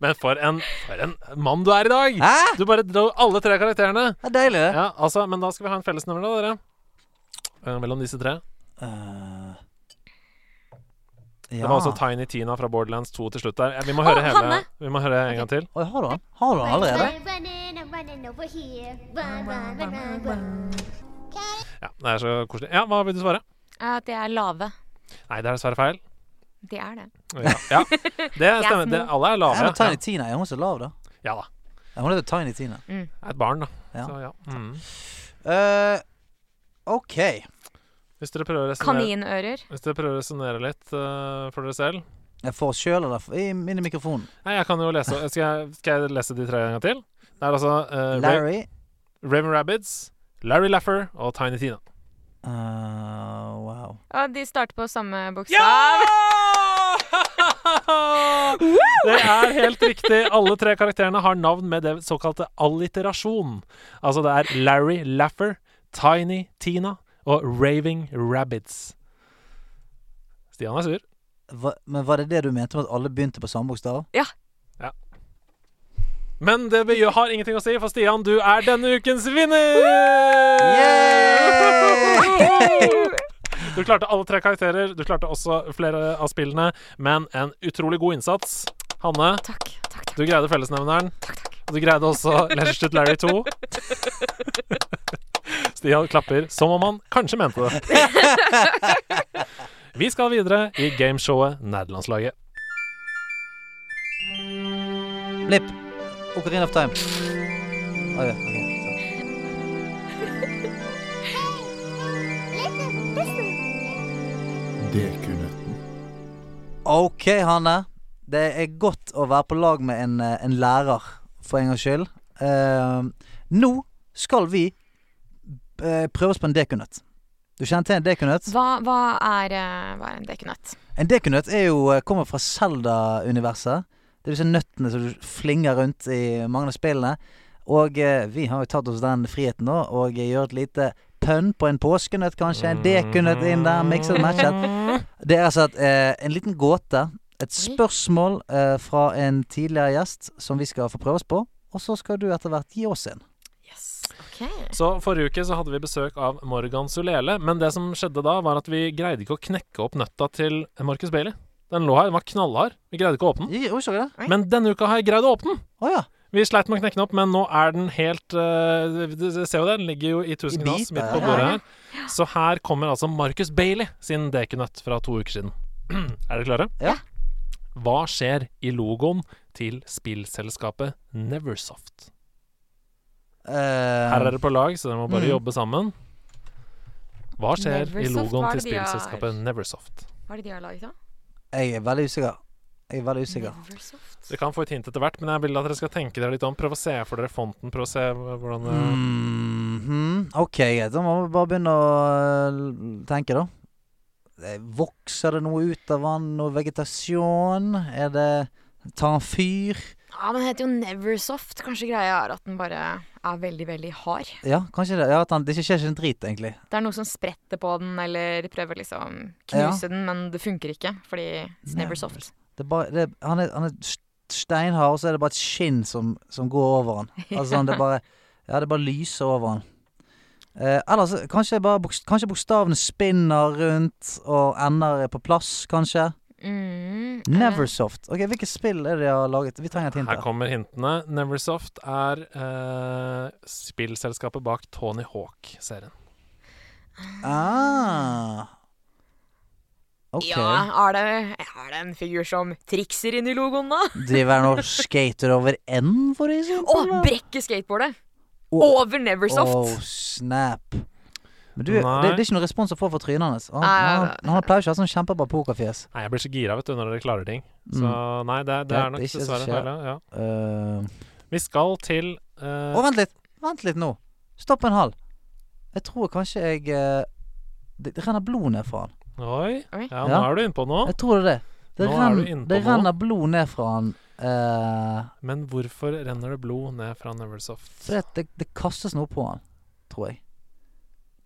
D: Men for en, for en mann du er i dag!
C: Hæ?
D: Du bare dro alle tre karakterene.
C: Det er deilig, det.
D: Ja, altså, Men da skal vi ha en fellesnevner, da, dere. Eh, mellom disse tre.
C: Eh,
D: Det
C: ja.
D: var altså Tiny Tina fra Borderlands 2 til slutt der. Eh, Vi må høre hele
G: Hanne!
D: Vi må høre en gang til.
C: Oi, har du han? Har du han allerede?
I: Running, running, I'm running over here. Run, run, run, run, run. Counting
D: Ja, Det er så koselig. Ja, Hva vil du svare?
G: Eh, det er lave.
D: Nei, det er dessverre feil.
G: Det er det.
D: Ja, ja. Det stemmer. Det, alle er
C: Ja, men
D: lave.
C: Tiny Tina er hun så lav, da.
D: Ja. ja da.
C: Ja, hun heter Tiny Tina.
D: Er et barn, da.
C: Ja.
D: Så ja. Mm.
C: Eh, OK.
D: Hvis dere prøver å resonnere
G: Kaninører.
D: Hvis dere prøver å resonnere litt eh, for dere selv
C: Jeg får sjøl eller f- i- inn i mikrofonen.
D: Nei, jeg kan jo lese Skal jeg, skal jeg lese de tre en gang til? Det er altså uh,
C: Larry.
D: Raven Rabbids, Larry Laffer og Tiny Tina.
C: Eh, wow.
G: Ja, de starter på samme bokstav.
D: Det er helt riktig. Alle tre karakterene har navn med det såkalte alliterasjon. Altså det er Larry Laffer, Tiny Tina og Raving Rabbids. Stian er sur.
C: Hva, men var det det du mente med at alle begynte på samme bokstav?
D: Men det be- har ingenting å si, for Stian, du er denne ukens vinner! Du klarte alle tre karakterer. Du klarte også flere av spillene, men en utrolig god innsats. Hanne,
G: Takk, takk, takk.
D: du greide fellesnevneren. Og du greide også Leisure Suit Larry 2. Stian klapper som om han kanskje mente det. Vi skal videre i gameshowet Nerdelandslaget.
C: Blipp. Ocarina of Time. Oi, ja, ok, så.
I: Listen, listen.
C: OK, Hanne. Det er godt å være på lag med en, eh, en lærer, for en gangs skyld. Eh, nå skal vi eh, prøve oss på en dekunøtt. Du kjenner til en dekunøtt?
G: Hva, hva, er, eh, hva er en dekunøtt?
C: En dekunøtt er jo, eh, kommer fra Selda-universet. Det er disse nøttene som du flinger rundt i mange av spillene. Og eh, vi har jo tatt oss den friheten nå, og gjør et lite pønn på en påskenøtt, kanskje. En dekunøtt inn der, mikset og matchet. Det er altså et, eh, en liten gåte. Et spørsmål eh, fra en tidligere gjest som vi skal få prøve oss på. Og så skal du etter hvert gi oss en.
D: Så forrige uke så hadde vi besøk av Morgan Solele, men det som skjedde da, var at vi greide ikke å knekke opp nøtta til Marcus Bailey. Den lå her, den var knallhard. Vi greide ikke å åpne den.
C: Gi- oi, så det.
D: Men denne uka har jeg greid å åpne den!
C: Å ja.
D: Vi sleit med å knekke den opp, men nå er den helt eh, du- du ser jo det, den ligger jo i tusen
C: I
D: knas
C: biter,
D: midt på
C: ja.
D: bordet her. Så her kommer altså Marcus Bailey sin dekunøtt fra to uker siden. er dere klare?
C: Ja.
D: Hva skjer i logoen til spillselskapet Neversoft?
C: Eh,
D: Her er det på lag, så dere må bare
C: Mm.
D: jobbe sammen. Hva skjer i
G: Neversoft,
D: logoen
G: hva er
D: til
G: det de har?
D: spillselskapet Neversoft?
G: Hva er det de har laget, da?
C: jeg er veldig usikker. Jeg er veldig usikker.
G: Neversoft?
D: Dere kan få et hint etter hvert, men jeg vil at dere skal tenke dere litt om. Prøv å se for dere fonten. Prøv å se hvordan eh, det
C: Mhm. OK, greit. Da må vi bare begynne å eh, tenke, da. Eh, Vokser det noe ut av vann? Noe vegetasjon? Er det Tar han fyr?
G: Ja, men den heter jo Neversoft. Kanskje greia er at den bare er veldig, veldig hard.
C: Ja, kanskje det. Ja, at han, det skjer ikke en drit, egentlig.
G: Det er noe som spretter på den, eller prøver liksom knuse den, men det funker ikke, fordi it's Neversoft.
C: Det er bare, det, han, er, han er st- steinhard, og så er det bare et skinn som, som går over han. Altså, sånn, det er bare, ja, det bare lyser over han. Eh, ellers kanskje, bare, bokst- kanskje bokstavene spinner rundt og ender på plass, kanskje.
G: Mm, er det-
C: Neversoft. Ok, Hvilke spill er det de har laget? Vi trenger et hint.
D: Her
C: her.
D: kommer hintene. Neversoft er eh, spillselskapet bak Tony Hawk-serien.
C: Ah. Ok.
G: Ja, er det, er det en figur som trikser inn i logoen, da?
C: Driver han og skater over enden, for
G: Å,
C: eksempel? da?
G: brekke skateboardet!
C: Å.
G: Over Neversoft!
C: Oh, snap. Men du, det,
D: Nei.
C: det er ikke noen respons å få fra trynet hans. Han,
G: Nei,
C: han,
G: nei,
C: han har pleier ikke å ha sånn kjempebra pokerfjes.
D: Nei, jeg blir så gira vet du, når dere klarer ting. Så nei, det,
C: Mm.
D: det
C: Det er
D: er nok
C: ikke så
D: dessverre
C: skjer.
D: feil. Ja.
C: Eh, Å,
D: Vi skal til eh,
C: vent litt! Vent litt nå. Stopp en hal. Jeg tror kanskje jeg eh, Det det renner blod ned fra han.
D: Oi.
G: Oi.
D: Ja, nå
C: Ja.
D: er du innpå noe.
C: Jeg tror det er det. Det,
D: Nå er
C: renn,
D: du inne på
C: det
D: noe.
C: renner blod ned fra han. eh,
D: Men hvorfor renner det blod ned fra Neversoft?
C: fordi at det, det kastes noe på han, tror jeg.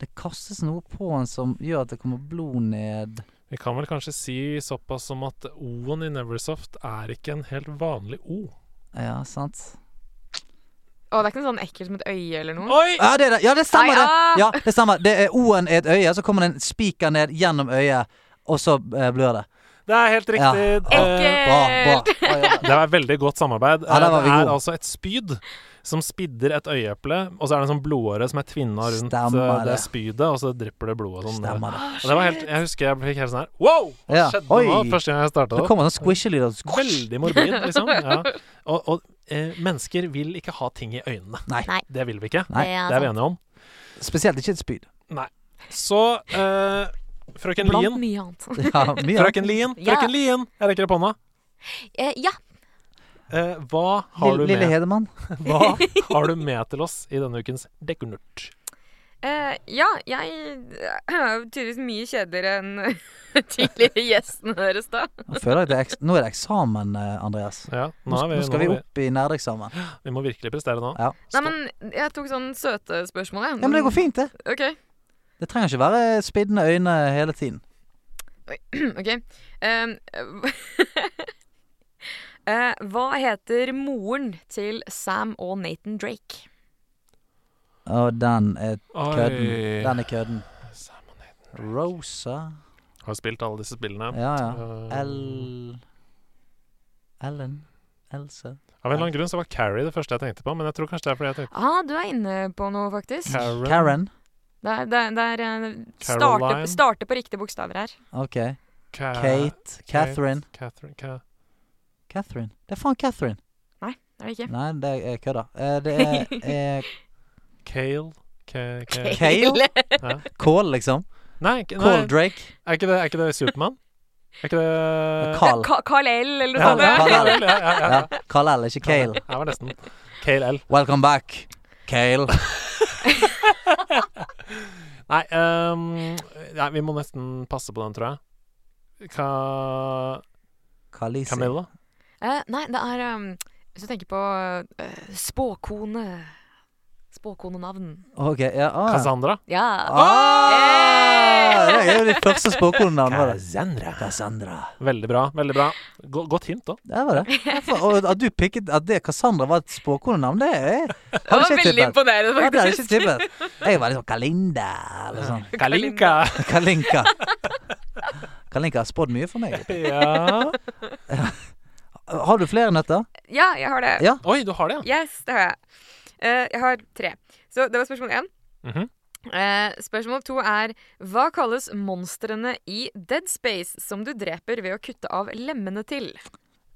C: Det kastes noe på han som gjør at det kommer blod ned
D: Vi kan vel kanskje si såpass som at O-en i Neversoft er ikke en helt vanlig O.
C: Ja, sant?
G: Å, det er ikke noe sånn ekkelt som et øye eller noe?
D: Oi!
C: Ja, det, er det. ja, det
G: Nei,
C: stemmer, det!
G: ah!
C: Ja, det stemmer. Det er O-en i et øye, så kommer det en spiker ned gjennom øyet, og så eh, blør det.
D: Det er helt riktig.
C: Ja.
D: Eh,
C: Bra, bra. Å, ja.
D: Det var et veldig godt samarbeid.
C: Ja, der var
D: det
C: vi
D: er
C: gode.
D: altså et spyd som spidder et øyeeple, og så er det en sånn blodåre som er tvinna rundt
C: Stemmer
D: eh, det
C: det.
D: spydet, og så drypper det blod og sånn.
C: Stemmer det.
D: Og det var helt, jeg husker jeg fikk helt sånn her Wow! Hva
C: Ja.
D: skjedde
C: Oi.
D: nå? Første gang jeg starta
C: Det
D: det.
C: kommer sånn squishy-lyd. og-
D: Veldig morbid, liksom. Ja. Og, og eh, mennesker vil ikke ha ting i øynene.
C: Nei.
G: Nei.
D: Det vil vi ikke.
C: Nei.
G: sånn
D: Det er vi enige om.
C: Spesielt ikke et spyd.
D: Så eh, frøken
G: Blant
D: Lien
G: mye annet.
C: Ja, mye.
D: Frøken Lien,
G: Ja.
D: frøken Lien! Jeg rekker opp hånda.
G: Eh, ja,
D: Eh, hva, har
C: Lille,
D: du
C: lille
D: med,
C: Hedemann.
D: hva har du med til oss i denne ukens Dekkernurt?
G: Eh, ja, jeg er jo tydeligvis mye kjedeligere enn tidligere gjestene deres, da.
C: Nå føler jeg at det er, eks- nå er det eksamen, eh, Andreas.
D: Ja,
C: Nå,
D: nå, er vi,
C: nå skal vi
D: må
C: opp i nerdeksamen. Ja,
D: Vi, vi må virkelig prestere nå.
G: Nei, men jeg tok sånn søte spørsmål, jeg.
C: men det går fint, det.
G: OK.
C: Det trenger ikke være spiddende øyne hele tiden.
G: ok. Em, eh, hva heter moren til Sam og Nathan Drake?
C: Og den er kødden.
D: Oi.
C: Den er kødden.
D: Sam og Nathan
C: Rosa
D: Har spilt alle disse spillene.
C: Ja, ja.
D: Eh,
C: L... Ellen. Else.
D: Av en eller annen grunn så var Carrie det første jeg tenkte på, men jeg tror kanskje det er fordi jeg tenkte
G: Ah, du er inne på noe, faktisk.
D: Karen.
C: Karen.
G: Det er, det er, det er eh,
D: Caroline.
G: starte, starte på riktige bokstaver her.
C: OK.
D: Ka-
C: Eh, Kate. Catherine.
D: Catherine. Ka
C: Catherine. Det er faen Catherine.
G: Er det ikke?
C: Nei, det er kødda. Eh, Det er eh,
D: Kale. Ka Ka
C: Kale?
D: ja.
C: Kål, liksom.
D: Nei, ikke- nei,
C: Kål Drake.
D: er ikke det, er ikke det Supermann? Er ikke det
C: Carl.
G: Ka Carl L, eller noe
D: Ja,
C: Carl-
D: ja,
G: sånt.
C: Carl L.
D: Carl L, ja, ja, ja.
C: Ja. Kal-El, ikke Kale.
D: Jeg var nesten Kale L.
C: Welcome back, Kale.
D: Nei, ehm, nei, vi må nesten passe på den, tror jeg. Ka
C: Kalisi.
D: Camilla?
G: Eh, nei, det er ehm, Hvis du tenker på eh, spåkone Spåkonenavn.
C: OK. Ja, ah, ja.
D: Cassandra.
G: Ja.
C: Ah, det er jo de første spåkonene.
D: Cassandra.
C: Cassandra.
D: Veldig bra. veldig bra Go Godt hint, da.
C: Det var det. Ja, for- Og at du pikket at det Cassandra var et spåkonenavn, det er-
G: Det
C: hadde
G: var
C: ikke jeg
G: veldig
C: tippet.
G: imponerende,
C: Ja, det hadde jeg
G: faktisk.
C: ikke tippet. Jeg var litt sånn Kalinda eller sånn.
D: Kalinka.
C: Kalinka. Kalinka har spådd mye for meg.
D: Ja.
C: Har du flere nøtter?
G: Ja, jeg har det.
C: Ja.
D: Oi, du har det, ja.
G: Yes, det har jeg. Eh, jeg har tre. Så det var spørsmål én.
D: Mhm.
G: Eh, spørsmål to er Hva kalles monstrene i Dead Space som du dreper ved å kutte av lemmene til?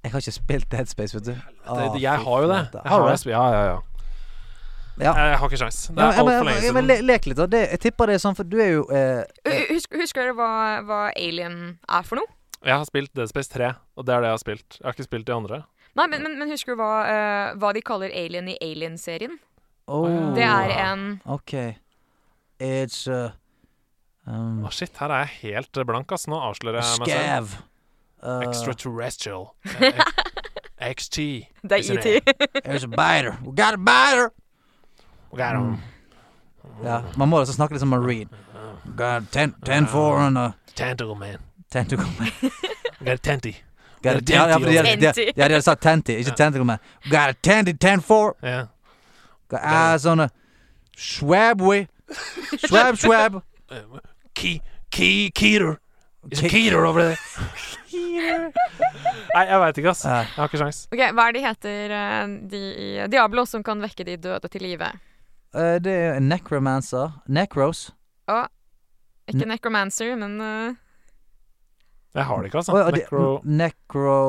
C: Jeg har ikke spilt Dead Space, vet du.
D: Det-
C: Ah,
D: det- Jeg har jo det.
C: fy flate.
D: Jeg
C: Har du det?
D: det? Ja, ja, ja.
C: Ja.
D: Jeg har ikke sjans. Det
C: Ja,
D: er
C: men-
D: altfor
C: men-
D: lenge
C: ja, men
D: siden.
C: le- Lek litt, da. Det, jeg tipper det er sånn, for du er jo eh, eh,
G: Hu- Husker, husker dere hva, hva Alien er for noe?
D: Jeg har spilt Dead Space 3, og det er det jeg har spilt. Jeg har ikke spilt de andre.
G: Nei, men, men, men husker du hva, eh, hva de kaller Alien i Alien-serien?
C: oh,
G: Det er en
C: OK. It's uh, um,
D: Å, shit, her er jeg helt eh, blank, ass. Nå avslører jeg meg selv.
C: Scav. Uh,
D: Extraterrestrial. Eh, eh, XT.
G: Det
D: Ikke
G: er
D: det.
G: ET.
C: There's a biter. We got a biter!
D: Got 'em.
C: Mm. Ja, man må altså snakke litt som Marine. Got ten, ten four and a
D: Tentacle man.
C: tentacle man.
D: Got a tenty.
C: Got a, ja, ja, for de hadde- de hadde-
G: Tenty.
C: ja, de hadde sagt tenty, ikke tentacle man. Got a tenty, ten four.
D: Ja.
C: Got eyes on a swabway. Swab, swab.
D: Key, key, keter. It's a
C: Ke-
D: keter over there. Nei, jeg veit ikke, ass.
C: Nei.
D: Jeg har ikke sjans.
G: Ok, Hva er de heter eh, de i Diablo som kan vekke de døde til live?
C: Eh, det er en necromancer. Necros.
G: Ikke Necromancer, men eh,
D: Jeg har det ikke, altså.
C: Å, ja, det-
D: Necro,
C: Necro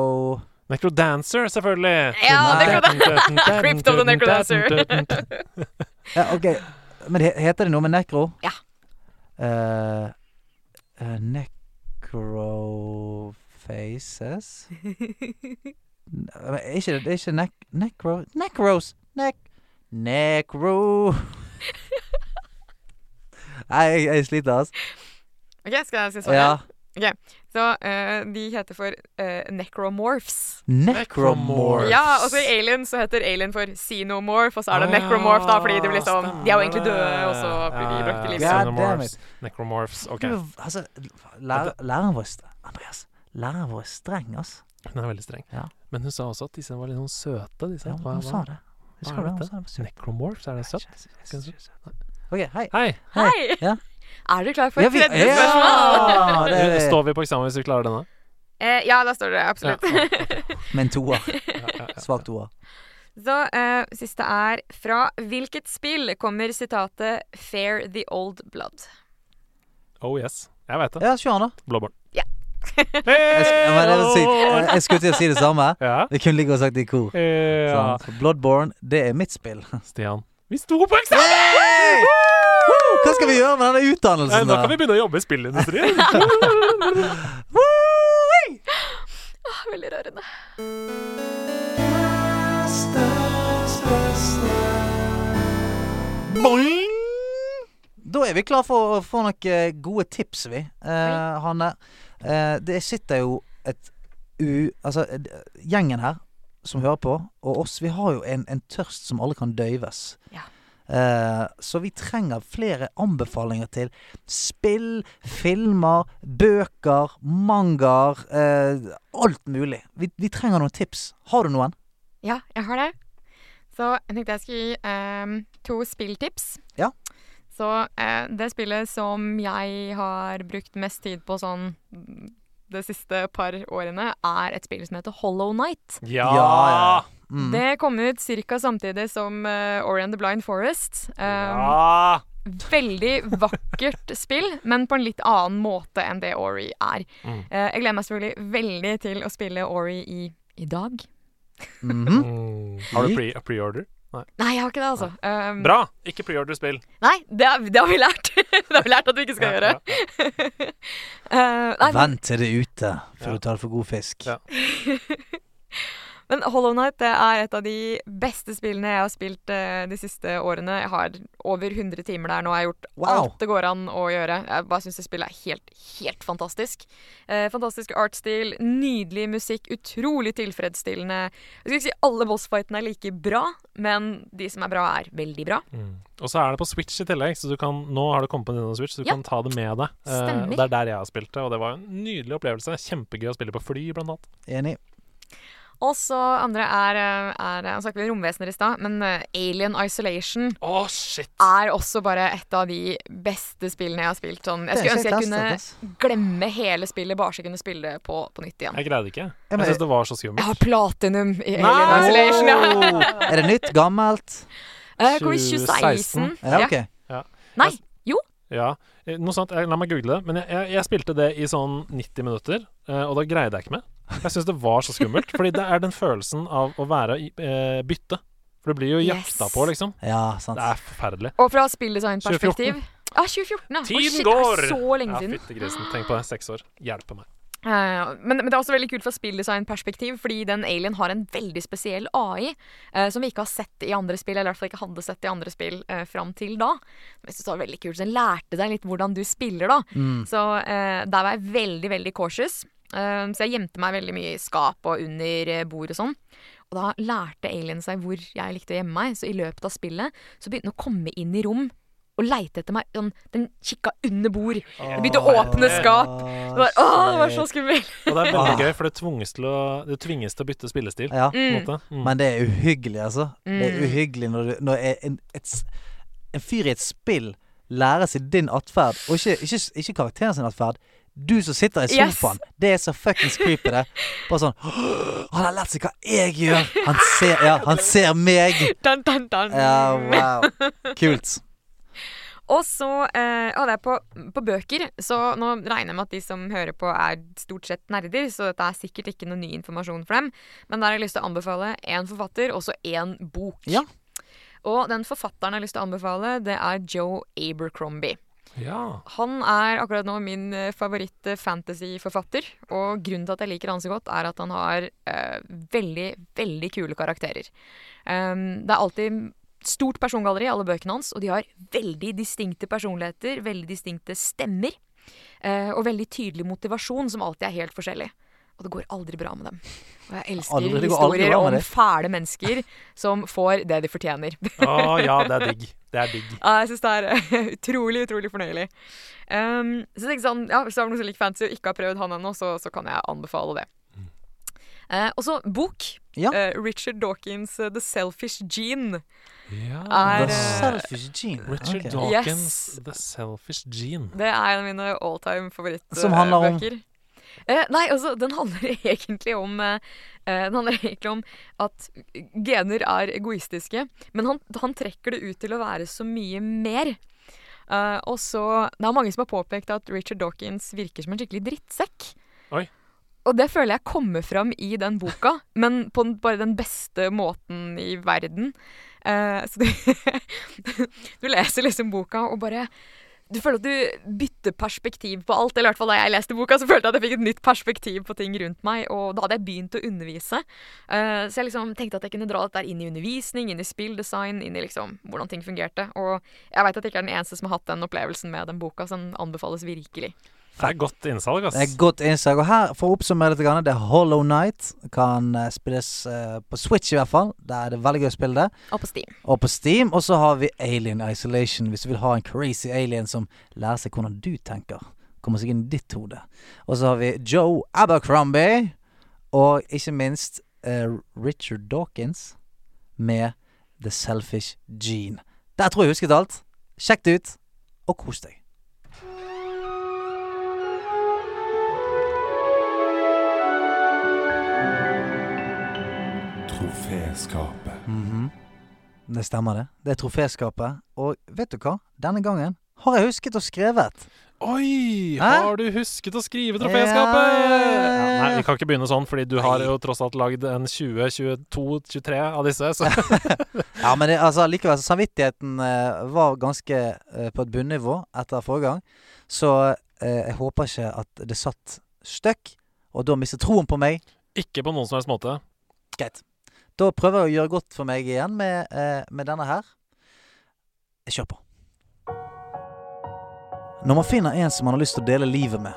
D: Necrodancer, selvfølgelig.
G: Ja,
C: Nei.
G: Necrodancer. Crypt of the Necrodancer.
C: ja, OK. Men he- heter det noe med necro?
G: Ja.
C: Eh, eh, necrofaces? Ne- men Er ikke det er ikke nec necro... Necros! Nec... Necro... Nei, jeg, jeg sliter, altså.
G: Ok, skal jeg si
C: Ja.
G: svaret? Så eh, de heter for eh, necromorphs.
C: Necromorph.
D: Morphs.
G: Ja, og så i Alien så heter Alien for xenomorph, og så er det
D: Ah,
G: necromorph, da, fordi de blir sånn De er jo egentlig døde,
D: stemmer
G: og så blir de
D: det.
G: brakt
D: Ja,
G: til liv.
C: God
D: ja, ja.
C: damn it.
D: Xenomorphs, Necromorphs. OK.
C: Du, altså, lærer, læreren vår er stre- Andreas, læreren vår er streng, altså.
D: Hun er veldig streng.
C: Ja.
D: Men hun sa også at disse var litt sånn søte. Disse.
C: Ja,
D: Hva-
C: hun sa
D: hva-
C: det.
D: hva
C: Husker du
D: er
C: det? Hun sa
D: dette?
C: det. var
D: Necromorphs, er det søtt?
C: søtt. OK, hei.
D: Hei!
G: Hei!
C: Ja.
G: Er du klar for et
C: vi-
G: tredje
C: ja,
G: spørsmål?
C: det er det.
D: Eh, Står vi på eksamen hvis vi klarer denne?
G: Eh, ja, da står det absolutt.
C: Med en toer.
D: Ja, ja, ja.
C: Svak toer.
G: Så eh, siste er Fra hvilket spill kommer sitatet 'Fair the Old Blood'?
D: Oh yes. Jeg veit det.
C: Ja, kjør den, da.
D: Blåbåren.
G: Ja.
C: Jeg, sk- ja, men det er så sykt. Jeg- jeg skulle til å si det samme.
D: Ja.
C: Vi kunne ligge og sagt det i kor.
D: ja.
C: Sånn. Så Bloodborne, det er mitt spill.
D: Stian. Vi sto på eksamen!
C: Hey! Woo! Hva skal vi gjøre med denne
D: Nei,
C: utdannelsen?
D: Da Eh, kan vi
C: da?
D: begynne å jobbe i spillindustrien.
G: Veldig rørende.
C: Boing! Da er vi klar for å få noen gode tips, vi. Eh, Hanne, eh, det sitter jo et u... Altså, eh, gjengen her som hører på, og oss, vi har jo en, en tørst som alle kan døyves.
G: Ja.
C: Eh, så vi trenger flere anbefalinger til spill, filmer, bøker, mangaer. Eh, alt mulig. Vi, vi trenger noen tips. Har du noen?
G: Ja, jeg har det. Så jeg tenkte jeg skulle gi ehm, to spilltips.
C: Ja.
G: Så eh, det spillet som jeg har brukt mest tid på sånn mm, det siste par årene, er et spill som heter Hollow Night.
D: Ja!
C: Ja, Mm.
G: Det kom ut ca. samtidig som eh, Ori and the Blind Forest. Ehm,
D: Ja.
G: Veldig vakkert spill, men på en litt annen måte enn det Ori er.
D: Mm.
G: Eh, jeg gleder meg selvfølgelig veldig til å spille Ori i, i dag. Um.
C: Mhm.
D: Mm. Har du pre- pre-order? Nei.
G: Nei, jeg har ikke det, altså. Ehm,
D: Bra! Ikke pre-order spill.
G: Nei, det, har- det har vi lært. det har vi lært at vi ikke skal gjøre.
D: Ja, ja.
G: Eh, nei, men,
C: Vent til det er ute før
D: Ja.
C: du tar det for god fisk.
D: Ja.
G: Men Hollow Knight det er et av de beste spillene jeg har spilt eh, de siste årene. Jeg har over 100 timer der nå. Jeg har gjort
C: Wow.
G: alt det går an å gjøre. Jeg bare syns det spillet er helt, helt fantastisk. Eh, fantastisk artstil, nydelig musikk, utrolig tilfredsstillende. Jeg skal ikke si alle bossfightene er like bra, men de som er bra, er veldig bra.
D: Og så er det på Switch i tillegg, så du kan, nå har det kommet på Nintendo Switch, så du
G: Ja.
D: kan ta det med deg. Eh,
G: Stemmer.
D: og det er der jeg har spilt det, og det var en nydelig opplevelse. Kjempegøy å spille på fly, blant annet.
C: Enig.
G: Og så andre er, eh, er Nå snakket vi om romvesener i stad, men eh, Alien Isolation
D: Å, shit!
G: er også bare et av de beste spillene jeg har spilt. Sånn, jeg
C: Det
G: skulle
C: skal
G: ønske jeg
C: jeg teste,
G: kunne glemme hele spillet, bare så jeg kunne spille det på, på nytt igjen.
D: Jeg greide ikke.
C: men-
D: Jeg syns det var så
G: Jeg
D: skummelt.
G: har platinum i Alien Isolation. Ja.
C: Er det nytt? Gammelt?
G: Eh, Kom i 2016.
C: Ja, ok.
G: Nei, jo.
D: Ja, eh, noe sånt. Jeg, la meg google det. Men jeg, jeg, jeg spilte det i sånn 90 minutter, eh, og da greide jeg ikke mer. Jeg syns det var så skummelt, fordi det er den følelsen av å være i, eh, bytte. For du blir jo
G: Yes.
D: jakta på, liksom.
C: Ja, sant.
D: Det er forferdelig.
G: Og fra spilldesignperspektiv
D: 2014.
G: Ja, 2014, Ah, ja. Å,
D: Tiden
G: shit,
D: går!
G: Det er så lenge
D: Ja,
G: siden.
D: fytti grisen. Tenk på det. Seks år. Hjelpe meg.
G: Eh, men, men det er også veldig kult fra spilldesignperspektiv, fordi den alien har en veldig spesiell AI eh, som vi ikke har sett i andre spill, eller i hvert fall ikke hadde sett i andre spill eh, fram til da. Som jeg synes var veldig kult. Så Den lærte deg litt hvordan du spiller, da. Så eh, der var jeg veldig, veldig cautious. Eh, så jeg gjemte meg veldig mye i skap og under eh, bord og sånn. Og da lærte alien seg hvor jeg likte å gjemme meg, så i løpet av spillet så begynte den å komme inn i rom. Og leite etter meg. Sånn, Den kikka under bord. Den begynte å åpne skap. Det var, åh, det var så skummelt.
D: Og det er veldig gøy, for det tvinges til å, det tvinges til å bytte spillestil.
C: Ah. Ja.
D: På en måte. Mm.
C: Men det er uhyggelig, altså. Det
G: Mm.
C: er uhyggelig når, du, når en, et, s- en fyr i et spill lærer seg din atferd, og ikke, ikke, s- ikke karakteren sin atferd. Du som sitter i
G: Yes.
C: sofaen. Det er så fuckings creepy, det. Bare sånn Han har lært seg hva jeg gjør! Han ser, ja, han ser meg!
G: Dun, dun, dun.
C: Ja, wow. Kult.
G: Og så eh, ja, det er på, på bøker, så nå regner jeg med at de som hører på er stort sett nerder, så dette er sikkert ikke noe ny informasjon for dem. Men der har jeg lyst til å anbefale én forfatter, og så én bok.
C: Ja.
G: Og den forfatteren jeg har lyst til å anbefale, det er Joe Abercrombie.
D: Ja.
G: Han er akkurat nå min eh, favoritt-fantasy-forfatter, og grunnen til at jeg liker han så godt, er at han har eh, veldig, veldig kule karakterer. Um, det er alltid stort persongalleri i alle bøkene hans, og de har veldig distinkte personligheter, veldig distinkte stemmer, eh, og veldig tydelig motivasjon, som alltid er helt forskjellig. Og det går aldri bra med dem. Og jeg elsker
C: Aldri- det går aldri
G: historier
C: bra med
G: om
C: dem.
G: fæle mennesker som får det de fortjener.
D: Å ja, det er digg. Det er digg.
G: Ja, jeg syns det er eh, utrolig, utrolig fornøyelig. Um, så tenkte jeg sånn, ja, Hvis det er noen som liker fancy og ikke har prøvd han ennå, så, så kan jeg anbefale det. Eh, og så bok.
C: Ja.
G: Eh, Richard Dawkins' eh, 'The Selfish Gene'
C: The
G: er eh,
C: selfish gene.
D: Richard
C: Ok.
D: Dawkins'
G: Yes.
D: The Selfish Gene.
G: Det er en av mine all time
C: Som handler om?
G: favorittbøker. Eh, nei, altså, den handler egentlig om eh, eh, Den handler egentlig om at gener er egoistiske, men han, han trekker det ut til å være så mye mer. Eh, og så Det er mange som har påpekt at Richard Dawkins virker som en skikkelig drittsekk.
D: Oi.
G: Og det føler jeg kommer fram i den boka, men på den, bare den beste måten i verden. Eh, så du, du leser liksom boka og bare du føler at du bytter perspektiv på alt. Eller i hvert fall da jeg leste boka, så følte jeg at jeg fikk et nytt perspektiv på ting rundt meg. Og da hadde jeg begynt å undervise. Eh, så jeg liksom tenkte at jeg kunne dra dette her inn i undervisning, inn i spilldesign, inn i liksom hvordan ting fungerte. Og jeg veit at jeg ikke er den eneste som har hatt den opplevelsen med den boka, så den anbefales virkelig.
D: Det er godt innsalg, ass.
C: Det er godt innslag. Og her, for å oppsummere litt, grann, det er Hollow Night. Kan eh, spilles eh, på Switch, i hvert fall. Der er det veldig gøy å spille det.
G: Og på Steam.
C: Og på Steam. Og så har vi Alien Isolation, hvis du vil ha en crazy alien som lærer seg hvordan du tenker. Kommer seg inn i ditt hode. Og så har vi Joe Abercrombie. Og ikke minst eh, Richard Dawkins med The Selfish Gene. Der tror jeg jeg husket alt. Sjekk det ut, og kos deg.
F: Troféskapet.
C: Det stemmer det. Det er troféskapet. Og vet du hva? Denne gangen har jeg husket og skrevet.
D: Oi!
C: Hæ?
D: Har du husket å skrive troféskapet?
C: Ja, ja, ja, ja, ja.
D: Nei, vi kan ikke begynne sånn, fordi du har jo tross alt lagd en 20, 22, 23 av disse. Så
C: Ja, men det, altså, likevel, så samvittigheten eh, var ganske eh, på et bunnivå etter forrige gang. Så eh, jeg håper ikke at det satt støkk, og da mistet troen på meg.
D: ikke på noen som helst måte.
C: Greit. Da prøver jeg å gjøre godt for meg igjen med, eh, med denne her. Jeg kjører på. Når man finner en som man har lyst til å dele livet med,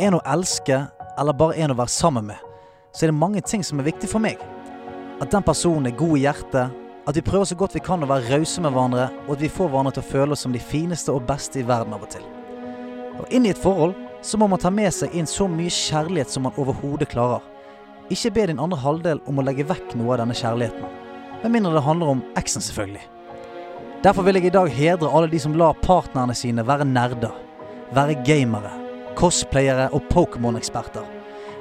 C: en å elske eller bare en å være sammen med, så er det mange ting som er viktig for meg. At den personen er god i hjertet, at vi prøver så godt vi kan å være rause med hverandre, og at vi får hverandre til å føle oss som de fineste og beste i verden av og til. Og inn i et forhold så må man ta med seg inn så mye kjærlighet som man overhodet klarer. Ikke be din andre halvdel om å legge vekk noe av denne kjærligheten. Med mindre det handler om eksen, selvfølgelig. Derfor vil jeg i dag hedre alle de som lar partnerne sine være nerder, være gamere, cosplayere og Pokémon-eksperter.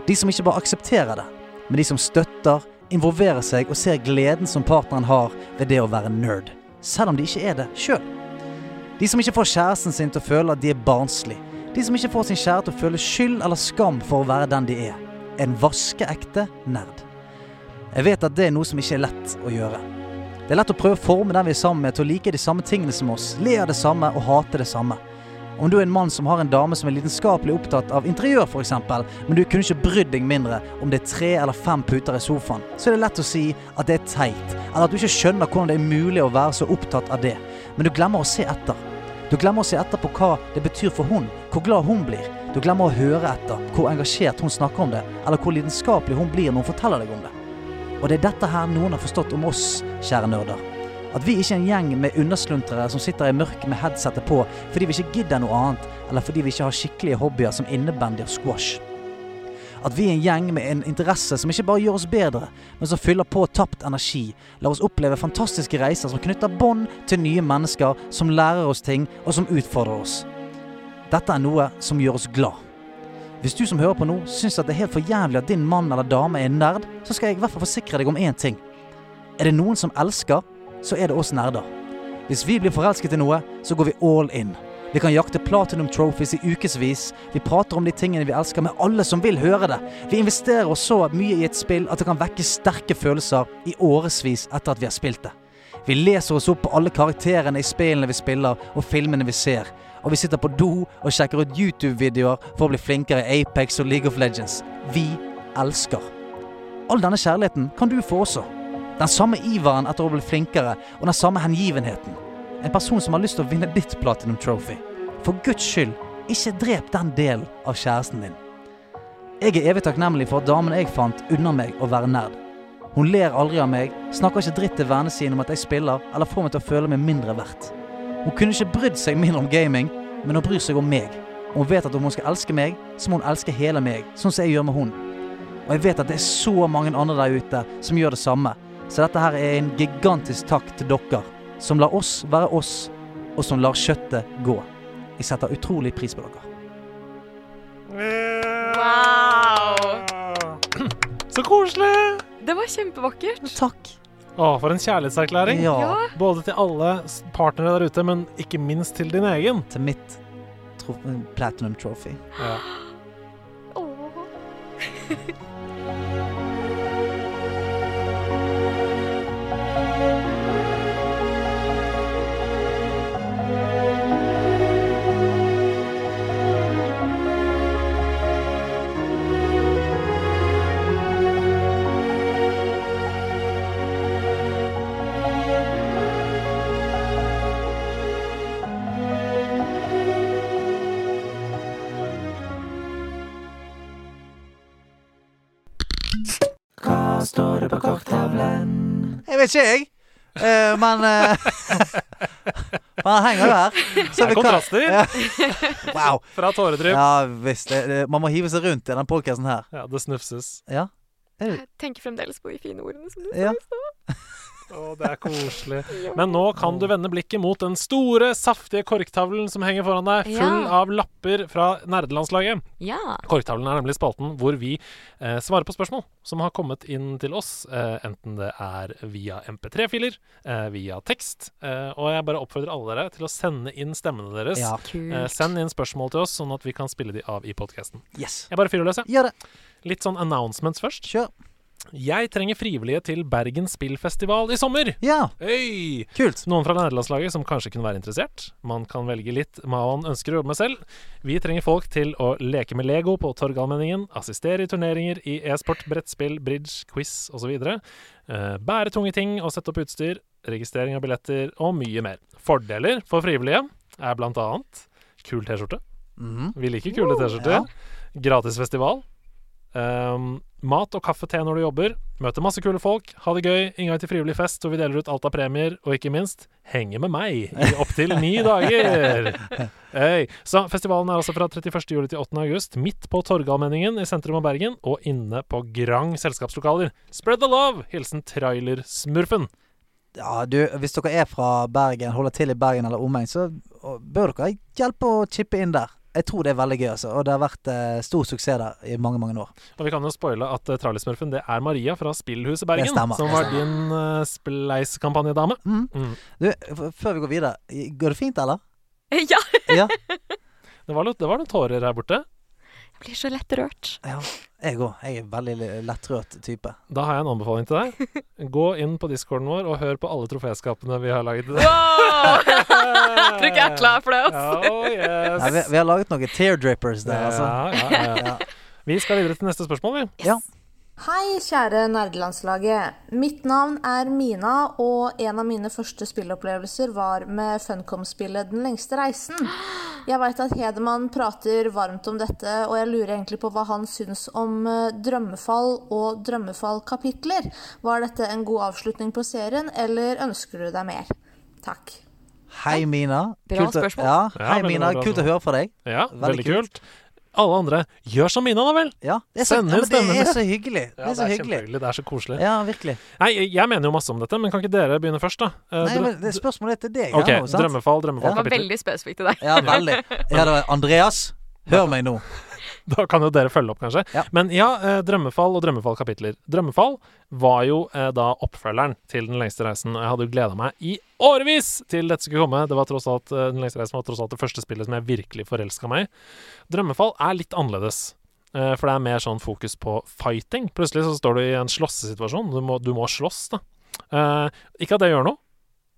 C: De som ikke bare aksepterer det, men de som støtter, involverer seg og ser gleden som partneren har ved det å være nerd. Selv om de ikke er det sjøl. De som ikke får kjæresten sin til å føle at de er barnslig. De som ikke får sin kjære til å føle skyld eller skam for å være den de er. En vaskeekte nerd. Jeg vet at det er noe som ikke er lett å gjøre. Det er lett å prøve å forme den vi er sammen med til å like de samme tingene som oss, le av det samme og hate det samme. Om du er en mann som har en dame som er lidenskapelig opptatt av interiør f.eks., men du kunne ikke brydd deg mindre om det er tre eller fem puter i sofaen, så er det lett å si at det er teit, eller at du ikke skjønner hvordan det er mulig å være så opptatt av det, men du glemmer å se etter. Du glemmer å se etter på hva det betyr for hun, hvor glad hun blir. Du glemmer å høre etter hvor engasjert hun snakker om det, eller hvor lidenskapelig hun blir når hun forteller deg om det. Og det er dette her noen har forstått om oss, kjære nerder. At vi ikke er en gjeng med undersluntrere som sitter i mørket med headsetet på fordi vi ikke gidder noe annet, eller fordi vi ikke har skikkelige hobbyer som innebandy og squash. At vi er en gjeng med en interesse som ikke bare gjør oss bedre, men som fyller på tapt energi. Lar oss oppleve fantastiske reiser som knytter bånd til nye mennesker, som lærer oss ting, og som utfordrer oss. Dette er noe som gjør oss glad. Hvis du som hører på nå syns at det er helt for jævlig at din mann eller dame er en nerd, så skal jeg i hvert fall forsikre deg om én ting. Er det noen som elsker, så er det oss nerder. Hvis vi blir forelsket i noe, så går vi all in. Vi kan jakte platinum trophies i ukevis. Vi prater om de tingene vi elsker med alle som vil høre det. Vi investerer oss så mye i et spill at det kan vekke sterke følelser i årevis etter at vi har spilt det. Vi leser oss opp på alle karakterene i spillene vi spiller og filmene vi ser. Og vi sitter på do og sjekker ut YouTube-videoer for å bli flinkere i Apex og League of Legends. Vi elsker. All denne kjærligheten kan du få også. Den samme iveren etter å bli flinkere, og den samme hengivenheten. En person som har lyst til å vinne ditt Platinum Trophy. For guds skyld, ikke drep den delen av kjæresten din. Jeg er evig takknemlig for at damen jeg fant, unner meg å være nerd. Hun ler aldri av meg, snakker ikke dritt til vennene sine om at jeg spiller, eller får meg til å føle meg mindre verdt. Hun kunne ikke brydd seg mindre om gaming, men hun bryr seg om meg. Og hun vet at om hun skal elske meg, så må hun elske hele meg, sånn som jeg gjør med hun. Og jeg vet at det er så mange andre der ute som gjør det samme, så dette her er en gigantisk takk til dere som lar oss være oss, og som lar kjøttet gå. Jeg setter utrolig pris på dere.
G: Wow!
D: Så koselig!
G: Det var kjempevakkert.
C: Takk.
D: Å, for en kjærlighetserklæring.
C: Ja,
G: Ja.
D: Både til alle s- partnere der ute, men ikke minst til din egen.
C: til mitt tro platinum trophy.
D: Ja.
G: Åh.
C: Jeg vet ikke, jeg. Eh, men eh, Men han henger der.
D: Det er kontraster
C: Ja. Wow.
D: fra tåredrypp. Ja.
C: Ja visst. det- det- Man må hive seg rundt i den podkasten her.
D: det snufses.
C: Ja.
G: Jeg tenker fremdeles på de fine ordene som du sa.
C: Ja.
D: Å, det er koselig. Men nå kan du vende blikket mot den store, saftige korktavlen som henger foran deg, full
G: Ja.
D: av lapper fra nerdelandslaget.
G: Ja.
D: Korktavlen er nemlig spalten hvor vi eh, svarer på spørsmål som har kommet inn til oss, eh, enten det er via MP3-filer, eh, via tekst, eh, og jeg bare oppfordrer alle dere til å sende inn stemmene deres.
C: ja.
D: Eh, send inn spørsmål til oss, sånn at vi kan spille de av i podkasten.
C: Yes.
D: Jeg bare fyrer løs, jeg.
C: Gjør det.
D: Litt sånn announcements først.
C: Kjør.
D: Jeg trenger frivillige til Bergen spillfestival i sommer.
C: Ja,
D: Øy!
C: kult.
D: Noen fra nederlandslaget som kanskje kunne være interessert. Man kan velge litt hva man ønsker å jobbe med selv. Vi trenger folk til å leke med Lego på Torgallmenningen, assistere i turneringer i e-sport, brettspill, bridge, quiz osv. Eh, Bære tunge ting og sette opp utstyr, registrering av billetter og mye mer. Fordeler for frivillige er blant annet kul T-skjorte.
C: Mhm.
D: Vi liker kule T-skjorter. Gratis festival. Ehm, mat og kaffe-te når du jobber. Møte masse kule folk. Ha det gøy. Inngang til frivillig fest hvor vi deler ut alt av premier. Og ikke minst henge med meg i opptil ni dager! Hey. Så festivalen er altså fra 31. juli til 8. august. Midt på Torgallmenningen i sentrum av Bergen. Og inne på Grang selskapslokaler. Spread the love! Hilsen Trailersmurfen.
C: Ja, du, hvis dere er fra Bergen, holder til i Bergen eller omegn, så og, bør dere hjelpe å chippe inn der. Jeg tror det er veldig gøy, altså. Og det har vært eh, stor suksess der i mange, mange år.
D: Og vi kan jo spoile at eh, Trailersmurfen det er Maria fra Spillhuset Bergen.
C: Det stemmer,
D: Som
C: det
D: var din uh, spleisekampanjedame.
C: Mhm.
D: Mm.
C: Du, f- før vi går videre, i- går det fint, eller?
G: Ja,
C: Ja,
D: Det var, litt- det var noen tårer her borte.
G: jeg blir så lett rørt.
C: jeg òg. Jeg er veldig le- lettrørt type.
D: Da har jeg en anbefaling til deg. Gå inn på discorden vår og hør på alle troféskapene vi har laget.
G: Wow! Tror ikke jeg er klar for det.
D: Ja,
G: Altså.
D: oh yes.
C: Nei, vi, vi har laget noen teardrippers der, altså.
D: Ja, ja, ja.
C: Ja.
D: Vi skal videre til neste spørsmål, vi.
C: Ja.
J: Hei, kjære nerdelandslaget. Mitt navn er Mina, og en av mine første spillopplevelser var med Funcom-spillet Den lengste reisen. Jeg veit at Hedemann prater varmt om dette, og jeg lurer egentlig på hva han syns om eh, drømmefall og drømmefall-kapitler. Var dette en god avslutning på serien, eller ønsker du deg mer? Takk.
C: Hei, Mina.
G: Bra
C: Kult å-
G: spørsmål.
C: Ja,
D: Ja,
C: hei,
D: veldig
C: Mina.
D: bra
C: Kult å
D: spørsmål.
C: høre fra deg.
D: Ja,
C: Veldig
D: Veldig kult. Alle andre, gjør som Mina, da vel!
C: Ja, det er så,
D: Send
C: ja,
D: inn
C: men det er
D: stemmene.
C: så hyggelig. Det er så hyggelig.
D: kjempehyggelig. Det er så koselig.
C: Ja, virkelig.
D: Nei, jeg mener jo masse om dette, men kan ikke dere begynne først, da? Eh,
C: Nei,
D: drø-
C: men det spørsmålet er til deg.
D: OK,
C: her nå, sant?
D: drømmefall,
G: Det
D: drømmefall,
G: var
D: kapittel.
G: veldig spesifikt til deg.
C: Ja, veldig. Ja, det var Andreas, hør meg nå.
D: Da kan jo dere følge opp, kanskje.
C: Ja.
D: Men ja, eh, drømmefall og drømmefall-kapitler. Drømmefall var jo eh, da oppfølgeren til Den lengste reisen, og jeg hadde jo gleda meg i årevis til dette skulle komme. Det var tross alt, eh, Den lengste reisen var tross alt det første spillet som jeg virkelig forelska meg i. Drømmefall er litt annerledes. eh, For det er mer sånn fokus på fighting. Plutselig så står du i en slåssesituasjon. Du må, du må slåss, da. Eh, ikke at det gjør noe.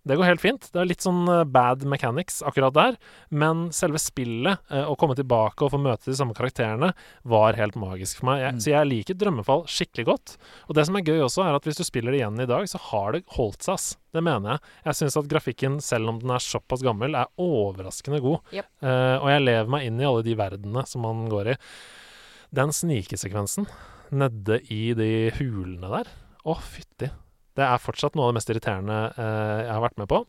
D: Det går helt fint. Det er litt sånn eh, bad mechanics akkurat der. Men selve spillet, eh, å komme tilbake og få møte de samme karakterene, var helt magisk for meg. Jeg, Så jeg liker Drømmefall skikkelig godt. Og det som er gøy også, er at hvis du spiller det igjen i dag, så har det holdt seg, ass. Det mener jeg. Jeg syns at grafikken, selv om den er såpass gammel, er overraskende god.
G: Jep.
D: Eh, og jeg lever meg inn i alle de verdenene som man går i. Den snikesekvensen nede i de hulene der, å fytti. Det er fortsatt noe av det mest irriterende eh, jeg har vært med på.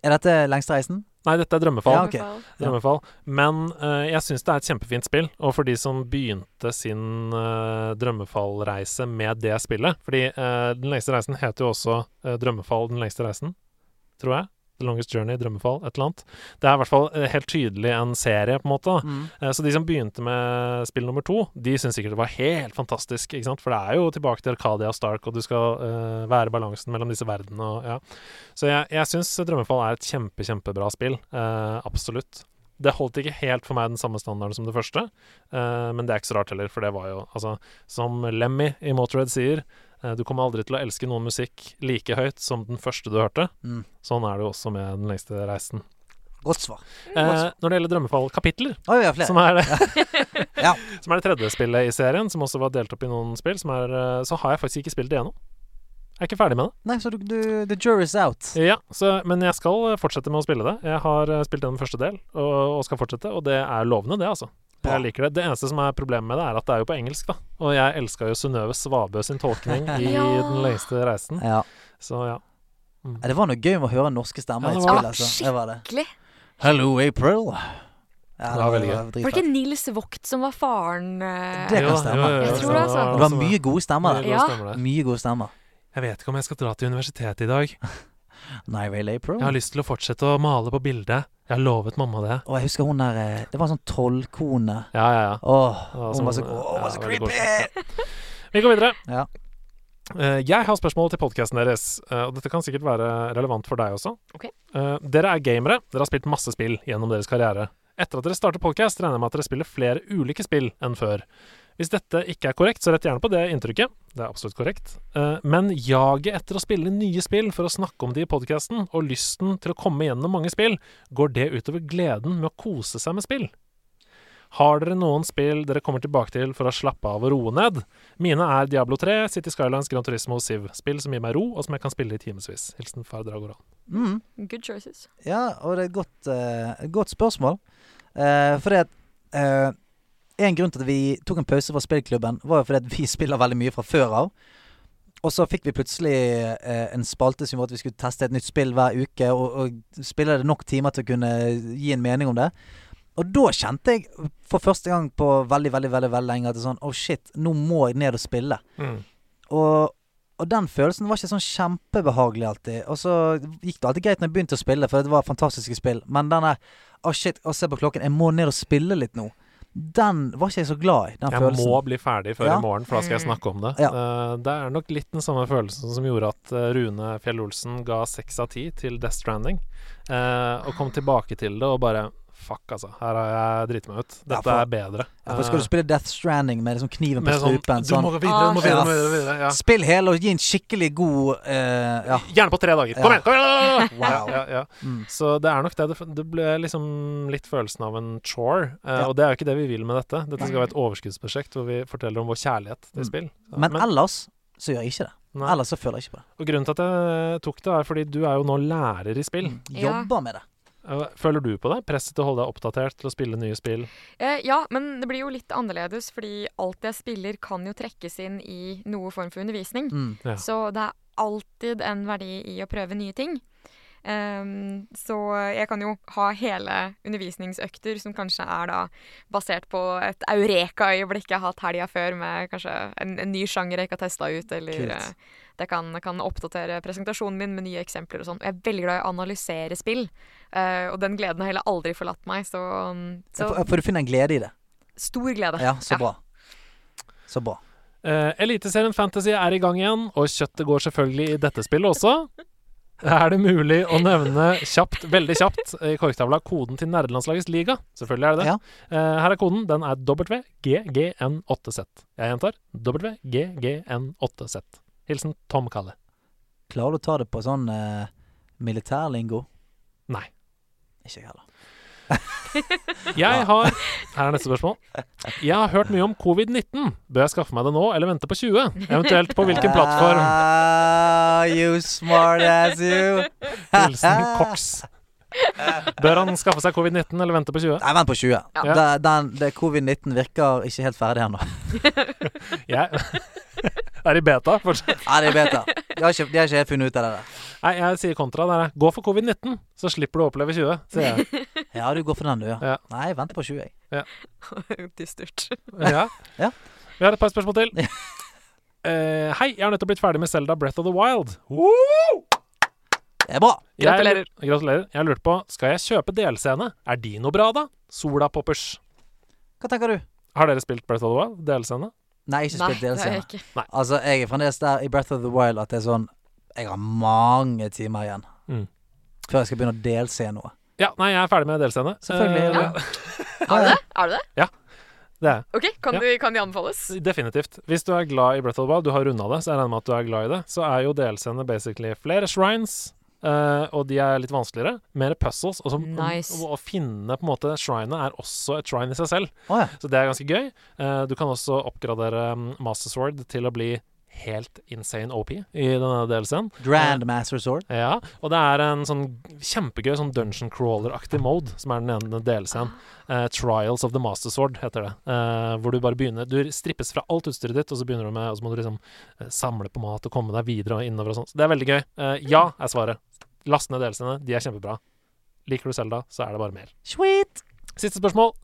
C: Er dette lengstereisen?
D: Nei, dette er drømmefall.
C: Ja, ok. Ja.
D: Drømmefall. Men eh, jeg syns det er et kjempefint spill. Og for de som begynte sin eh, drømmefallreise med det spillet Fordi eh, Den lengste reisen heter jo også eh, Drømmefall den lengste reisen, tror jeg. The Longest Journey, Drømmefall, et eller annet. Det er i hvert fall eh, helt tydelig en serie, på en måte. da.
C: Mm.
D: Eh, Så de som begynte med spill nummer to, de syns sikkert det var helt fantastisk. Ikke sant? For det er jo tilbake til Arcadia og Stark, og du skal eh, være balansen mellom disse verdenene. Og, ja. Så jeg, jeg syns Drømmefall er et kjempe, kjempebra spill. eh, absolutt. Det holdt ikke helt for meg den samme standarden som det første, eh, men det er ikke så rart heller, for det var jo altså Som Lemmy i Motorhead sier, eh, du kommer aldri til å elske noen musikk like høyt som den første du hørte.
C: Mm.
D: Sånn er det jo også med Den lengste reisen.
C: Godt svar.
D: Eh, når det gjelder Drømmefall-kapitler,
C: Oi, vi har flere.
D: som er det
C: Ja.
D: Som er det tredje spillet i serien, som også var delt opp i noen spill, som er, eh, så har jeg faktisk ikke spilt det ennå. Jeg er ikke ferdig med det.
C: Nei, så du, du The jury's out.
D: Ja, så, Men jeg skal eh, fortsette med å spille det. Jeg har eh, spilt gjennom første del, og, og skal fortsette, og det er lovende, det, altså.
C: Bra.
D: Jeg liker det. Det eneste som er problemet med det, er at det er jo på engelsk, da. Og jeg elska jo Synnøve Svabø sin tolkning i
G: Ja.
D: Den lengste reisen,
C: Ja.
D: så ja.
C: Ja, Det var noe gøy med å høre norske stemmer
D: Ja,
C: i
D: det
C: et spill,
D: var
G: det.
C: altså. Det var det.
G: Skikkelig.
C: Hello, April. Ja,
D: Det var veldig gøy.
C: dritfett.
G: Var det ikke Nils Vogt som var faren? eh?
C: Det kan
D: Jo,
C: stemme.
D: jo, jo,
G: Jeg
D: jo,
G: tror det, altså.
D: var
C: Det var
D: noe
C: mye gode stemmer
D: som-
C: der.
D: mye
G: Ja.
D: god stemme der.
C: Mye gode stemmer.
D: Jeg vet ikke om jeg skal dra til universitetet i dag.
C: Nei vel, April.
D: Jeg
G: Mm.
D: har lyst til å fortsette å male på bildet. Jeg har lovet mamma det.
C: Og jeg husker hun der eh, Det var en sånn trollkone.
D: Ja, ja, ja.
C: Åh,
D: Ja,
C: hun var så,
D: sånn,
C: åh, hun var så
D: ja, veldig
C: creepy!
D: Vi går videre.
C: Ja.
D: Eh, jeg har spørsmål til podkasten deres, eh, og dette kan sikkert være relevant for deg også.
G: Ok.
D: Eh, dere er gamere, dere har spilt masse spill gjennom deres karriere. Etter at dere starter podkast, regner jeg med at dere spiller flere ulike spill enn før. Hvis dette ikke er korrekt, så rett gjerne på det inntrykket. Det er absolutt korrekt. Eh, Men jaget etter å spille nye spill for å snakke om de i podkasten, og lysten til å komme gjennom mange spill, går det utover gleden med å kose seg med spill? Har dere noen spill dere kommer tilbake til for å slappe av og roe ned? Mine er Diablo 3, City Skylines, Gran Turismo og Siv. Spill som gir meg ro, og som jeg kan spille i timevis. Hilsen far Dragoran.
C: Mm.
G: Good choices.
C: Ja, og det er et godt, eh, et godt spørsmål. Eh, fordi at eh, En grunn til at vi tok en pause fra spillklubben, var jo fordi at vi spiller veldig mye fra før av. Og så fikk vi plutselig eh, en spalte som gjorde at vi skulle teste et nytt spill hver uke, og, og spille det nok timer til å kunne gi en mening om det. Og da kjente jeg for første gang på veldig, veldig veldig, veldig lenge at det er sånn Oh shit, nå må jeg ned og spille.
D: Mm.
C: Og, og den følelsen var ikke sånn kjempebehagelig alltid. Og så gikk det alltid greit når jeg begynte å spille, for det var fantastiske spill. Men den der Å shit, å se på klokken, jeg må ned og spille litt nå. Den var ikke jeg så glad i. Den
D: Jeg
C: følelsen.
D: må bli ferdig før
C: Ja.
D: i morgen, for da skal jeg snakke om det. Eh, det er nok litt den samme følelsen som gjorde at eh, Rune Fjell-Olsen ga seks av ti til Death Stranding, eh, og kom tilbake til det og bare Fuck, altså. Her har jeg driti meg ut. Dette
C: Ja, for-
D: er bedre. Eh,
C: Ja, for skal du spille Death Stranding med liksom kniven på
D: Med sånn,
C: strupen
D: du må videre, du
C: Ah,
D: må videre, du må videre, videre, ja.
C: Spill hele og gi en skikkelig god eh, ja. Mm.
D: Gjerne på tre dager. Kom igjen! Kom igjen!
C: Wow.
D: Ja, ja. Så det er nok det. det- Det ble liksom litt følelsen av en chore. eh, Og det er jo ikke det vi vil med dette. Dette skal være et overskuddsprosjekt hvor vi forteller om vår kjærlighet til spill. Ja,
C: Men ellers så gjør jeg ikke det. Ellers så føler jeg ikke på det.
D: Og grunnen til at jeg tok det, er fordi du er jo nå lærer i spill.
C: Mm.
D: Eh,
G: Ja. Jobber
C: med det.
D: Føler du på det? Presset til å holde deg oppdatert, til å spille nye spill?
G: Eh, ja, men det blir jo litt annerledes, fordi alt jeg spiller kan jo trekkes inn i noe form for undervisning.
D: Mm, ja.
G: Så det er alltid en verdi i å prøve nye ting. Ehm, så jeg kan jo ha hele undervisningsøkter som kanskje er da basert på et eureka-øyeblikk jeg har hatt helga før, med kanskje en, en ny sjanger jeg ikke har testa ut, eller
K: Kult.
G: eh, det kan, kan oppdatere presentasjonen min med nye eksempler og sånn. Og Jeg er veldig glad i å analysere spill, eh, og den gleden har heller aldri forlatt meg, så, mm, så
C: For, for du finner en glede i det.
G: Stor glede.
C: Ja, så bra. Så bra.
D: Eh, Eliteserien Fantasy er i gang igjen, og kjøttet går selvfølgelig i dette spillet også. Er det mulig å nevne kjapt, veldig kjapt, i korktavla koden til nerdelandslagets liga? Selvfølgelig er det det. Eh, her er koden. Den er WGGN8Z. Jeg gjentar WGGN8Z. Hilsen Tom Kalle.
C: Klarer du å ta det på sånn eh, militærlingo?
D: Nei.
C: Ikke jeg heller.
D: Jeg har Her er neste spørsmål. Jeg har hørt mye om covid-19. Bør jeg skaffe meg det nå, eller vente på 20? Eventuelt på hvilken plattform?
C: Ah, you smart ass, you.
D: Hilsen Cox. Bør han skaffe seg covid-19 eller vente på 20?
C: Nei, vent på 20.
D: Ja.
C: Det, den, det Covid-19 virker ikke helt ferdig ennå.
D: Jeg er i beta fortsatt.
C: Ja, det er beta. De har ikke, de har ikke helt funnet ut av det der.
D: Nei, jeg sier kontra der. jeg. Gå for covid-19, så slipper du å oppleve 20, sier jeg.
C: Ja, du går for den, du, ja. Nei, jeg venter på 20, jeg.
D: Ja.
G: Dystert.
D: Ja.
C: Ja.
D: Vi har et par spørsmål til. Eh, hei, jeg har nettopp blitt ferdig med Selda Breath of the Wild.
C: Det er bra.
D: Gratulerer. Jeg, gratulerer. Jeg lurte på, skal jeg kjøpe delscene? Er de noe bra, da? Sola Poppers.
C: Hva tenker du?
D: Har dere spilt Breath of the Wild? Delscene?
C: Nei, ikke spilt DLC.
D: jeg
C: Jeg altså, jeg er fremdeles der i Breath of the Wild at det er sånn Jeg har mange timer igjen
D: Mm.
C: før jeg skal begynne å DLC noe.
D: Ja, nei, jeg er ferdig med delscene.
C: Selvfølgelig er du
D: Eh,
G: Er du det? Er du det?
D: ja. Det er jeg.
G: OK, kan,
D: Ja.
G: de, kan de anbefales?
D: Definitivt. Hvis du er glad i Breath of the Wild, du har runda det, så jeg regner med at du er glad i det, så er jo DLC-ene basically flere shrines, eh, og de er litt vanskeligere. Mer puzzles. Og, så,
G: Nice.
D: og, og finne på en måte Shrinet er også et shrine i seg selv,
C: Å ja.
D: så det er ganske gøy. Eh, du kan også oppgradere mm, Master Sword til å bli helt insane OP i denne DLC-en.
C: Grand Master Sword.
D: Ja, og det er en sånn kjempegøy sånn dungeon crawler-aktig mode som er den ene delscenen. Eh, Trials of the Master Sword heter det. Eh, hvor du bare begynner Du strippes fra alt utstyret ditt, og så begynner du med Og så må du liksom eh, samle på mat og komme deg videre og innover og sånn. Så det er veldig gøy. Eh, ja, er svaret. Last ned delscenene. De er kjempebra. Liker du Selda, så er det bare mer.
C: Sweet.
D: Siste spørsmål.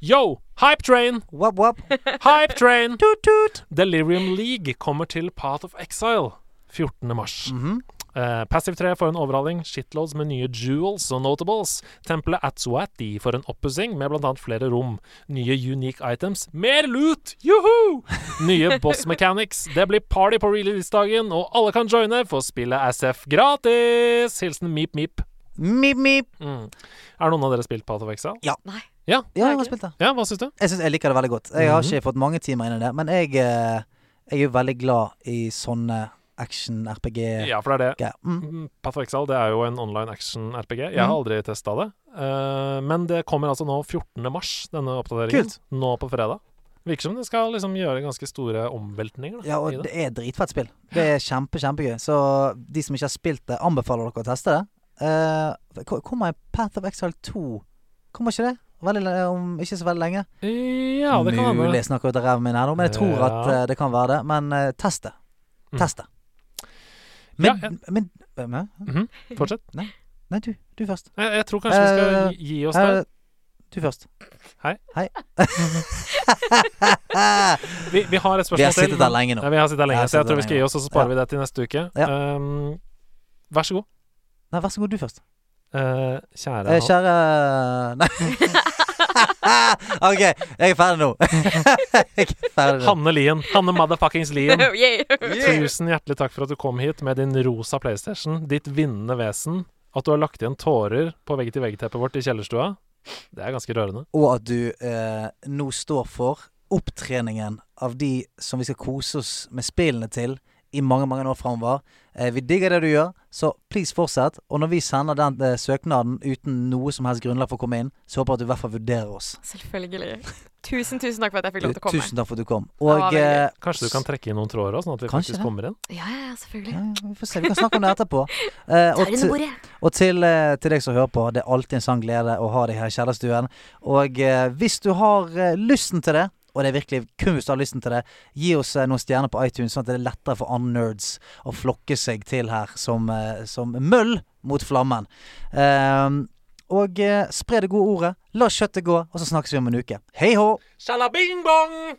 D: Yo, Hype Train!
C: Wap, wap.
D: Hype Train!
C: tut, tut.
D: Delirium League kommer til Path of Exile 14. mars. Eh, Passive 3 får en overhaling, shitloads med nye jewels og notables. Tempelet Atsuati får en oppussing med bl.a. flere rom. Nye unique items. Mer loot! Juhu! Nye boss mechanics. Det blir party på releasedagen, og alle kan joine for spillet SF gratis! Hilsen Meep Meep.
C: Mip, mip.
D: Mm. Er noen av dere spilt Path of Exile?
C: Ja.
G: Nei.
D: Ja.
C: jeg har spilt det.
D: Ja, hva syns du?
C: Jeg syns jeg liker det veldig godt. Jeg har
D: Mhm.
C: ikke fått mange timer inn i det, men jeg, eh, jeg er jo veldig glad i sånne action-RPG.
D: Ja, for det er det.
C: Ja,
D: Mm. Path of Exile det er jo en online action-RPG. Jeg har
C: Mhm.
D: aldri testa det. Eh, men det kommer altså nå 14. mars, denne oppdateringen.
C: Kult.
D: Nå på fredag. Virker som det skal liksom gjøre ganske store omveltninger. Da,
C: Ja,
D: i
C: og det er dritfett spill. Det er kjempe, kjempegøy. Så de som ikke har spilt det, anbefaler dere å teste det. Eh, ko- kommer Path of Exile 2? Kommer ikke det? Veldig, le- om ikke så veldig lenge.
D: Ja, det kan
C: Mulig
D: hende.
C: jeg snakker ut av ræven min her nå, men jeg tror
D: Ja.
C: at eh, det kan være det. Men eh, test det.
D: Mm.
C: Test det. Men, men, men
D: Fortsett.
C: Nei, nei du, du først.
D: Jeg, jeg tror kanskje vi skal
C: Eh,
D: gi- gi oss
C: eh,
D: der.
C: Du først.
D: Hei.
C: Hei.
D: Vi, vi har et spørsmål til.
C: Vi har sittet der lenge nå.
D: Ja, vi har sittet der
C: Vi
D: lenge,
C: har
D: så jeg
C: sittet
D: tror vi
C: der
D: skal gi
C: lenge
D: oss, og så
C: nå.
D: sparer
C: Ja.
D: vi det til neste uke. Um, vær så god.
C: Nei, vær så god, du først.
D: Eh, kjære
C: Eh, kjære Nei. OK, jeg er ferdig nå. jeg er ferdig nå.
D: Hanne Lien. Hanne motherfuckings Lien.
G: Yay.
D: Tusen hjertelig takk for at du kom hit med din rosa PlayStation, ditt vinnende vesen. At du har lagt igjen tårer på vegg-til-vegg-teppet vårt i kjellerstua. Det er ganske rørende.
C: Og at du eh, nå står for opptreningen av de som vi skal kose oss med spillene til i mange mange år framover. Eh, vi digger det du gjør, så please fortsett. Og når vi sender den eh, søknaden uten noe som helst grunnlag for å komme inn, så håper jeg at du i hvert fall vurderer oss.
G: Selvfølgelig. Tusen, tusen takk for at jeg fikk
C: Du,
G: lov til å komme.
C: tusen takk for at du kom.
G: var veldig
C: Og eh,
D: Kanskje du kan trekke inn noen tråder òg, sånn at vi
C: Kanskje
D: faktisk
C: det.
D: kommer inn?
G: Ja, ja, ja, selvfølgelig.
C: Vi får se, vi kan snakke om det etterpå. Eh, og
G: Ta det under
C: til-
G: bordet.
C: og til, eh, til deg som hører på, det er alltid en sann glede å ha deg her i kjellerstuen. Og eh, hvis du har eh, lysten til det, og det er virkelig kun hvis du har lysten til det, gi oss eh, noen stjerner på iTunes, sånn at det er lettere for andre nerds å flokke seg til her som, eh, som møll mot flammen. Eh, og eh, spre det gode ordet. La kjøttet gå, og så snakkes vi om en uke. Hei hå!
D: Sjalabing-bong!